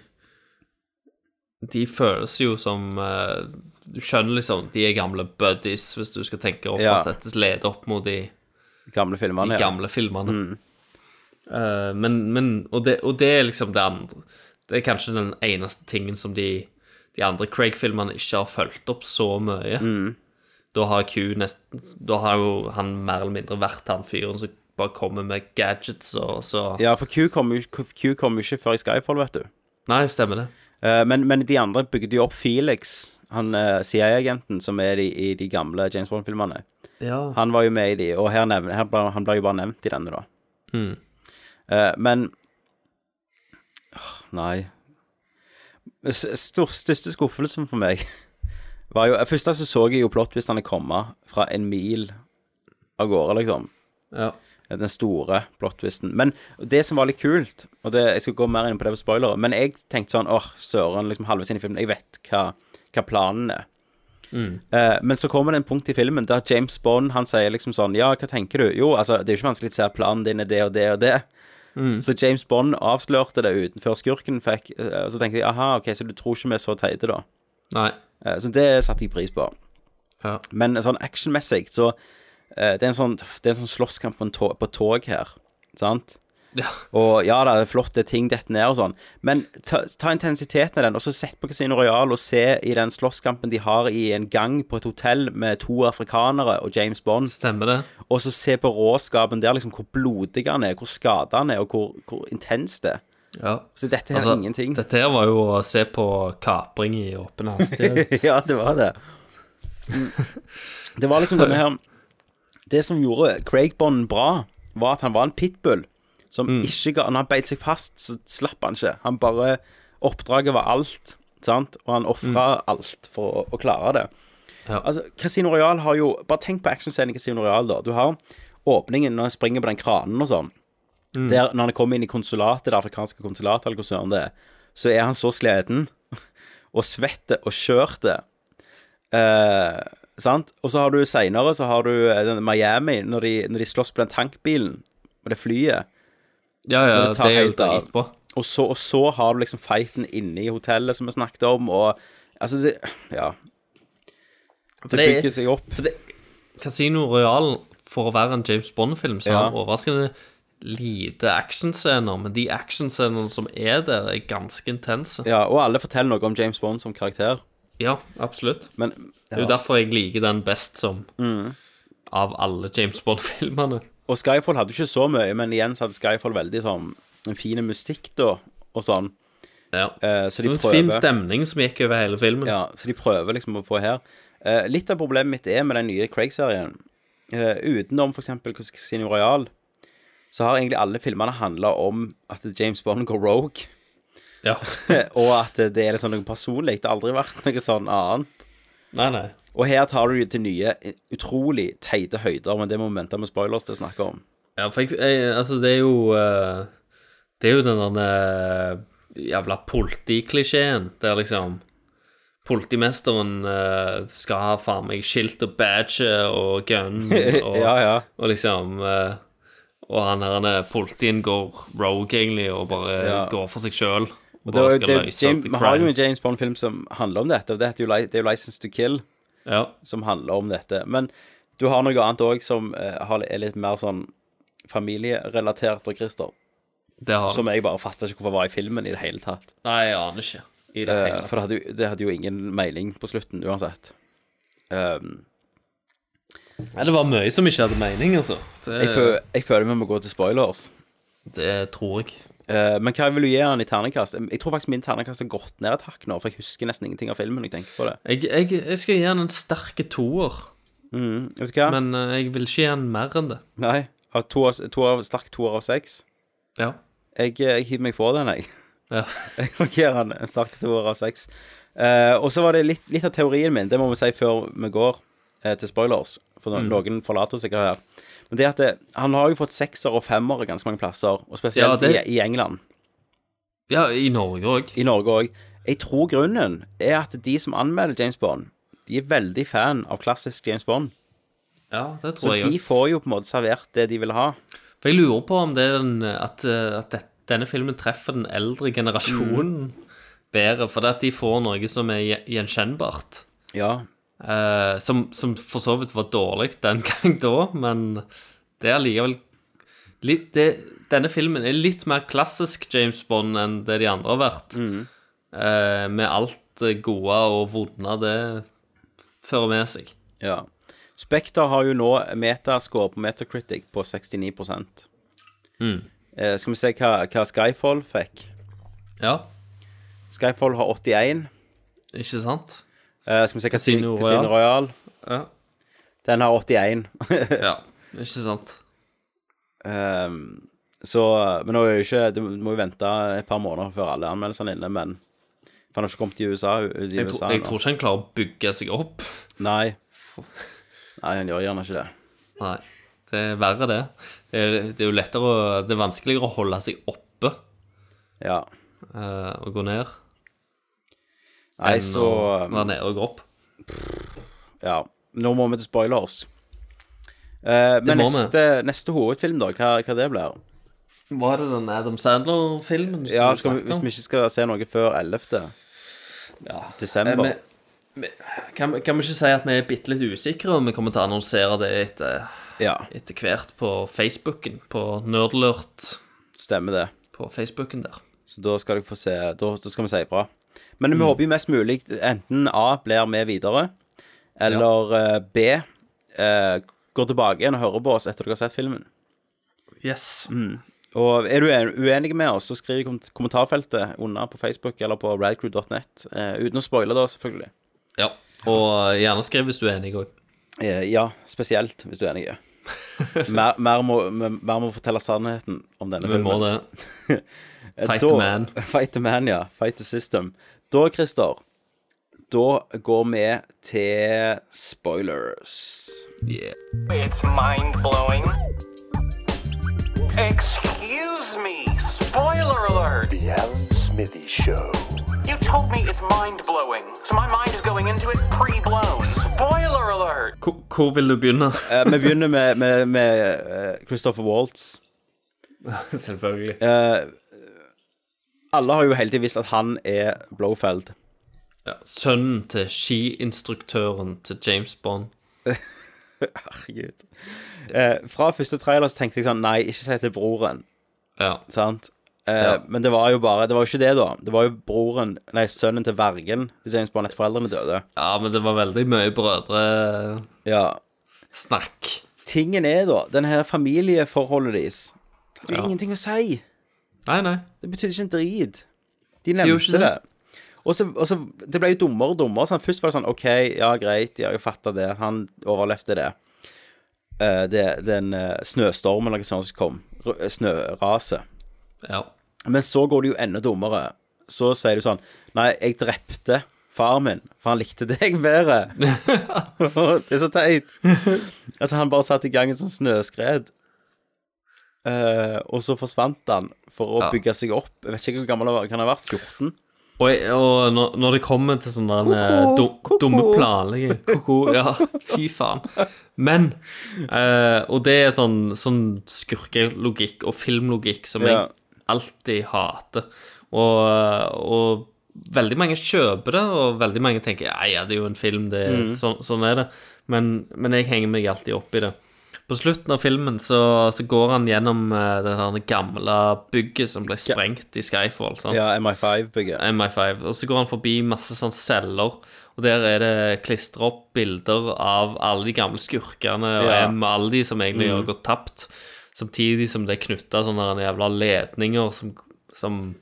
I: De føles jo som eh, Du skjønner liksom de er gamle buddies, hvis du skal tenke opp
A: Ja.
I: at dette leder opp mot de,
A: Gamle
I: de
A: filmene. ja.
I: gamle filmene.
A: Mm.
I: Eh, men, men og, det, og det er liksom det andre Det er kanskje den eneste tingen som de, de andre Craig-filmene ikke har fulgt opp så mye.
A: Mm.
I: Da har Q nesten Da har jo han mer eller mindre vært han fyren som bare kommer med gadgets og så
A: Ja, for Q kom jo Q kom jo ikke før i Skyfall, vet du.
I: Nei, stemmer det.
A: Eh, men, men de andre bygde jo opp Felix, han eh, CIA-agenten som er i, i de gamle James Bond-filmene.
I: Ja.
A: Han var jo med i de, og her nevn, her ble, han ble jo bare nevnt i denne, da.
I: Mm.
A: Eh, men Åh, Nei. S- Stor, største skuffelsen for meg var jo Først så så jeg jo plottvistene komme fra en mil av gårde, liksom.
I: Ja.
A: Den store plottvisten. Men det som var litt kult, og det, jeg skal gå mer inn på det på spoilere, men jeg tenkte sånn åh, søren, liksom halvveis inn i filmen, jeg vet hva, hva planen er. Eh, men så kommer det en punkt i filmen der James Bond han sier liksom sånn Ja, hva tenker du? Jo, altså, det er jo ikke vanskelig å se at planen din er det og det og det. Så James Bond avslørte det utenfor skurken fikk eh, Og så tenkte jeg aha, ok, så du tror ikke vi er så teite, da.
I: Nei.
A: Eh, Så det satte jeg pris på.
I: Ja.
A: Men sånn actionmessig, så eh, Det er en sånn, det er en sånn slåsskamp på, en tog, på tog her, sant?
I: Ja.
A: Og ja da, det er flott, det er ting detter ned og sånn, men ta, ta intensiteten av den, og så sett på Casino Royal og se i den slåsskampen de har i en gang på et hotell med to afrikanere og James Bond,
I: Stemmer det.
A: og så se på råskapen der, liksom hvor blodig han er, hvor skadet han er, og hvor, hvor intens det er.
I: Ja. Altså,
A: Så dette her er ingenting.
I: Dette her var jo å se på kapring i åpen hastighet.
A: ja, det var det. Det var liksom denne her Det som gjorde Craig Bond bra, var at han var en pitbull som ikke ga Når han beit seg fast, så slapp han ikke. Han bare Oppdraget var alt, sant? Og han ofra alt for å, å klare det.
I: Ja.
A: Altså, Casino Royal har jo Bare tenk på actionscenen i Casino Royal, da. Du har åpningen når han springer på den kranen og sånn. Der, når han kommer inn i konsulatet, det afrikanske konsulatet, eller hvor søren det er, så er han så sliten og svette og kjørte. Eh, sant? Og så har du seinere, så har du eh, den Miami, når de, når de slåss på den tankbilen og det flyet.
I: Ja, ja,
A: Det
I: det
A: tar
I: er jo
A: helt av.
I: dritbra.
A: Og så, og så har du liksom fighten inne i hotellet som vi snakket om, og altså det Ja. Det
I: det er-
A: bygger seg opp.
I: Casino Royal, for å være en James Bond-film, så
A: Ja.
I: har han overraskende lite actionscener, men de actionscenene som er der, er ganske intense.
A: Ja, og alle forteller noe om James Bond som karakter,
I: Ja, absolutt.
A: men
I: Det er jo
A: ja. Mm.
I: derfor jeg liker den best som av alle James Bond-filmene.
A: Og Skyfall hadde jo ikke så mye, men igjen så hadde Skyfall veldig sånn en fin mystikk, da, og sånn.
I: Ja.
A: Eh, så de
I: det var
A: prøver
I: en fin stemning som gikk over hele filmen.
A: Ja, så de prøver liksom å få her. Eh, litt av problemet mitt er med den nye Craig-serien. Eh, utenom f.eks. Casino Royal, så har egentlig alle filmene handla om at James Bond går rogue,
I: Ja.
A: og at det er liksom noe personlig. Det har aldri vært noe sånn annet.
I: Nei, nei.
A: Og her tar du det til nye, utrolig teite høyder, men det må vi vente med spoilers til å snakke om.
I: Ja, for jeg, jeg Altså, det er jo eh, Det er jo den derne jævla politiklisjeen der liksom Politimesteren eh, skal ha faen meg skilt og badge og gun og,
A: Ja, ja.
I: og liksom eh, Og han her han er- politien går rogue, egentlig, og bare
A: Ja.
I: går for seg sjøl.
A: Og det, var jo- det, James, vi har jo en James Bond-film som handler om dette, og det, heter jo, Li- det er jo 'License to Kill', som handler om dette. Men du har noe annet òg som eh, har- er litt mer sånn familierelatert og Christer.
I: Det har
A: Som jeg bare fatter ikke hvorfor var i filmen i det hele tatt.
I: Nei, jeg aner ikke. I det
A: Eh,
I: hele
A: for det hadde, jo- det hadde jo ingen mening på slutten uansett. Um,
I: Nei, det var mye som ikke hadde mening, altså. Det,
A: jeg, føl, jeg føler vi må gå til spoilers.
I: det tror jeg.
A: Eh, men hva vil du gi han i ternekast? Jeg tror faktisk min ternekast har gått ned et hakk nå, for jeg husker nesten ingenting av filmen. når jeg tenker på det
I: Jeg, jeg, jeg skal gi han en sterke toer,
A: mm, Vet du hva?
I: men eh, jeg vil ikke gi han mer enn det.
A: Nei. Har to av, to av, sterk to av seks.
I: Ja.
A: Jeg, eh, jeg hiver meg for den, jeg.
I: Ja.
A: Jeg markerer en, en sterk to av seks. Eh, og så var det litt, litt av teorien min, det må vi si før vi går eh, til spoilers, for no,
I: Mm.
A: noen forlater sikkert her. Men det at det, han har jo fått sekser og femmere ganske mange plasser, og
I: Ja,
A: spesielt
I: det-
A: i, i England.
I: Ja, i Norge òg.
A: I Norge òg. Jeg tror grunnen er at de som anmelder James Bond, de er veldig fan av klassisk James Bond.
I: Ja, det tror
A: Så
I: jeg
A: de
I: òg.
A: får jo på en måte servert det de vil ha.
I: For jeg lurer på om det er den, at, eh, at det, denne filmen treffer den eldre generasjonen bedre, for det at de får noe som er gje- gjenkjennbart.
A: Ja.
I: Eh, som, som for så vidt var dårlig den gang da, men det er allikevel litt, det, Denne filmen er litt mer klassisk James Bond enn det de andre har vært.
A: Mm.
I: Eh, med alt det gode og vonde det fører med seg.
A: Ja. Spekter har jo nå metascore på Metacritic på 69
I: Mm.
A: eh, Skal vi se hva, hva Skyfall fikk.
I: Ja,
A: Skyfall har 81.
I: ikke sant?
A: Eh, skal vi se hva Casino,
I: Casino
A: Casino Royal
I: Ja.
A: Den har 81.
I: ja, ikke sant?
A: Ehm, så Men nå er jo ikke Du må jo vente et par måneder før alle anmeldelsene er inne, men For han har ikke kommet i USA. i USA
I: Jeg, tror- jeg
A: nå.
I: tror ikke han klarer å bygge seg opp.
A: Nei. Nei, han gjør gjerne ikke det.
I: Nei, det er verre, det. Det er, det er jo lettere å Det er vanskeligere å holde seg oppe
A: Ja.
I: eh, og gå ned.
A: Nei,
I: enn
A: så
I: å være nede og gå opp.
A: Ja. Nå må vi til spoilers. Eh, men
I: må vi.
A: neste, neste hovedfilm, da? Hva, hva det blir?
I: Var det den Adam Sandler-filmen? som
A: Ja,
I: du
A: skal vi,
I: snakket
A: Hvis
I: om?
A: vi ikke skal se noe før 11.
I: Ja.
A: desember
I: Eh, vi- vi- kan, kan vi ikke si at vi er bitte litt usikre, og vi kommer til å annonsere det etter,
A: Ja,
I: etter hvert på Facebooken, på Nerdlurt
A: stemmer det.
I: på Facebooken der.
A: Så da skal dere få se Da, da skal vi si ifra. Men
I: Mm.
A: vi håper jo mest mulig enten A blir med videre, eller eh, B eh, går tilbake igjen og hører på oss etter dere har sett filmen.
I: Yes.
A: Og er du en- uenig med oss, så skriv i kom kommentarfeltet under på Facebook eller på radcrew.net. eh, uten å spoile, da, selvfølgelig.
I: Ja. Og eh, gjerne skriv hvis du er enig òg.
A: Eh, ja, spesielt hvis du er enig. Mer, mer, må, mer må fortelle sannheten om denne
I: Vi må
A: filmen. Eh,
I: det. Fight
A: da,
I: the man.
A: Fight the man, ja. Fight the system. Da, Christer, da går vi til spoilers.
I: Yeah.
O: It's mind blowing. Excuse me, spoiler alert!
N: The Alan Smithy Show.
O: You told me it's mind blowing, so my mind is going into it pre blown. Spoiler alert!
I: Hvor, hvor vil du begynne?
A: Eh, vi begynner med, med, med eh, Christopher Waltz.
I: Selvfølgelig.
A: Eh, alle har jo hele tiden visst at han er Blowfeld.
I: Ja. Sønnen til skiinstruktøren til James Bond.
A: Herregud. Eh, fra første trailer så tenkte jeg sånn Nei, ikke si til broren.
I: Ja.
A: Sant? Eh,
I: Ja.
A: Men det var jo bare Det var jo ikke det, da. Det var jo broren Nei, sønnen til vergen til James Bond etter foreldrene døde.
I: Ja, men det var veldig mye brødre-snakk.
A: Ja. Tingen er, da, den her familieforholdet deres Det er ingenting å si.
I: Nei, nei.
A: Det betydde ikke en drit. De
I: gjorde
A: nevnte
I: ikke
A: det.
I: det.
A: Og så, og så Det ble jo dummere og dummere. sant? Først var det sånn OK, ja, greit, ja, jeg fatta det. Han overlevde det. Eh, det den eh, snøstormen eller noe sånt som kom. R- Snøraset.
I: Ja.
A: Men så går det jo enda dummere. Så sier du sånn Nei, jeg drepte faren min, for han likte deg bedre. det er så teit. Altså, han bare satte i gang et sånt sånn snøskred. Eh, og så forsvant han for å bygge seg opp. Jeg vet ikke hvor gammel han var. Kan han ha vært 14?
I: Og, jeg- og når, når det kommer til sånn der eh, dum, dumme planlegging Ko-ko. Ja, fy faen. Men eh, Og det er sånn, sånn skurkelogikk og filmlogikk som
A: Ja.
I: jeg alltid hater. Og, og veldig mange kjøper det, og veldig mange tenker ja, ja, det er jo en film, det er,
A: Mm.
I: sånn, sånn er det. Men, men jeg henger meg alltid opp i det. På slutten av filmen så, så går han gjennom eh, det der gamle bygget som ble sprengt i Skyfall. sant?
A: Ja, MI5-bygget.
I: eh, MI5. Og så går han forbi masse sånn celler, og der er det klistra opp bilder av alle de gamle skurkene og
A: Ja.
I: em- alle de som egentlig har
A: Mm.
I: gått tapt, samtidig som det er knytta sånne her jævla ledninger som, som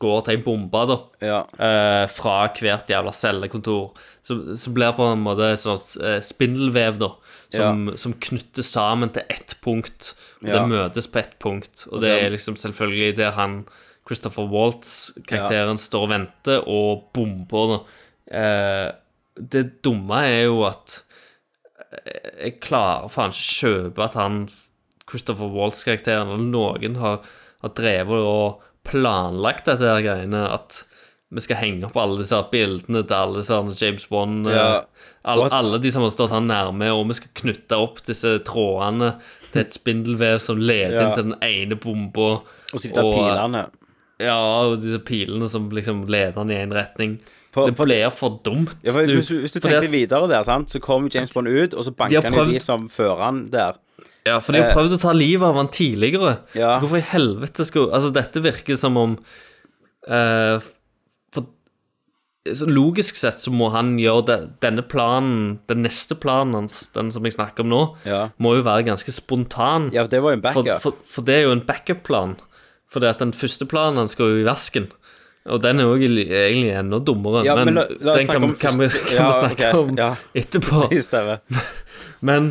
I: går til ei bombe, da, eh, fra hvert jævla cellekontor, som, som blir på en måte et sånt eh, spindelvev, da, som, som knytter sammen til ett punkt, og
A: Ja.
I: det møtes på ett punkt, og
A: Og
I: det
A: den-
I: er liksom selvfølgelig der han Christopher Waltz, karakteren, står og venter og bomber. da. Eh, det dumme er jo at eh, jeg klarer faen ikke kjøpe at han Christopher Waltz-karakteren eller noen har, har drevet og planlagt dette her greiene. At vi skal henge opp alle disse her bildene til alle disse her James Bond eh,
A: Ja.
I: alle, alle de som har stått han nærme, og vi skal knytte opp disse trådene til et spindelvev som leder
A: Ja.
I: inn til den ene bomba.
A: Og eh, så de der pilene.
I: Ja, og disse pilene som liksom leder han i én retning.
A: For-
I: det blir for dumt.
A: Ja, for hvis, hvis du
I: fordi at-
A: tenker videre der, sant, så kom James Bond ut, og så banka
I: har
A: han jo
I: prøvd-
A: de som fører han der.
I: Ja, for de har
A: Eh.
I: prøvd å ta livet av han tidligere.
A: Ja.
I: Så hvorfor i helvete skulle Altså, dette virker som om eh, for, så Logisk sett så må han gjøre det, denne planen, den neste planen hans, den som jeg snakker om nå, må jo være ganske spontan.
A: Ja, det var jo en
I: For,
A: backup.
I: for, for det er jo en backup-plan. For det at den første planen han skal jo i vasken. Og den er jo egentlig- egentlig enda dummere,
A: Ja, men la- la oss
I: den kan,
A: snakke om
I: kan, vi,
A: første-
I: kan
A: Ja,
I: vi snakke
A: ok,
I: om
A: ja.
I: etterpå.
A: Det stemmer.
I: Men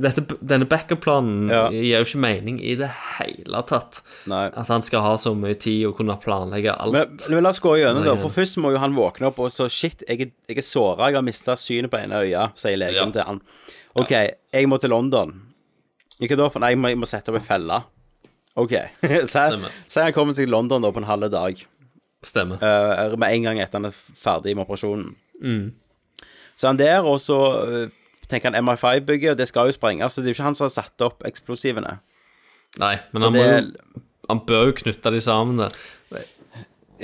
I: dette, denne backup-planen
A: Ja.
I: gir jo ikke mening i det hele tatt. At han skal ha så mye tid og kunne planlegge alt.
A: Men, men la oss gå gjennom det. For først må jo han våkne opp og så Shit, jeg, er- jeg er såra. Jeg har mista synet på ene øya, sier legen til han. OK, jeg må til London. Ikke da, for nei, jeg må, jeg må sette opp en felle. OK. Så jeg, så jeg kommer til London da på en halv dag. Eh,
I: Stemmer.
A: med en gang etter han er ferdig med operasjonen.
I: Mm.
A: Så han der, og så eh, tenker han MI5-bygget, og det skal jo sprenges. Så det er jo ikke han som har satt opp eksplosivene.
I: Nei, men
A: Og
I: han,
A: det-
I: må jo, han bør jo knytte de sammen. Det.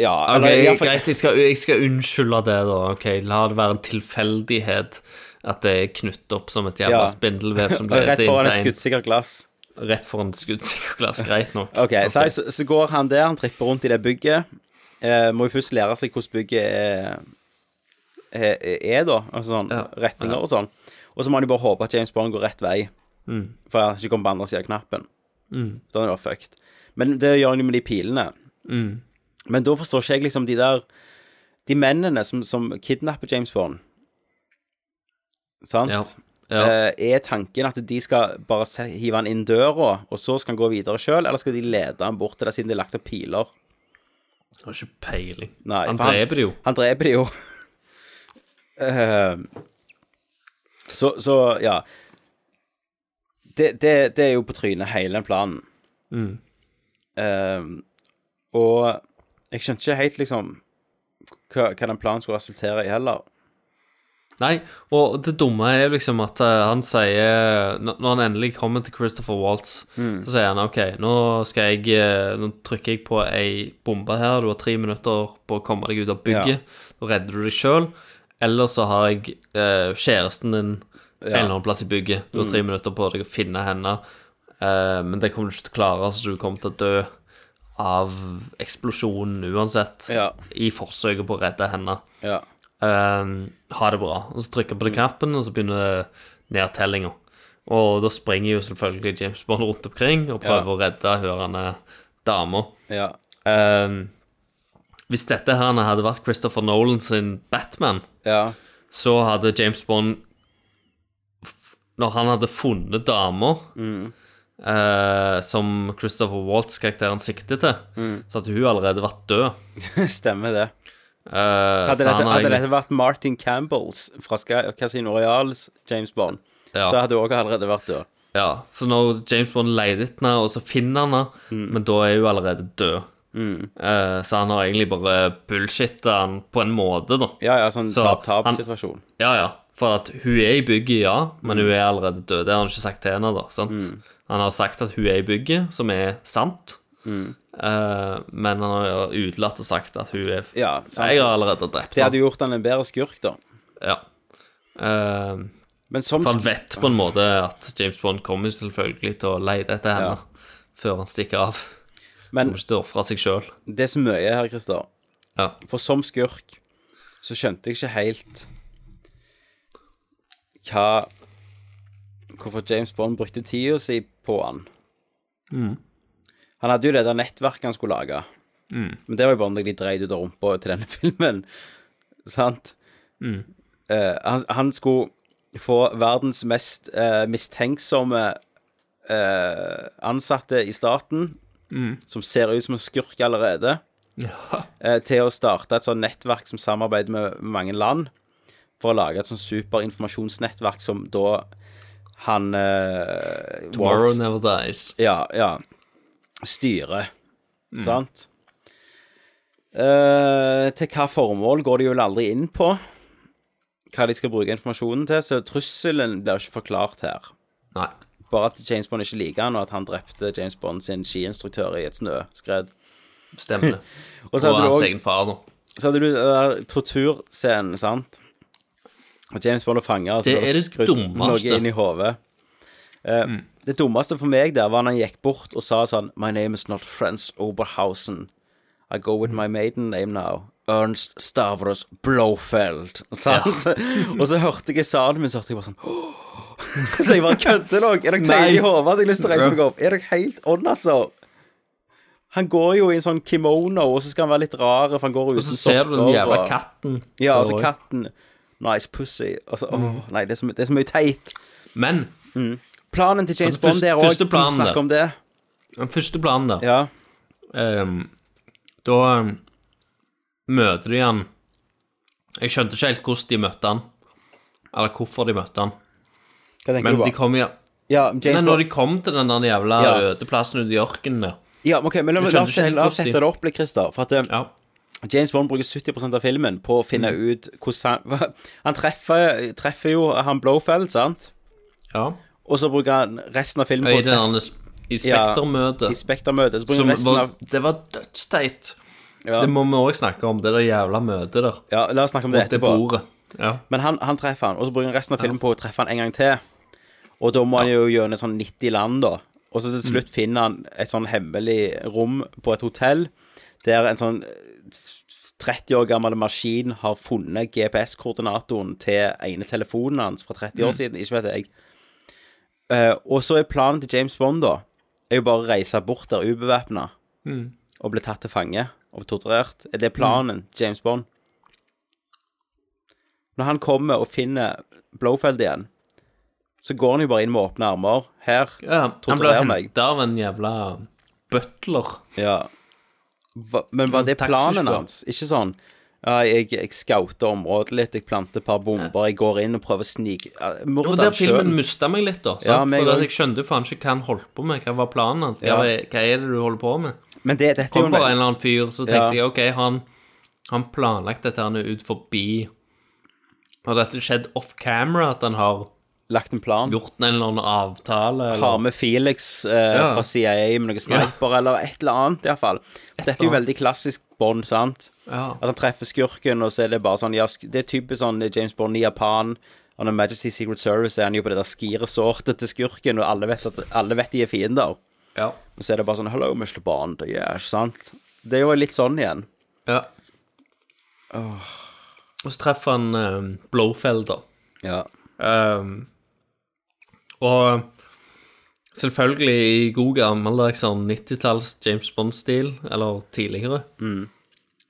A: Ja,
I: Ok,
A: eller i hvert fall-
I: Greit, jeg skal, jeg skal unnskylde det, da. Ok, La det være en tilfeldighet at det er knyttet opp som et jævla
A: Ja.
I: spindelvev som
A: Og
I: blir
A: Rett foran et
I: tegn.
A: skuddsikkert glass.
I: Rett foran et skuddsikkert glass. Greit nok.
A: Ok, Så,
I: Ok.
A: så, så går han der, han tripper rundt i det bygget. Eh, må jo først lære seg hvordan bygget er, er, er da. Altså sånn retninger og sånn. Og så må han jo bare håpe at James Bond går rett vei.
I: Mm.
A: For han ikke kommer på andre siden av knappen.
I: Mm.
A: Da er han jo fucked. Men det gjør han jo med de pilene.
I: Mm.
A: Men da forstår ikke jeg liksom de der De mennene som, som kidnapper James Bond. Sant?
I: Ja. Ja.
A: Eh, er tanken at de skal bare se, hive han inn døra, og så skal han gå videre sjøl, eller skal de lede han bort til det, siden det er lagt opp piler?
I: Jeg har ikke peiling.
A: Nei,
I: han
A: for han-
I: dreper det jo.
A: Han dreper de jo. Eh, så, så, ja det, det, det er jo på trynet, hele den planen.
I: Mm.
A: Ehm, og jeg skjønte ikke helt, liksom, hva, hva den planen skulle resultere i heller.
I: Nei, og det dumme er liksom at eh, han sier Når når han endelig kommer til Christopher Waltz,
A: Mm.
I: så sier han OK, nå skal jeg eh, Nå trykker jeg på ei bombe her. Du har tre minutter på å komme deg ut av bygget. Da redder du deg sjøl. Eller så har jeg eh, kjæresten din en
A: Ja.
I: eller annen plass i bygget. Du har tre
A: Mm.
I: minutter på deg å finne henne, eh, men det kommer du ikke til å klare, så du kommer til å dø av eksplosjonen uansett, i forsøket på å redde henne.
A: Ja.
I: Ehm, ha det bra. Og så trykker jeg på den knappen, og så begynner nedtellinga. Og da springer jo selvfølgelig James Bond rundt omkring og prøver
A: Ja.
I: å redde hørende damer.
A: Ja.
I: Ehm, hvis dette her hadde vært Christopher Nolan sin Batman, så hadde James Bond f- Når han hadde funnet damer
A: Mm.
I: eh, som Christopher Waltz-karakteren sikter til,
A: Mm.
I: så hadde hun allerede vært død.
A: Stemmer det.
I: Eh,
A: Hadde
I: så han
A: dette,
I: har
A: hadde
I: egentlig-
A: dette vært Martin Campbells fra Sky- Casino Royales James Bond,
I: Ja.
A: så hadde hun også allerede vært død.
I: Ja, så når James Bond leter etter henne, og så finner han henne,
A: Mm.
I: men da er hun allerede død. Eh, så han har egentlig bare bullshitta han på en måte, da.
A: Ja, ja, sånn
I: Så han-
A: tap-tap-situasjon.
I: Ja, ja. For at hun er i bygget, ja,
A: Mm.
I: men hun er allerede død. Det har han ikke sagt til henne, da. sant? Han har sagt at hun er i bygget, som er sant.
A: Mm.
I: Eh, men han har utelatt og sagt at hun er
A: Ja, sant.
I: Jeg har allerede drept
A: Det hadde
I: henne.
A: gjort han en bedre skurk, da.
I: Ja. Eh,
A: Men som
I: for han
A: sk-
I: vet på en måte at James Bond kommer selvfølgelig til å lete etter henne før han stikker av.
A: Men-
I: Men, kommer ikke til å ofre seg sjøl.
A: Det er så mye her, Christer.
I: Ja.
A: For som skurk så skjønte jeg ikke helt hva Hvorfor James Bond brukte tida si på han.
I: Mm.
A: Han hadde jo det der nettverket han skulle lage,
I: Mm.
A: men det var jo bare noe de dreide ut av rumpa til denne filmen, sant?
I: Mm.
A: Eh, han, han skulle få verdens mest eh, mistenksomme eh, ansatte i staten,
I: Mm.
A: som ser ut som en skurk allerede,
I: Ja.
A: eh, til å starte et sånt nettverk som samarbeider med mange land, for å lage et sånt superinformasjonsnettverk som da han eh,
I: Tomorrow
A: Waltz-
I: never dies.
A: Ja, ja. Styrer, sant? Eh, til hva formål går de vel aldri inn på? Hva de skal bruke informasjonen til, så trusselen blir ikke forklart her.
I: Nei.
A: Bare at James Bond ikke liker han, og at han drepte James Bond sin skiinstruktør i et snøskred.
I: Stemmer det.
A: Og
I: og
A: så hadde du
I: hans
A: også-
I: egen far, da.
A: Så hadde du den der torturscenen, sant? Og James Bond er fanget, og så
I: Det
A: blir
I: er
A: det
I: det
A: skrudd noe
I: dummeste.
A: inn i hodet. Eh, Det dummeste for meg der var når han gikk bort og sa sånn My name is not Frans Oberhausen. I go with my maiden name now. Ernst Stavros Blofeld. Sant? og så hørte jeg i salen min, så hørte jeg bare sånn «Åh!» Så jeg bare kødder dere. Er dere
I: Nei.
A: teite i hodet? Hadde jeg lyst til å reise meg opp? Er dere helt on, altså? Han går jo i en sånn kimono, og så skal han være litt rar, for han går uten
I: Og så ser du den
A: sokker,
I: jævla
A: og-
I: katten.
A: Ja, altså
I: Og-
A: katten. Nice pussy. Altså, åh,
I: Mm.
A: nei, det er, så, my- det er så mye teit.
I: Men
A: Planen til James
I: Altså,
A: Bond
I: først-
A: der òg,
I: første planen
A: snakk
I: der.
A: om det.
I: den første planen, da
A: Ja.
I: ehm, Da ehm, møter de han Jeg skjønte ikke helt hvordan de møtte han. Eller hvorfor de møtte han.
A: Hva tenker
I: Men
A: du
I: de
A: på?
I: kom ja.
A: Ja, James
I: Nei, når
A: Bond.
I: de kom til den der jævla
A: Ja.
I: øde plassen ute i ørkenen der
A: Ja, men ok, men la,
I: Jeg skjønner
A: la, oss-
I: ikke helt
A: la oss
I: hvordan de-
A: sette det opp litt, Christer. For at eh,
I: Ja. Mm.
A: James Bond bruker 70 av filmen på å finne ut hvordan han Han treffer, treffer jo han Blofeld, sant?
I: ja.
A: Og så bruker han resten av filmen
I: I
A: på å
I: det
A: treffe-
I: der i Spektermøtet.
A: I Spektermøtet. Så bruker
I: som
A: han resten
I: var-
A: av
I: Det var dødsteit.
A: Ja.
I: Det må vi òg snakke om, det der jævla møtet der.
A: Ja, la oss snakke om det
I: Rundt det
A: etterpå.
I: bordet. Ja.
A: Men han, han treffer han, og så bruker han resten av filmen på å treffe han en gang til. Og da må han jo gjennom sånn 90 land, da. Og så til slutt finner han et sånn hemmelig rom på et hotell der en sånn eh, 30 år gammel maskin har funnet GPS-koordinatoren til ene telefonen hans fra 30 år
I: Mm.
A: siden, ikke vet jeg. Eh, og så er planen til James Bond, da, er jo bare å reise bort der ubevæpna
I: Mm.
A: og bli tatt til fange og torturert. Er det planen, James Bond? Når han kommer og finner Blofeld igjen, så går han jo bare inn med åpne armer. Her,
I: Ja, han ble
A: torturer meg.
I: henta av en jævla butler.
A: Ja. Hva, men var
I: En
A: det planen
I: taxisjåfør.
A: hans? Ikke sånn ja, jeg, jeg scouter området litt, jeg planter et par bomber, jeg går inn og prøver å snike ja,
I: Ja,
A: Mord
I: men der
A: han
I: filmen
A: sjøl.
I: mista meg litt, da. Sant?
A: Ja, meg
I: For
A: òg.
I: at jeg skjønte jo faen ikke hva han holdt på med. Hva var planen hans? Hva,
A: Ja.
I: er- hva er det du holder på med?
A: Men det, dette er jo
I: Kom
A: en
I: bare en eller annen fyr, så
A: Ja.
I: tenkte jeg OK, han Han planlagt dette, han er ut forbi Har dette skjedd off camera, at han har
A: lagt en plan.
I: gjort en eller annen avtale? Eller?
A: Har med Felix eh,
I: Ja.
A: fra CIA med noen sniper, eller et eller annet, iallfall. Dette er jo
I: eller annet.
A: veldig klassisk Bond, sant?
I: Ja.
A: At han treffer skurken, og så er det bare sånn ja, sk- Det er typisk sånn James Bond i Japan. Og når Majesty Secret Service er han jo på det der skiresortet til skurken, og alle vet, at, alle vet de er fiender.
I: Ja.
A: Og så er det bare sånn Hello, Mr. Bond. Ja, ikke sant? Det er jo litt sånn igjen.
I: ja. Og så treffer han um, Blofeld, da.
A: Ja.
I: Ehm, og selvfølgelig i god gammeldags sånn 90-talls James Bond-stil, eller tidligere,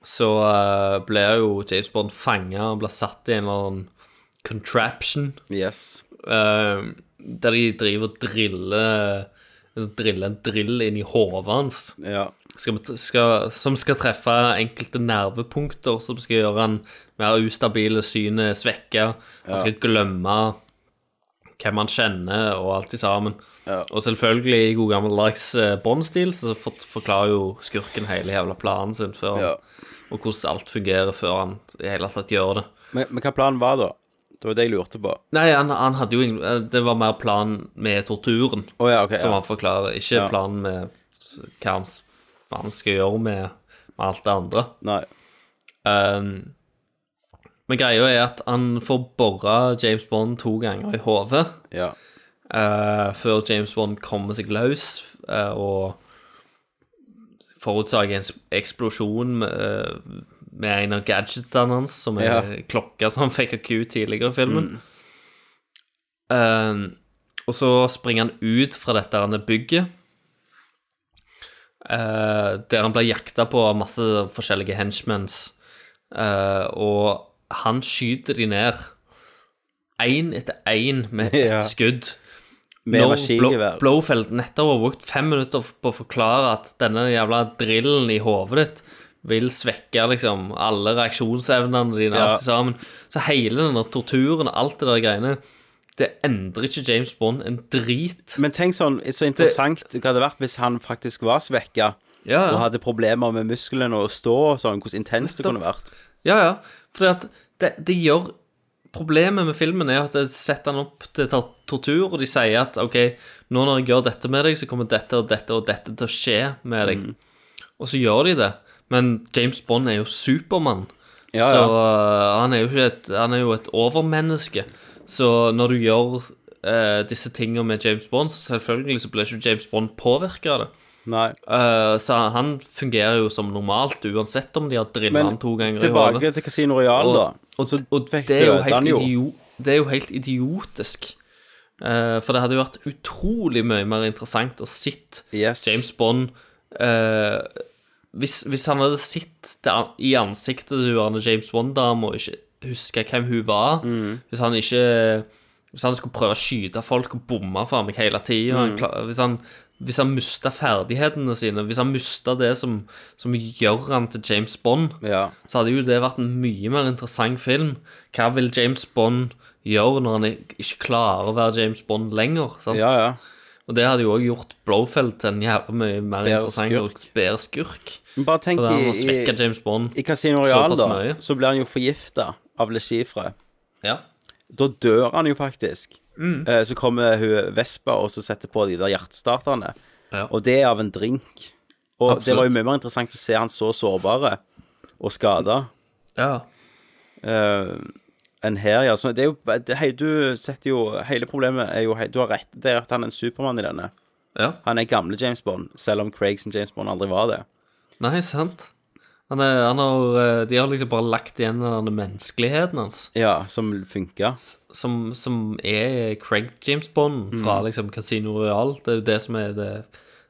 I: så eh, blir jo James Bond fanga og blir satt i en eller annen contraption
A: Yes.
I: eh, der de driver og driller altså, Driller en drill inn i hodet hans,
A: Ja.
I: skal, skal, som skal treffe enkelte nervepunkter, som skal gjøre han mer ustabil, synet svekka. Han skal glemme hvem han kjenner, og alt i sammen. Og selvfølgelig, i god gammeldags eh, Bond-stil, så for, forklarer jo skurken hele jævla planen sin før han, og hvordan alt fungerer før han i hele tatt gjør det.
A: Men, men hva planen var da? Det var det jeg lurte på.
I: Nei, han, han hadde jo ingen eh, Det var mer planen med torturen
A: ok, ja.
I: som han forklarer, ikke
A: Ja.
I: planen med s- hva han, s- hva han skal gjøre med, med alt det andre.
A: Nei.
I: Ehm, men greia er at han får borra James Bond to ganger i hodet eh, før James Bond kommer seg løs eh, og forutsager en s- eksplosjon med, eh, med en av gadgetene hans, som er
A: Ja.
I: klokka som han fikk av Q tidligere i filmen.
A: Mm.
I: Eh, og så springer han ut fra dette her bygget. eh, der han blir jakta på av masse forskjellige henchmens. eh, og han skyter de ned. Én etter én med ett
A: Ja.
I: skudd.
A: Med
I: Når
A: maskingevær.
I: Blo- Blofeld nettopp har brukt fem minutter på å forklare at denne jævla drillen i hodet ditt vil svekke liksom alle reaksjonsevnene dine
A: Ja.
I: alt sammen. Så hele denne torturen og alt det der greiene, det endrer ikke James Bond en drit.
A: Men tenk sånn, så interessant det hadde vært hvis han faktisk var svekka
I: Ja, ja.
A: og hadde problemer med musklene og å stå og sånn, hvordan intenst det kunne vært.
I: Ja, ja. Fordi at det, det gjør Problemet med filmen er at det setter han opp til tor- tortur, og de sier at OK, nå når jeg gjør dette med deg, så kommer dette og dette og dette til å skje med deg.
A: Mm.
I: Og så gjør de det. Men James Bond er jo Supermann.
A: Ja,
I: Så
A: ja.
I: øh, han er jo ikke et Han er jo et overmenneske. Så når du gjør øh, disse tingene med James Bond, så selvfølgelig så blir ikke James Bond påvirka av det.
A: Nei.
I: Øh, så han fungerer jo som normalt, uansett om de har drilla
A: Men
I: han to ganger i hodet.
A: tilbake til Casino Royal, da.
I: Og, og, og
A: fikk
I: det, er jo
A: døde han
I: helt
A: jo.
I: idio, det er jo helt idiotisk. Eh, for det hadde jo vært utrolig mye mer interessant å sitte
A: Yes.
I: James Bond eh, hvis, hvis han hadde sett det an- i ansiktet til hun andre James Bond-dama og ikke huska hvem hun var Hvis han ikke Hvis han skulle prøve å skyte folk og bomme for meg hele tida
A: Mm.
I: Hvis han, hvis han mista ferdighetene sine, hvis han mista det som, som gjør han til James Bond, så hadde jo det vært en mye mer interessant film. Hva vil James Bond gjøre når han ik- ikke klarer å være James Bond lenger? Sant?
A: Ja, ja.
I: Og det hadde jo også gjort Blofeld til en jævla mye mer
A: Bedre
I: interessant
A: skurk.
I: og bedre skurk.
A: Men Bare tenk
I: Fordi han har
A: i,
I: svekket James Bond
A: i Casino Royal,
I: såpass
A: da.
I: mye.
A: Så blir han jo forgifta av Le Chiffre.
I: Ja.
A: Da dør han jo faktisk.
I: Mm.
A: Eh, Så kommer hun Vespa og så setter på de der hjertestarterne. Og det er av en drink. Og det
I: Absolutt.
A: var jo mye mer interessant å se han så sårbare og skada.
I: Ja.
A: enn her, ja. Så det er jo, det, hei, du setter jo Hele problemet er jo hei, Du har rett. Det er at han er en supermann i denne.
I: Ja.
A: Han er gamle James Bond, selv om Craig sin James Bond aldri var det.
I: Nei, sant? Han er, han har, eh, de har liksom bare lagt igjen den der menneskeligheten hans.
A: Ja, som funka.
I: Som, som er Craig James Bond fra
A: Mm.
I: liksom Casino Royal. Det er jo det som er det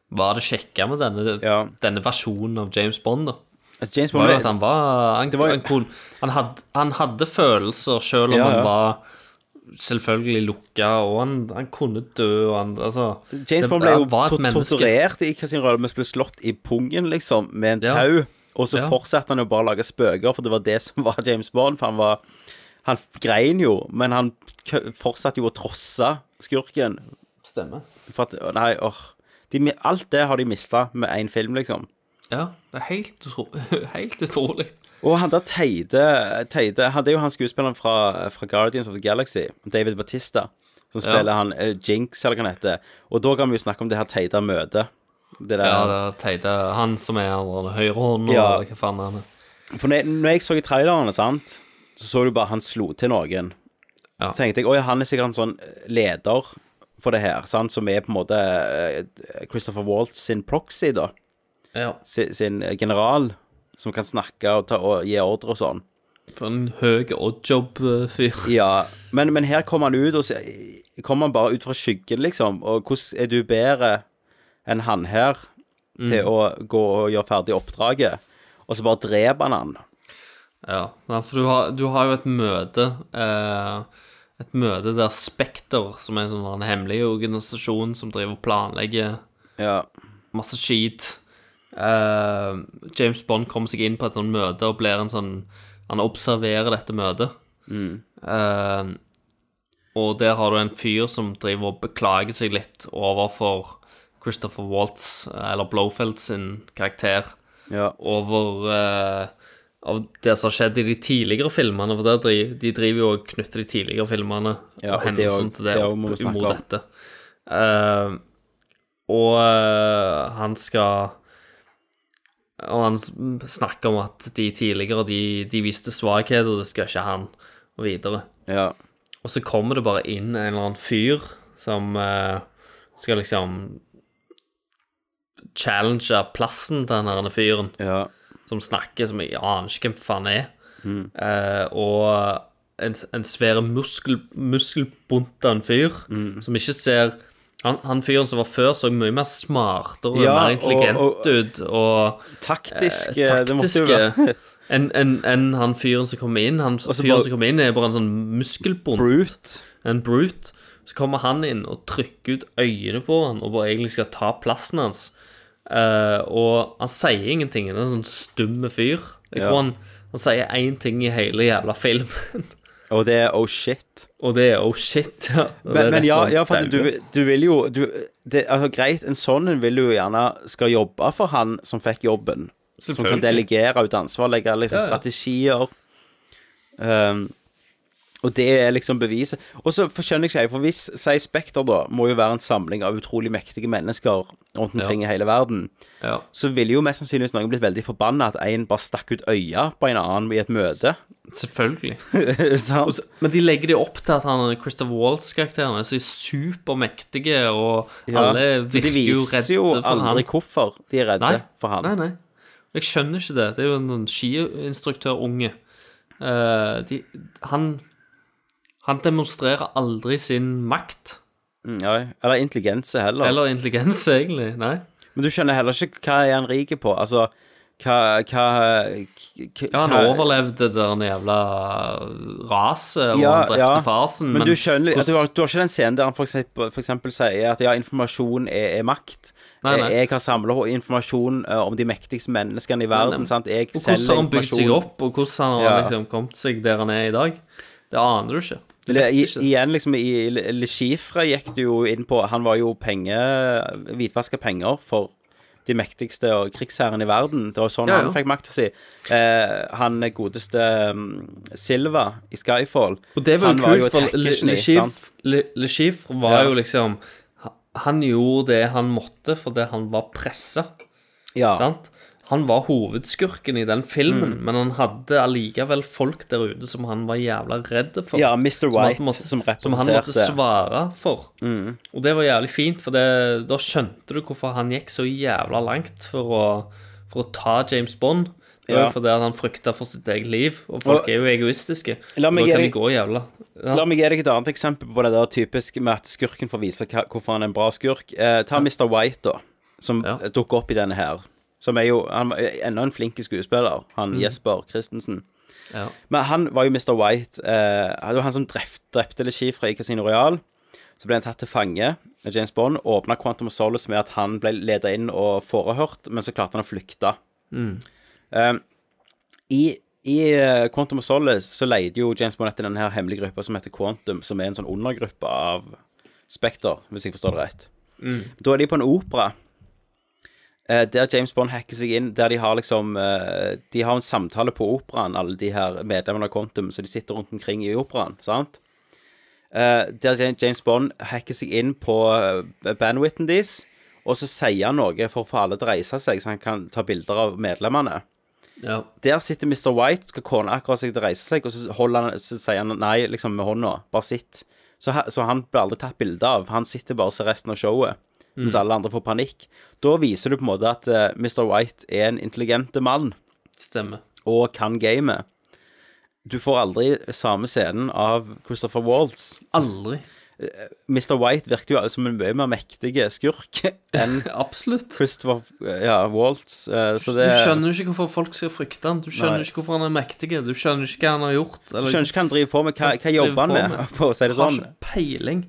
I: var det kjekke med denne, denne versjonen av James Bond, da.
A: Altså, James
I: var
A: Bond
I: jo at han var Han,
A: Det var-
I: han, kunne- han, hadde, han hadde følelser, selv om
A: Ja, ja.
I: han var selvfølgelig lukka, og han, han kunne dø, og han Altså
A: James
I: det-
A: Bond ble
I: han
A: jo
I: var et
A: to-
I: menneske.
A: torturert i Casino Royale, men ble slått i pungen, liksom, med en
I: Ja.
A: tau. Og så
I: Ja.
A: fortsatte han jo bare å lage spøker, for det var det som var James Bond. For han var Han grein jo, men han kø- fortsatte jo å trosse skurken.
I: Stemmer.
A: For at Nei, åh. De, alt det har de mista med én film, liksom.
I: Ja, det er helt, utro helt utrolig.
A: Og han der Teide, Teide Han det er jo han skuespilleren fra, fra Guardians of the Galaxy, David Batista, som
I: Ja.
A: spiller han eh, Jinx, eller hva han heter. Og da kan vi jo snakke om det her Teide møtet. Det der
I: Ja, det er teite. Han som er den høyre hånden,
A: Ja.
I: eller hva faen han er.
A: For når jeg, når jeg så i trailerne, sant, så så du bare han slo til noen. Så tenkte jeg, oi, han er sikkert en sånn leder for det her, sant, som er på en måte eh, Christopher Waltz sin proxy, da.
I: Ja.
A: Sin, sin eh, general, som kan snakke og, ta, og gi ordre og sånn.
I: For en høy eh, oddjob-fyr.
A: Ja, men, men her kommer han ut, og så kommer han bare ut fra skyggen, liksom. Og hvordan er du bedre enn han her til
I: Mm.
A: å gå og gjøre ferdig oppdraget? Og så bare dreper han han.
I: Ja, nei, for du har, du har jo et møte eh, Et møte der Spekter, som er en sånn en hemmelig organisasjon som driver og planlegger masse skit eh, James Bond kommer seg inn på et sånt møte og blir en sånn Han observerer dette møtet.
A: Mm.
I: Eh, Og der har du en fyr som driver og beklager seg litt overfor Christopher Waltz, eh, eller Blofeld sin karakter,
A: ja.
I: over eh, av det som har skjedd i de tidligere filmene. For der driver, de driver jo og knytter de tidligere filmene
A: Ja,
I: og
A: og det
I: hendelsen
A: også-
I: til det,
A: det også
I: opp
A: må vi snakke
I: mot
A: om.
I: dette. Eh, og eh, han skal Og han s- snakker om at de tidligere de, de viste svakheter, det skal ikke han, og videre.
A: Ja.
I: Og så kommer det bare inn en eller annen fyr som eh, skal liksom challenge plassen til den her fyren. Som snakker som jeg aner ikke hvem faen er.
A: Mm.
I: Eh, og en, en svær muskel, muskelbunt av en fyr
A: Mm.
I: som ikke ser han, han fyren som var før, så mye mer smartere
A: Ja,
I: og mer
A: og-
I: intelligent
A: og-
I: ut. Og
A: Taktisk,
I: eh,
A: eh, det måtte jo
I: taktiske
A: være.
I: enn enn- enn han fyren som kommer inn. Han
A: så
I: fyren
A: bare-
I: som kommer inn, er bare en sånn muskelbunt. En brute. Så kommer han inn og trykker ut øynene på han og bare egentlig skal ta plassen hans. Eh, og han sier ingenting. Han er en sånn stumme fyr. Jeg
A: Ja.
I: tror han, han sier én ting i hele jævla filmen.
A: Og det er oh shit.
I: Og det er oh shit. Ja. Og det
A: Men,
I: er
A: men
I: rett
A: ja,
I: sånn
A: ja, for at
I: daue.
A: du, du vil jo du, det, altså, Greit, en sånn en vil jo gjerne skal jobbe for han som fikk jobben. Som kan
I: Selvfølgelig.
A: delegere ut ansvar, legge liksom
I: Ja, ja.
A: strategier. Um, og det er liksom beviset. Og så skjønner jeg ikke, jeg, for hvis Si Spekter, da, må jo være en samling av utrolig mektige mennesker rundt omkring i hele verden, så ville jo mest sannsynligvis noen blitt veldig forbanna at en bare stakk ut øya på en annen i et møte.
I: Selvfølgelig.
A: Sant?
I: Og så- Men de legger det opp til at han Christopher Waltz-karakteren er så supermektige, og
A: Ja,
I: alle
A: men
I: virker jo
A: De viser jo
I: redde for han.
A: aldri hvorfor de er redde
I: Nei,
A: for han.
I: nei, nei. Jeg skjønner ikke det. Det er jo en sånn skiinstruktørunge. Eh, de, han Han demonstrerer aldri sin makt.
A: Mm, Ja, eller intelligense heller.
I: Eller intelligens, egentlig. Nei.
A: Men du skjønner heller ikke hva er han rik på. Altså, hva, hva, hva
I: Ja, han
A: hva-
I: overlevde det der jævla raset, og han drepte far sin,
A: men, du skjønner at du,
I: hvordan-
A: har, du har ikke den scenen der han for eksempel, for eksempel sier at ja, informasjon er, er makt. Eh,
I: Nei, nei.
A: Jeg- Jeg har samla informasjon eh, om de mektigste menneskene i verden.
I: Nei, men-
A: sant? Jeg
I: og hvordan har
A: selger
I: han bygd seg
A: informasjon.
I: opp, og hvordan han har
A: Ja.
I: liksom kommet seg der han er i dag? Det aner du ikke. Du
A: Le,
I: vet
A: i,
I: ikke.
A: igjen, liksom, i Le- Le Chiffre gikk det jo inn på Han var jo penge hvitvaska penger for de mektigste og krigsherren i verden. Det var sånn
I: Ja, ja.
A: han fikk makta si. Eh, han godeste um, Silva i Skyfall
I: Og det var jo
A: han
I: kult,
A: et
I: for Le,
A: hackegeni,
I: Le, Chiffre,
A: sant?
I: Le, Le Chiffre var
A: Ja.
I: jo liksom Han gjorde det han måtte fordi han var pressa.
A: Ja.
I: Sant? Han var hovedskurken i den filmen,
A: Mm.
I: men han hadde allikevel folk der ute som han var jævla redd for.
A: Ja, Mr.
I: Som han
A: White, som
I: Som han måtte
A: representerte.
I: svare for.
A: Mm.
I: Og det var jævlig fint, for det, da skjønte du hvorfor han gikk så jævla langt for å, for å ta James Bond. Det var
A: Ja.
I: jo fordi at han frykta for sitt eget liv, og folk
A: Og-
I: er jo egoistiske.
A: La meg
I: og
A: gi
I: da kan de
A: deg-
I: gå jævla ja.
A: La meg gi deg et annet eksempel på det der typisk med at skurken får vise hva, hvorfor han er en bra skurk. Eh, ta Mr. White, da, som eh, dukker opp i denne her. Som er jo han er enda en flink skuespiller, han
I: Mm.
A: Jesper Christensen.
I: Ja.
A: Men han var jo Mr. White. Eh, det var han som drepte, drepte Le Chiffre i Casino Royal. Så ble han tatt til fange av James Bond. Åpna Quantum of Solace med at han ble leda inn og forehørt, men så klarte han å flykte.
I: Mm.
A: Eh, I, i eh, Quantum of Solace så leide jo James Bond etter denne her hemmelige gruppa som heter Quantum, som er en sånn undergruppe av Spekter, hvis jeg forstår det rett.
I: Mm.
A: Da er de på en opera eh, der James Bond hacker seg inn, der de har liksom eh, De har en samtale på operaen, alle de her medlemmene av Quantum, så de sitter rundt omkring i operaen, sant? Eh, der Jam- James Bond hacker seg inn på eh, bandwidthen deres, og så sier han noe for å få alle til å reise seg, så han kan ta bilder av medlemmene.
I: Ja.
A: Der sitter Mr. White, skal kona akkurat seg til å reise seg, og så, holder han, så sier han nei liksom med hånda. Bare sitt. Så, ha- så han blir aldri tatt bilde av. Han sitter bare og ser resten av showet. Mens
I: Mm.
A: alle andre får panikk. Da viser du på en måte at eh, Mr. White er en intelligente mann
I: Stemmer.
A: og kan gamet. Du får aldri samme scenen av Christopher Waltz.
I: Aldri.
A: Eh, Mr. White virker jo som en mye mer mektig skurk enn
I: Absolutt.
A: Christopher ja, Waltz. eh, Så det
I: Du skjønner ikke hvorfor folk skal frykte han. Du skjønner
A: Nei.
I: ikke hvorfor han er mektig. Du skjønner ikke hva han har gjort.
A: Du skjønner ikke hva han driver på med. Hva, hva
I: driver
A: jobber han
I: på
A: med? For å si det sånn.
I: Har ikke peiling.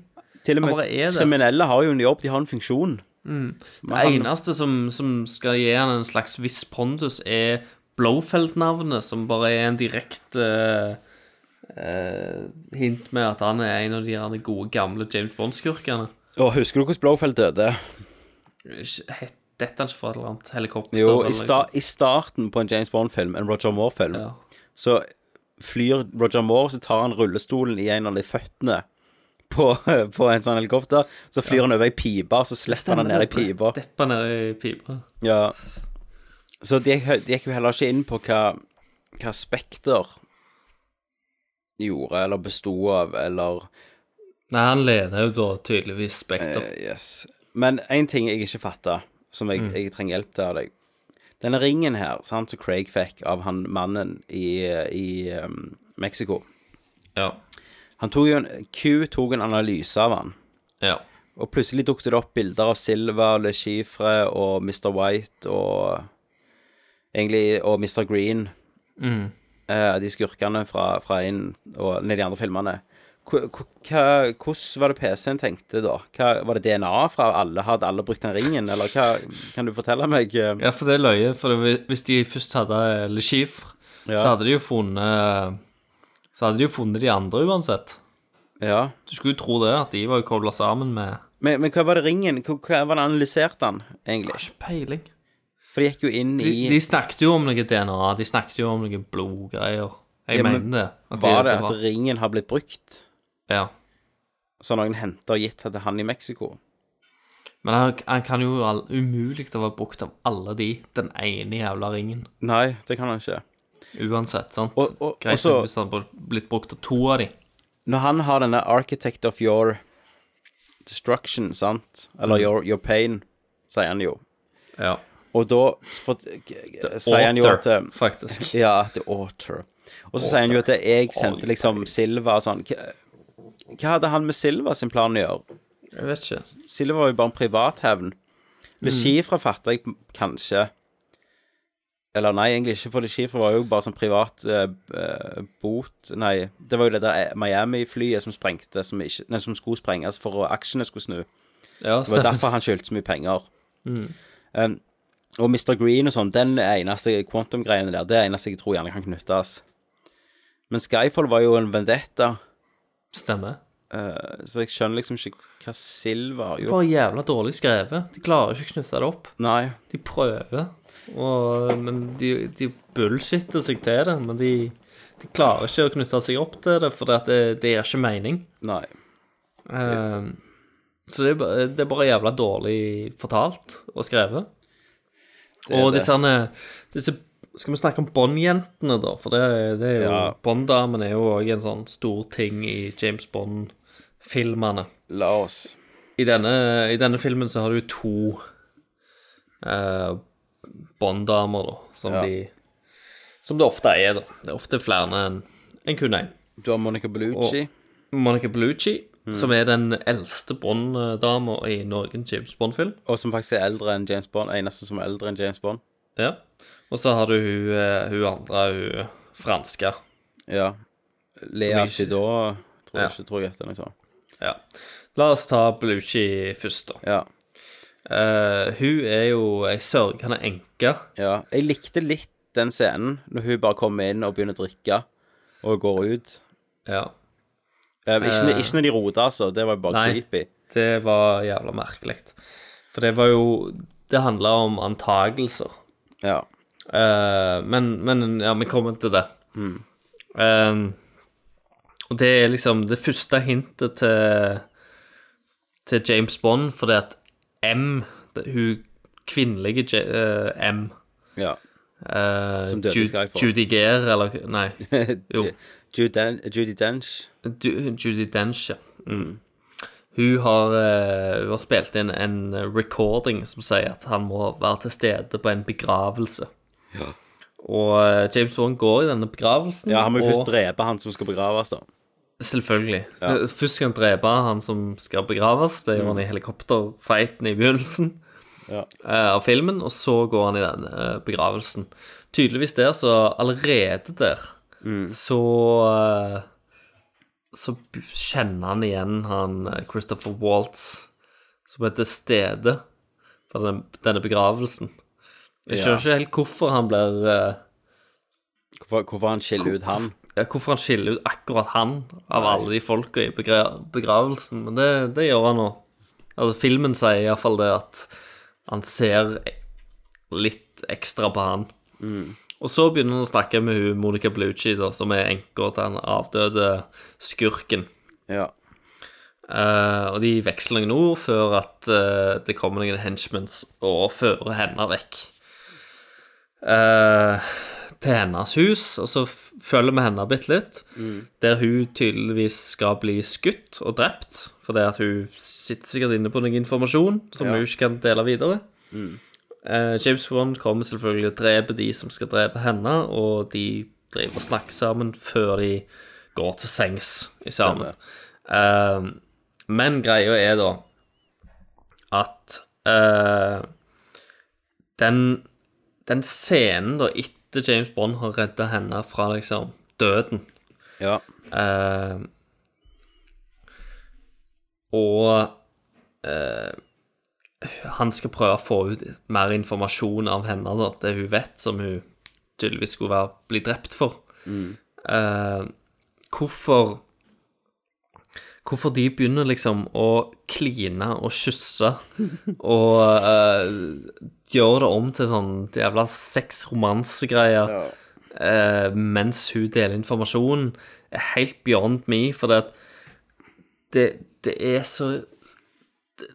A: Til og
I: Han bare er
A: med
I: det.
A: kriminelle har jo en jobb, de har en funksjon.
I: Mm.
A: Men
I: Det
A: han-
I: eneste som, som skal gi han en slags viss pondus, er Blowfeld-navnet, som bare er en direkte eh, eh, hint med at han er en av de gjerne gode, gamle James Bond-skurkene.
A: Og husker du hvordan Blowfell døde?
I: Ikke- Detter han ikke altså fra et eller annet helikopter?
A: Jo,
I: eller
A: i,
I: liksom.
A: sta i starten på en James Bond-film, en Roger Moore-film, så flyr Roger Moore, så tar han rullestolen i en av de føttene på, på en sånn helikopter, så flyr han over ei pipe, så slipper han han
I: Stemmer
A: ned i
I: det, det-
A: pipa.
I: Depper ned i pipa.
A: Ja. Så de, hø- de gikk jo heller ikke inn på hva, hva Spekter gjorde, eller bestod av, eller
I: Nei, han leder jo da tydeligvis Spekter.
A: Eh, yes. Men én ting jeg ikke fatter, som jeg,
I: Mm.
A: jeg trenger hjelp til av deg. Denne ringen her, sant, som Craig fikk av han mannen i, i um, Mexico
I: Ja.
A: Han tok jo en, Q tok en analyse av han.
I: Ja.
A: Og plutselig dukket det opp bilder av Silva, Le Chiffre og Mr. White og Egentlig og Mr. Green.
I: Mm.
A: eh, de skurkene fra, fra inn og ned i de andre filmene. Hva- hva- hva- Hvordan var det PC-en tenkte da? Hva, var det DNA fra alle? Hadde alle brukt den ringen, eller hva kan du fortelle meg? eh,
I: Ja, for det er løye. For det- hvis de først hadde Le Chiffre,
A: Ja.
I: så hadde de jo funnet Så hadde de jo funnet de andre uansett.
A: Ja.
I: Du skulle jo tro det, at de var jo kobla sammen med
A: Men, men hva var det ringen? Hva, hva var det analyserte han, egentlig? Ikke
I: peiling.
A: For de gikk jo inn i
I: de, de snakket jo om noe DNA, de snakket jo om noe blodgreier. Jeg
A: Ja, men
I: mener det. at
A: Var det
I: var-
A: at ringen har blitt brukt?
I: Ja.
A: Så noen henter og gitt til han i Mexico?
I: Men han, han kan jo all, umulig ha vært brukt av alle de, den ene jævla ringen.
A: Nei, det kan han ikke.
I: Uansett, sant?
A: Og- og-
I: Greit
A: og så-
I: hvis han hadde blitt brukt av to av de.
A: Når han har denne Architect of your destruction, sant? Eller
I: Mm.
A: your, your pain, sier han jo.
I: Ja.
A: Og da s- for, sier han jo at eh,
I: author, faktisk.
A: Ja, the author. Og så sier han jo at jeg sendte liksom Silva og sånn. Hva hva hadde han med Silva sin plan å gjøre?
I: Jeg vet ikke.
A: Silva var jo bare en privathevn. Le
I: Mm.
A: Chiffre fatter jeg kanskje. Eller nei, egentlig ikke, for Le Chiffre var jo bare sånn privat eh, eh, bot Nei, det var jo det der eh, Miami-flyet som sprengte, som, ikke, nei, som skulle sprenges for at aksjene skulle snu.
I: Ja,
A: det var
I: stemmer.
A: derfor han skyldte så mye penger.
I: Mm.
A: Um, og Mr. Green og sånn, den er eneste quantum-greiene der, det er eneste jeg tror gjerne kan knyttes. Men Skyfall var jo en vendetta,
I: Stemmer.
A: eh, så jeg skjønner liksom ikke hva Silva har
I: Bare
A: gjort.
I: jævla dårlig skrevet. De klarer ikke å knytte det opp.
A: Nei.
I: De prøver, og, men de, de bullshitter seg til det. Men de, de klarer ikke å knytte seg opp til det, for det, at det, det gir ikke mening.
A: Nei.
I: Eh, så det er, bare, det er bare jævla dårlig fortalt og skrevet.
A: Det er
I: Og
A: det.
I: disse, herne- disse Skal vi snakke om Bond-jentene, da? For det, det er jo
A: Ja.
I: Bond-damen er jo òg en sånn stor ting i James Bond-filmene.
A: La oss.
I: I denne, I denne filmen så har du jo to eh, Bond-damer, da, som
A: Ja.
I: de Som det ofte er, da. Det er ofte flere enn enn kun én.
A: Du har Monica Bellucci.
I: Og Monica Bellucci,
A: Mm.
I: som er den eldste Bond-dama i noen James Bond-film.
A: Og som faktisk er eldre enn James Bond. Eneste som er eldre enn James Bond.
I: Ja. Og så har du hun, eh, hun andre, hun franske.
A: Ja. Lea
I: Som jeg-
A: Sidor, tror jeg
I: Ja.
A: ikke tror jeg heter noe sånt.
I: Ja. La oss ta Bellucci først, da.
A: Ja.
I: Eh, hun er jo ei sørgende enke.
A: Ja. Jeg likte litt den scenen, når hun bare kommer inn og begynner å drikke, og går ut.
I: Ja.
A: Eh, ikke,
I: Eh.
A: ikke når de roter, altså. Det var jo bare
I: Nei,
A: creepy.
I: det var jævla merkelig. For det var jo Det handla om antagelser.
A: Ja.
I: Eh, men, men ja, vi kommer til det.
A: Mm.
I: Eh, og det er liksom det første hintet til, til James Bond, fordi at M, det- hun kvinnelige J, eh, M
A: Ja.
I: eh,
A: Som døde i
I: Ju-
A: Skyfall.
I: Judy Gere, eller Nei. Jo.
A: Judy, Den Judy Dench.
I: Ju- Judy Dench, ja. Mm. Hun har, eh, hun har spilt inn en recording som sier at han må være til stede på en begravelse.
A: Ja.
I: Og eh, James Bond går i denne begravelsen.
A: ja, han må jo først
I: og-
A: drepe han som skal begraves, da.
I: Selvfølgelig. Eh,
A: Ja. Mm.
I: Først skal han drepe han som skal begraves. Det gjør han i helikopterfighten i begynnelsen
A: Ja.
I: eh, av filmen. Og så går han i den eh, begravelsen. Tydeligvis der, så allerede der,
A: Mm.
I: så eh, Så b- kjenner han igjen han eh, Christopher Waltz, som er til stede på den, denne begravelsen. Jeg
A: Ja.
I: skjønner ikke helt hvorfor han blir eh,
A: Hvorfor, hvorfor han skiller ut han?
I: ja, hvorfor han skiller ut akkurat han av alle de folka i begra begravelsen, men det, det gjør han nå. Altså, filmen sier iallfall det at han ser litt ekstra på han.
A: Mm.
I: Og så begynner han å snakke med hun Monica Bellucci, da, som er enka til den avdøde skurken.
A: Ja.
I: Eh, og de veksler noen ord før at eh, det kommer noen henchments og fører henne vekk eh, til hennes hus. Og så f- følger vi henne bitte litt,
A: Mm.
I: der hun tydeligvis skal bli skutt og drept. Fordi at hun sitter sikkert inne på noe informasjon som
A: Ja.
I: hun ikke kan dele videre.
A: Mm.
I: Eh, James Bond kommer selvfølgelig og dreper de som skal drepe henne, og de driver og snakker sammen før de går til sengs i sammen. Eh, men greia er da at eh, den, den scenen da etter James Bond har redda henne fra liksom døden
A: Ja.
I: Eh, og eh, han skal prøve å få ut mer informasjon av henne, da, det hun vet, som hun tydeligvis skulle være, bli drept for.
A: Mm.
I: Eh, hvorfor Hvorfor de begynner liksom å kline og kysse og eh, gjøre det om til sånn jævla sex-romanse-greier eh, mens hun deler informasjon, er helt beyond me, for det, at det, det er så det,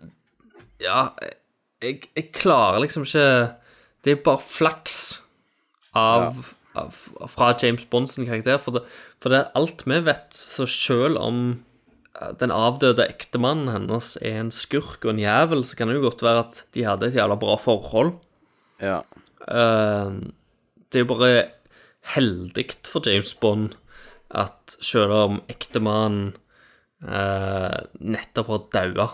I: Ja, jeg, jeg klarer liksom ikke Det er bare flaks av, av, fra James Bond sin karakter. For det, for det er alt vi vet, så selv om eh, den avdøde ektemannen hennes er en skurk og en jævel, så kan det jo godt være at de hadde et jævla bra forhold.
A: Ja.
I: Eh, det er jo bare heldig for James Bond at selv om ektemannen eh, nettopp har daua,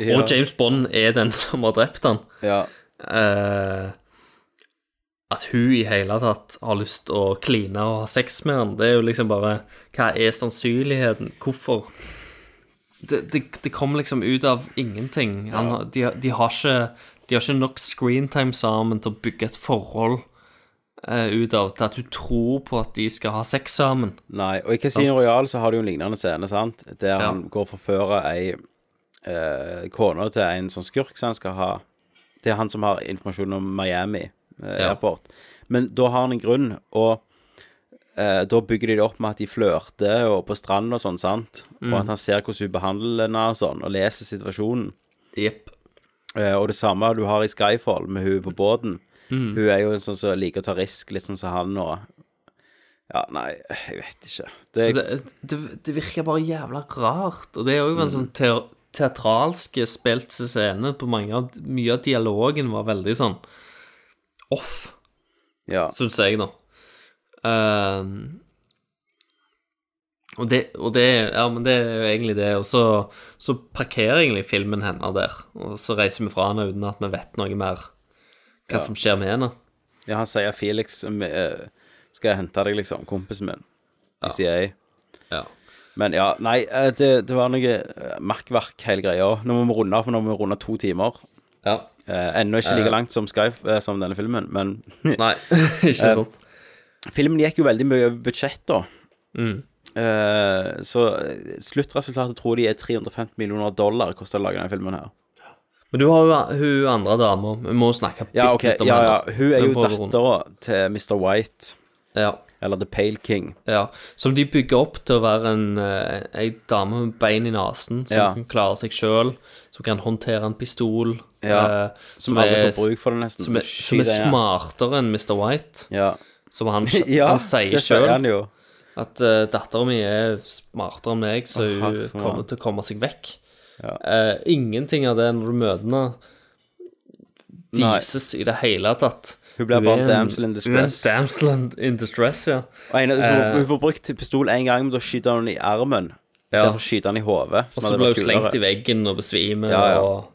A: Ja.
I: og James Bond er den som har drept han,
A: Ja.
I: eh, at hun i hele tatt har lyst til å kline og ha sex med han, det er jo liksom bare Hva er sannsynligheten? Hvorfor? Det, det, det kom liksom ut av ingenting. Han, har- de, har- de, har ikke, de har ikke nok screentime sammen til å bygge et forhold eh, ut av til at hun tror på at de skal ha sex sammen.
A: Nei, og i Casino
I: Sant.
A: Royale så har du jo en lignende scene, sant? Der
I: Ja.
A: han går og forfører ei eh, kone til en sånn skurk som han skal ha. Det er han som har informasjon om Miami eh,
I: Ja.
A: Airport. Men da har han en grunn, og eh, da bygger de det opp med at de flørter og på stranden og sånn, sant? Og
I: Mm.
A: at han ser hvordan hun behandler henne og sånn, og leser situasjonen.
I: Jepp.
A: Eh, og det samme du har i Skyfall med hun på båten.
I: Mm.
A: Hun er jo en sånn som liker å ta risk, litt sånn som han nå. Ja, nei, jeg vet ikke. Det,
I: Så det, det, det virker bare jævla rart. Og det er jo en sånn te teatralsk spilt scene på mange av Mye av dialogen var veldig sånn off,
A: ja.
I: syns jeg, da. Ehm, og det, og det Ja, men det er jo egentlig det. Og så, så parkerer egentlig filmen henne der. Og så reiser vi fra henne uten at vi vet noe mer hva
A: Ja.
I: som skjer med henne.
A: Ja, han sier Felix um, eh, skal jeg hente deg, liksom, kompisen min, i CIA.
I: Ja.
A: Men ja, nei, eh, det, det var noe eh, makkverk, hele greia. Nå må vi runde av, for nå må vi runde av to timer.
I: Ja.
A: Eh, Ennå ikke like
I: Eh.
A: langt som Skype, eh, som denne filmen, men
I: Nei, ikke
A: Eh,
I: sant.
A: Filmen gikk jo veldig mye over budsjett, da.
I: Mm.
A: Eh, så eh, sluttresultatet tror de er 350 millioner dollar, koster det å lage denne filmen her.
I: Men du har jo hun andre dama. Vi må snakke bitte
A: Ja, ok,
I: litt om
A: ja, ja.
I: henne.
A: Hun er
I: Vi
A: jo
I: prøver å runde.
A: dattera til Mr. White,
I: Ja,
A: eller The Pale King.
I: ja. Som de bygger opp til å være en, eh, ei dame med bein i nesen, som
A: Ja.
I: kan klare seg sjøl, som kan håndtere en pistol,
A: Ja,
I: eh,
A: Som, aldri får bruk for det, nesten.
I: som er, som
A: Skyter
I: er
A: en-
I: smartere enn Mr. White,
A: Ja.
I: som han,
A: ja,
I: han sier
A: det sier han
I: sjøl.
A: jo.
I: At uh, dattera mi er smartere enn meg, så
A: Å,
I: hun
A: herre.
I: kommer til å komme seg vekk.
A: Ja.
I: Eh, ingenting av det når du møter henne,
A: Nei.
I: vises i det hele tatt.
A: Hun blir
I: er
A: bare
I: en-
A: damsel in distress.
I: Hun er en damsel in, in distress, ja.
A: Og en,
I: Eh.
A: hun får brukt pistol én gang, men da skyter hun den i armen.
I: Ja.
A: Istedenfor å skyte den i hodet.
I: Og så blir hun slengt i veggen og besvimer,
A: Ja, ja.
I: og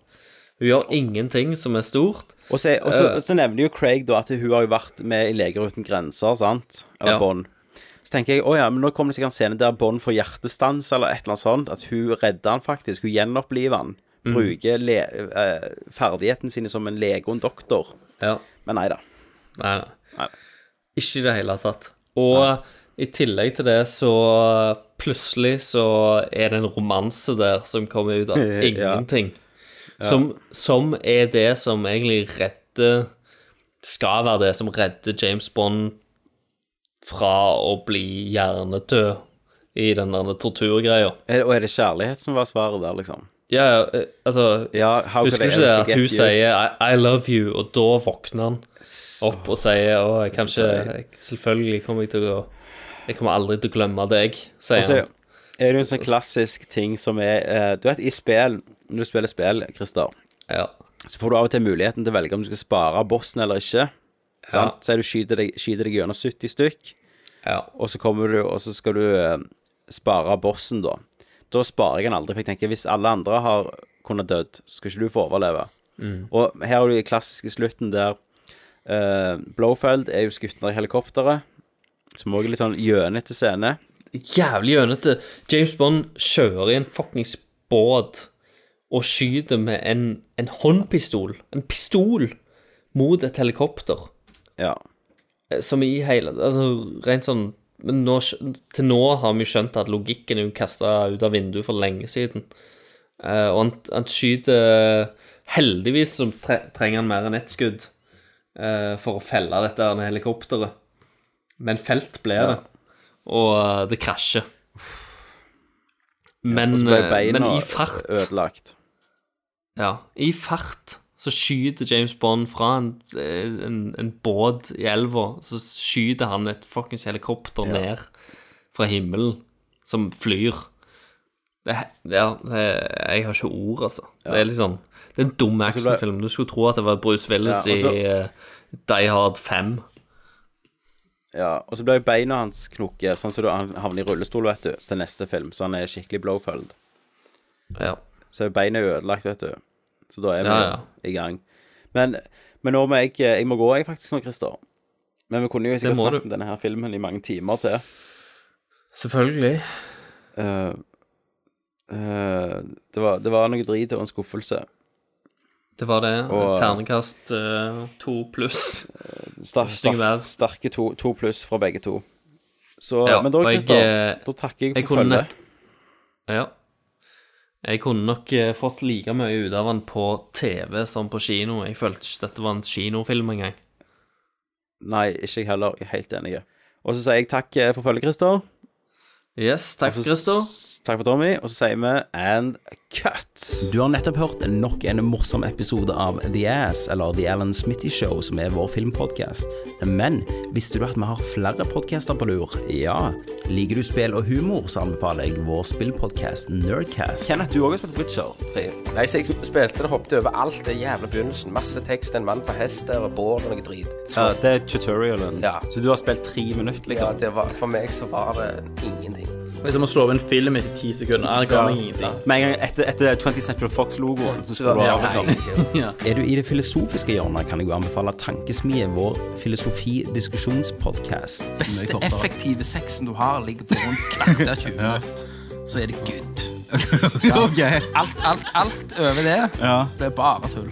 I: hun gjør ingenting som er stort.
A: Og så, og,
I: Eh.
A: så, og så nevner jo Craig da at hun har jo vært med i Leger uten grenser, sant? Eller
I: Ja.
A: Bond. Så tenker jeg å ja, men nå kommer det sikkert en scene der Bond får hjertestans eller et eller annet sånt. At hun redder han faktisk. Hun gjenoppliver han.
I: Mm.
A: Bruker le, eh, ferdighetene sine som en lege og en doktor.
I: Ja.
A: Men nei da.
I: Nei, nei.
A: Nei.
I: Ikke i det hele tatt. Og I tillegg til det så plutselig så er det en romanse der som kommer ut av
A: Ja.
I: ingenting.
A: Ja.
I: Som, som er det som egentlig redder Skal være det som redder James Bond fra å bli hjernedød i den der torturgreia.
A: Er, og er det kjærlighet som var svaret der, liksom?
I: Ja, ja, eh, altså
A: Ja, how could
I: Husker
A: I
I: du ikke det
A: ever
I: at hun
A: forget you?
I: sier I, 'I love you', og da våkner han opp og sier 'Å, jeg kan
A: Så
I: ikke jeg, Selvfølgelig kommer jeg til å Jeg kommer aldri til å glemme deg', sier
A: Og så
I: han.
A: Altså, er det jo en sånn klassisk ting som er eh, Du vet, i spill, når du spiller spill, Christer, så får du av og til muligheten til å velge om du skal spare bossen eller ikke. Sant? Så er du skyter deg, skyter deg gjennom 70 stykk, og så kommer du, og så skal du eh, spare bossen, da. Da sparer jeg han aldri, for jeg tenker hvis alle andre har kunnet dødd, så skal ikke du få overleve.
I: Mm.
A: Og her har du den klassiske slutten der eh, Blofeld er jo skutt ned i helikopteret, som òg er litt sånn gjønete scene.
I: Jævlig gjønete. James Bond kjører i en fuckings båt og skyter med en, en håndpistol, en pistol, mot et helikopter.
A: Ja.
I: Eh, Som i hele Altså, rent sånn men nå, skj- til nå har vi skjønt at logikken er jo kasta ut av vinduet for lenge siden. Eh, og han, han skyter Heldigvis så tre, trenger han mer enn ett skudd eh, for å felle dette her helikopteret. Men felt blir det, og eh, det krasjer. Men,
A: og så ble
I: eh, men
A: beina
I: i fart
A: Ødelagt.
I: Ja, i fart så skyter James Bond fra en, eh, en, en båt i elva, så skyter han et fuckings helikopter
A: Ja.
I: ned fra himmelen, som flyr. Det, ja, det, jeg har ikke ord, altså.
A: Ja.
I: Det er liksom Det er en
A: Og så
I: dum
A: ble-
I: actionfilm. Du skulle tro at det var Bruce Willis
A: Ja, altså- og så-
I: i eh, Die Hard 5.
A: Ja, og så ble jo beina hans knokke, sånn som du han havner i rullestol, vet du, til neste film, så han er skikkelig blowfeld.
I: Ja.
A: Så beina er ødelagt, vet du. Så da er vi
I: Ja, ja.
A: i gang. Men, men nå må jeg eh, Jeg må gå, jeg, faktisk, nå, Christer. Men vi kunne jo
I: Det
A: sikkert
I: må
A: snakket
I: du.
A: om denne her filmen i mange timer til.
I: Selvfølgelig.
A: Eh, eh, det, var, det var noe drit og en skuffelse.
I: Det var det.
A: Og-
I: Ternekast eh, to pluss.
A: Star,
I: Stygg
A: star, sterke to, to pluss fra begge to. Så,
I: Ja,
A: men da,
I: og jeg,
A: Christer,
I: eh,
A: da takker jeg
I: jeg
A: for
I: kunne
A: følget.
I: nett- Ja. Jeg kunne nok eh, fått like mye ut av den på TV som på kino. Jeg følte ikke dette var en kinofilm engang.
A: Nei, ikke jeg heller. Jeg er helt enig. Og så sier jeg takk eh, for følget, Christer.
I: Yes, takk,
P: Altså,
A: Og så s-
I: Christer.
A: Takk for Tommy. Og så sier vi and cut.
Q: Du har nettopp hørt nok en morsom episode av The Ass, eller The Alan Smitty Show, som er vår filmpodcast. Men visste du at vi har flere podcaster på lur? Ja. Liker du spill og humor, så anbefaler jeg vår spillpodcast Nerdcast.
R: Kenneth, du òg har spilt Witcher 3. Nei, så jeg spilte det, hoppet over alt det jævla begynnelsen. Masse tekst, en mann på hest der, og bål og noe drit.
Q: Ja, er det er tutorialen. Så du har spilt tre minutter, liksom.
R: Ja, det var, for meg så var det ingenting.
P: Det er som å slå opp en film etter ti sekunder. Ah, det ga meg ingenting.
Q: Med en gang etter, etter 20th Central Fox-logoen, så
P: Ja,
Q: skulle du ha
P: nei.
Q: liksom. Er du i det filosofiske hjørnet, kan jeg jo anbefale Tankesmie, vår filosofidiskusjonspodkast.
S: beste effektive sexen du har, ligger på rundt kvarter 20 minutter. Så er det good.
Q: Ok.
S: Alt, alt, alt over det
Q: Ja.
S: blir bare tull.